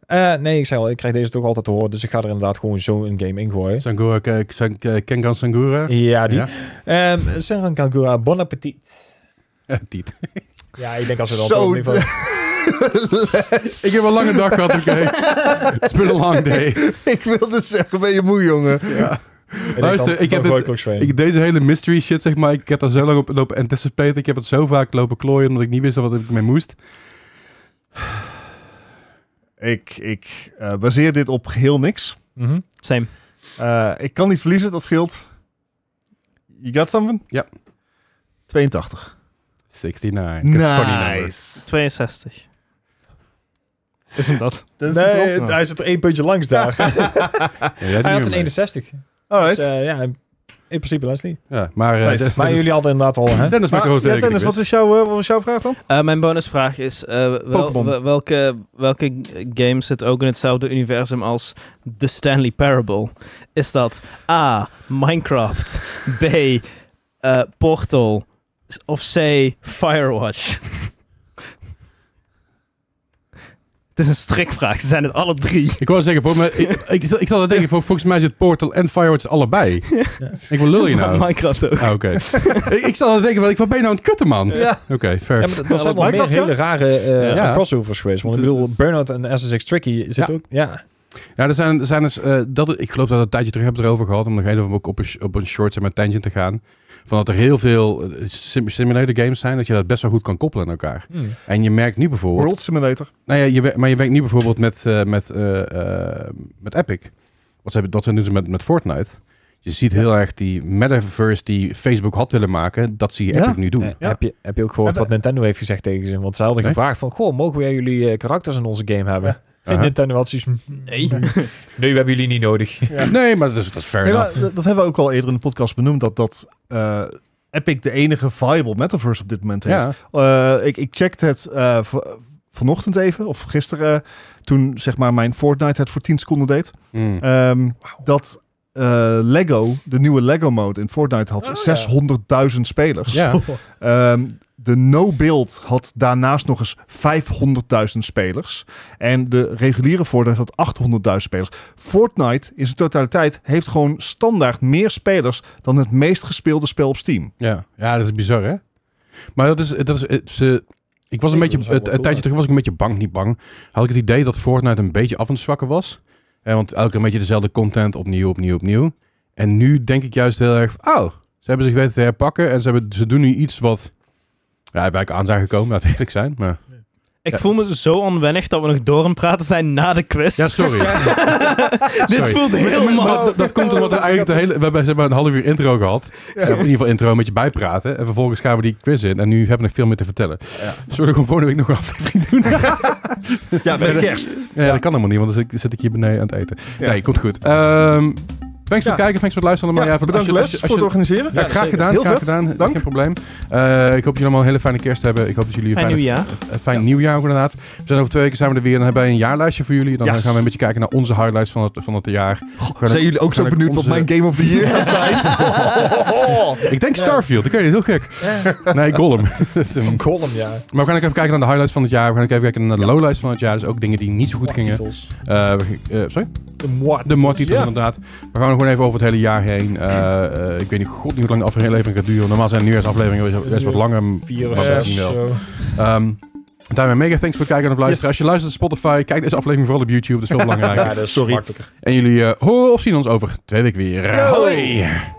Speaker 2: Eh, nee, ik zei al, ik krijg deze toch altijd te horen. Dus ik ga er inderdaad gewoon zo een game in gooien.
Speaker 1: Sangura, K- San- K- Kengan Sangura.
Speaker 2: Ja, die.
Speaker 1: Ja.
Speaker 2: Ehm Senran Kagura, bon appetit.
Speaker 1: Ja, Tiet.
Speaker 2: Ja, ik denk als we dan
Speaker 4: Zo,
Speaker 2: op niveau...
Speaker 1: Ik heb een lange dag gehad, oké.
Speaker 4: eh,
Speaker 1: It's been a long day.
Speaker 4: ik wilde zeggen, ben je moe, jongen?
Speaker 1: Ja.
Speaker 2: ik
Speaker 1: Luister,
Speaker 2: denk, dan-
Speaker 1: ik heb
Speaker 2: dan gooi
Speaker 1: het-
Speaker 2: ik ook Sven.
Speaker 1: Ik, deze hele mystery shit, zeg maar, ik heb daar zo lang op lopen anticipaten. Ik heb het zo vaak lopen klooien, omdat ik niet wist wat ik mee moest.
Speaker 4: Ik, ik eh, baseer dit op geheel niks.
Speaker 2: Mhm.
Speaker 3: Same.
Speaker 4: Eh, ik kan niet verliezen, dat scheelt. You got something?
Speaker 1: Ja.
Speaker 4: 82.
Speaker 1: 69.
Speaker 4: nou,
Speaker 1: 'cause funny number.
Speaker 3: 62. Isn't dat?
Speaker 4: Dat is het
Speaker 2: Nee,
Speaker 4: wel.
Speaker 2: hij zit er één puntje langs daar.
Speaker 1: Ja, jij
Speaker 2: hij
Speaker 1: had
Speaker 2: had
Speaker 1: niet
Speaker 2: een
Speaker 1: meer mee.
Speaker 2: 61.
Speaker 4: Alright.
Speaker 2: Dus eh, ja, in principe Leslie.
Speaker 1: Ja, maar eh,
Speaker 4: Nice.
Speaker 1: Dennis-
Speaker 2: Maar jullie hadden inderdaad al, hè?
Speaker 1: Dennis maakt
Speaker 4: Maar,
Speaker 1: er ook
Speaker 4: ja, Dennis, wat is jouw, eh, wat was jouw vraag dan?
Speaker 3: Eh, mijn bonusvraag is: eh, wel,
Speaker 4: Pokémon.
Speaker 3: wel- welke, welke game zit ook in hetzelfde universum als The Stanley Parable? Is dat A. Minecraft, B. eh, Portal of C. Firewatch? het is een strikvraag, ze zijn het alle drie.
Speaker 1: Ik wou zeggen, voor me, ik, ik, ik zat te denken, vol- volgens mij zit Portal en Firewatch allebei. Ik wil lul je nou.
Speaker 3: Maar Minecraft ook.
Speaker 1: Ah, oké. ik, ik zat te denken, wat, wat ben je nou aan het kutten, man? Oké, fair.
Speaker 2: Ja, maar dat zijn
Speaker 4: wat
Speaker 2: wel meer
Speaker 4: Minecraft, ja?
Speaker 2: hele rare eh,
Speaker 1: Ja.
Speaker 2: crossovers geweest. Want ik bedoel, Burnout en SSX Tricky zit
Speaker 1: Ja.
Speaker 2: ook... Ja,
Speaker 1: Ja, er zijn, er zijn dus, eh, dat, ik geloof dat we een tijdje terug hebben het erover gehad, om nog even ook op een, sh- op een short en met tangent te gaan. Van dat er heel veel eh, sim- simulator games zijn, dat je dat best wel goed kan koppelen aan elkaar. En je merkt nu bijvoorbeeld...
Speaker 4: World Simulator.
Speaker 1: Nou ja, je, wer- maar je werkt nu bijvoorbeeld met, eh, met, eh, eh, met Epic. Wat ze, hebben- dat ze doen ze met, met Fortnite. Je ziet heel erg die metaverse die Facebook had willen maken, dat zie je
Speaker 4: Ja.
Speaker 1: Epic nu doen.
Speaker 2: Eh, Heb, je, heb je ook gehoord
Speaker 4: Heb-
Speaker 2: wat Nintendo heeft gezegd tegen ze? Want ze hadden
Speaker 1: Nee?
Speaker 2: gevraagd van... Goh, mogen wij jullie eh, karakters in onze game hebben? En
Speaker 1: Aha.
Speaker 2: Nintendo had zoiets... van, "Hm,
Speaker 3: Nee.
Speaker 2: Nee, we hebben jullie niet nodig.
Speaker 1: Nee, maar dat is, dat is fair
Speaker 4: Nee, maar
Speaker 1: enough.
Speaker 4: dat, dat hebben we ook al eerder in de podcast benoemd, dat, dat eh, Epic de enige viable metaverse op dit moment heeft.
Speaker 1: Ja.
Speaker 4: Eh, ik, ik checkte het eh, v- vanochtend even, of gisteren, toen zeg maar mijn Fortnite het voor 10 seconden deed.
Speaker 1: Mm.
Speaker 4: Ehm, Dat eh, Lego, de nieuwe Lego mode in Fortnite,
Speaker 2: Oh, ja.
Speaker 4: had 600.000 spelers.
Speaker 1: Ja.
Speaker 4: Ehm, de no-build had daarnaast nog eens 500.000 spelers. En de reguliere Fortnite had 800.000 spelers. Fortnite in zijn totaliteit heeft gewoon standaard meer spelers dan het meest gespeelde spel op Steam.
Speaker 1: Ja. ja, dat is bizar, hè? Maar dat is... Dat is het- ze, ik was een
Speaker 2: Nee,
Speaker 1: beetje... Het,
Speaker 2: dat zou wel
Speaker 1: een
Speaker 2: cool
Speaker 1: tijdje terug was ik een beetje bang, niet bang. Had ik het idee dat Fortnite een beetje af en zwakken was. Eh, want elke keer een beetje dezelfde content, opnieuw, opnieuw, opnieuw. En nu denk ik juist heel erg... van, Oh, ze hebben zich weten te herpakken. En ze, hebben, ze doen nu iets wat... Ja, waar ik aan zijn gekomen, laat eerlijk zijn. Maar,
Speaker 3: Ik
Speaker 1: Ja.
Speaker 3: voel me zo onwennig dat we nog door aan het praten zijn na de quiz.
Speaker 1: ja, sorry.
Speaker 3: Dit
Speaker 1: Sorry.
Speaker 3: voelt
Speaker 1: Maar-
Speaker 3: heel
Speaker 1: maar
Speaker 3: mal.
Speaker 1: dat, dat komt omdat we eigenlijk de hele... We hebben zeg maar, een half uur intro gehad. Eh, In ieder geval intro met je bijpraten. En vervolgens gaan we die quiz in. En nu hebben we nog veel meer te vertellen. Zullen we gewoon volgende week nog een aflevering doen?
Speaker 4: Ja, met kerst.
Speaker 1: Ja, dat kan helemaal niet, want dan zit, zit ik hier beneden aan het eten.
Speaker 4: Ja.
Speaker 1: Nee, komt goed. Ehm, thanks voor
Speaker 4: Ja.
Speaker 1: het kijken, thanks voor het luisteren.
Speaker 4: Ja,
Speaker 1: Maar ja, voor- als
Speaker 4: bedankt
Speaker 1: je-
Speaker 4: Les
Speaker 1: als je- als
Speaker 4: voor het
Speaker 1: je-
Speaker 4: organiseren.
Speaker 1: ja, graag
Speaker 2: zeker.
Speaker 1: gedaan,
Speaker 4: Heel
Speaker 1: graag
Speaker 4: vet.
Speaker 1: gedaan.
Speaker 4: Dank.
Speaker 1: Geen probleem. Eh, ik hoop dat jullie allemaal een hele fijne kerst hebben. Ik hoop dat jullie een
Speaker 3: Fijn
Speaker 1: fijne-
Speaker 3: nieuwjaar.
Speaker 1: een fijn nieuwjaar ook inderdaad. We zijn over twee weken zijn we er weer. Dan hebben wij een jaarlijstje voor jullie. Dan
Speaker 4: Ja.
Speaker 1: eh, gaan we een beetje kijken naar onze highlights van het, van het jaar. Gaan we-
Speaker 4: Zijn jullie ook zo
Speaker 1: gaan we
Speaker 4: benieuwd
Speaker 1: onze-
Speaker 4: wat mijn Game of the Year gaat zijn?
Speaker 1: Ik denk Starfield. Oké, heel gek. Nee, Gollum.
Speaker 2: Van Column, ja.
Speaker 1: maar we gaan ook even kijken naar de highlights van het jaar. We gaan ook even kijken naar de lowlights van het jaar. Dus ook dingen die niet zo goed gingen.
Speaker 2: Titels.
Speaker 1: Eh, we g- eh, sorry?
Speaker 2: De moord.
Speaker 1: De moordtitels
Speaker 4: Ja.
Speaker 1: inderdaad. We gaan gewoon even over het hele jaar heen. Eh, eh, ik weet niet, god niet hoe lang de aflevering gaat duren. Normaal zijn de nieuwjaarsafleveringen best- best wat langer.
Speaker 2: Vier of
Speaker 1: Maar
Speaker 2: zes.
Speaker 1: misschien wel.
Speaker 2: zo.
Speaker 1: Ehm, daarmee mega thanks voor het kijken en het luisteren.
Speaker 4: Yes.
Speaker 1: Als je luistert op Spotify, kijk deze aflevering vooral op YouTube. Dat is veel
Speaker 2: Ja,
Speaker 1: belangrijker.
Speaker 2: dat is
Speaker 4: Sorry.
Speaker 2: makkelijker.
Speaker 1: en jullie eh, horen of zien ons over twee weken weer. Hoi!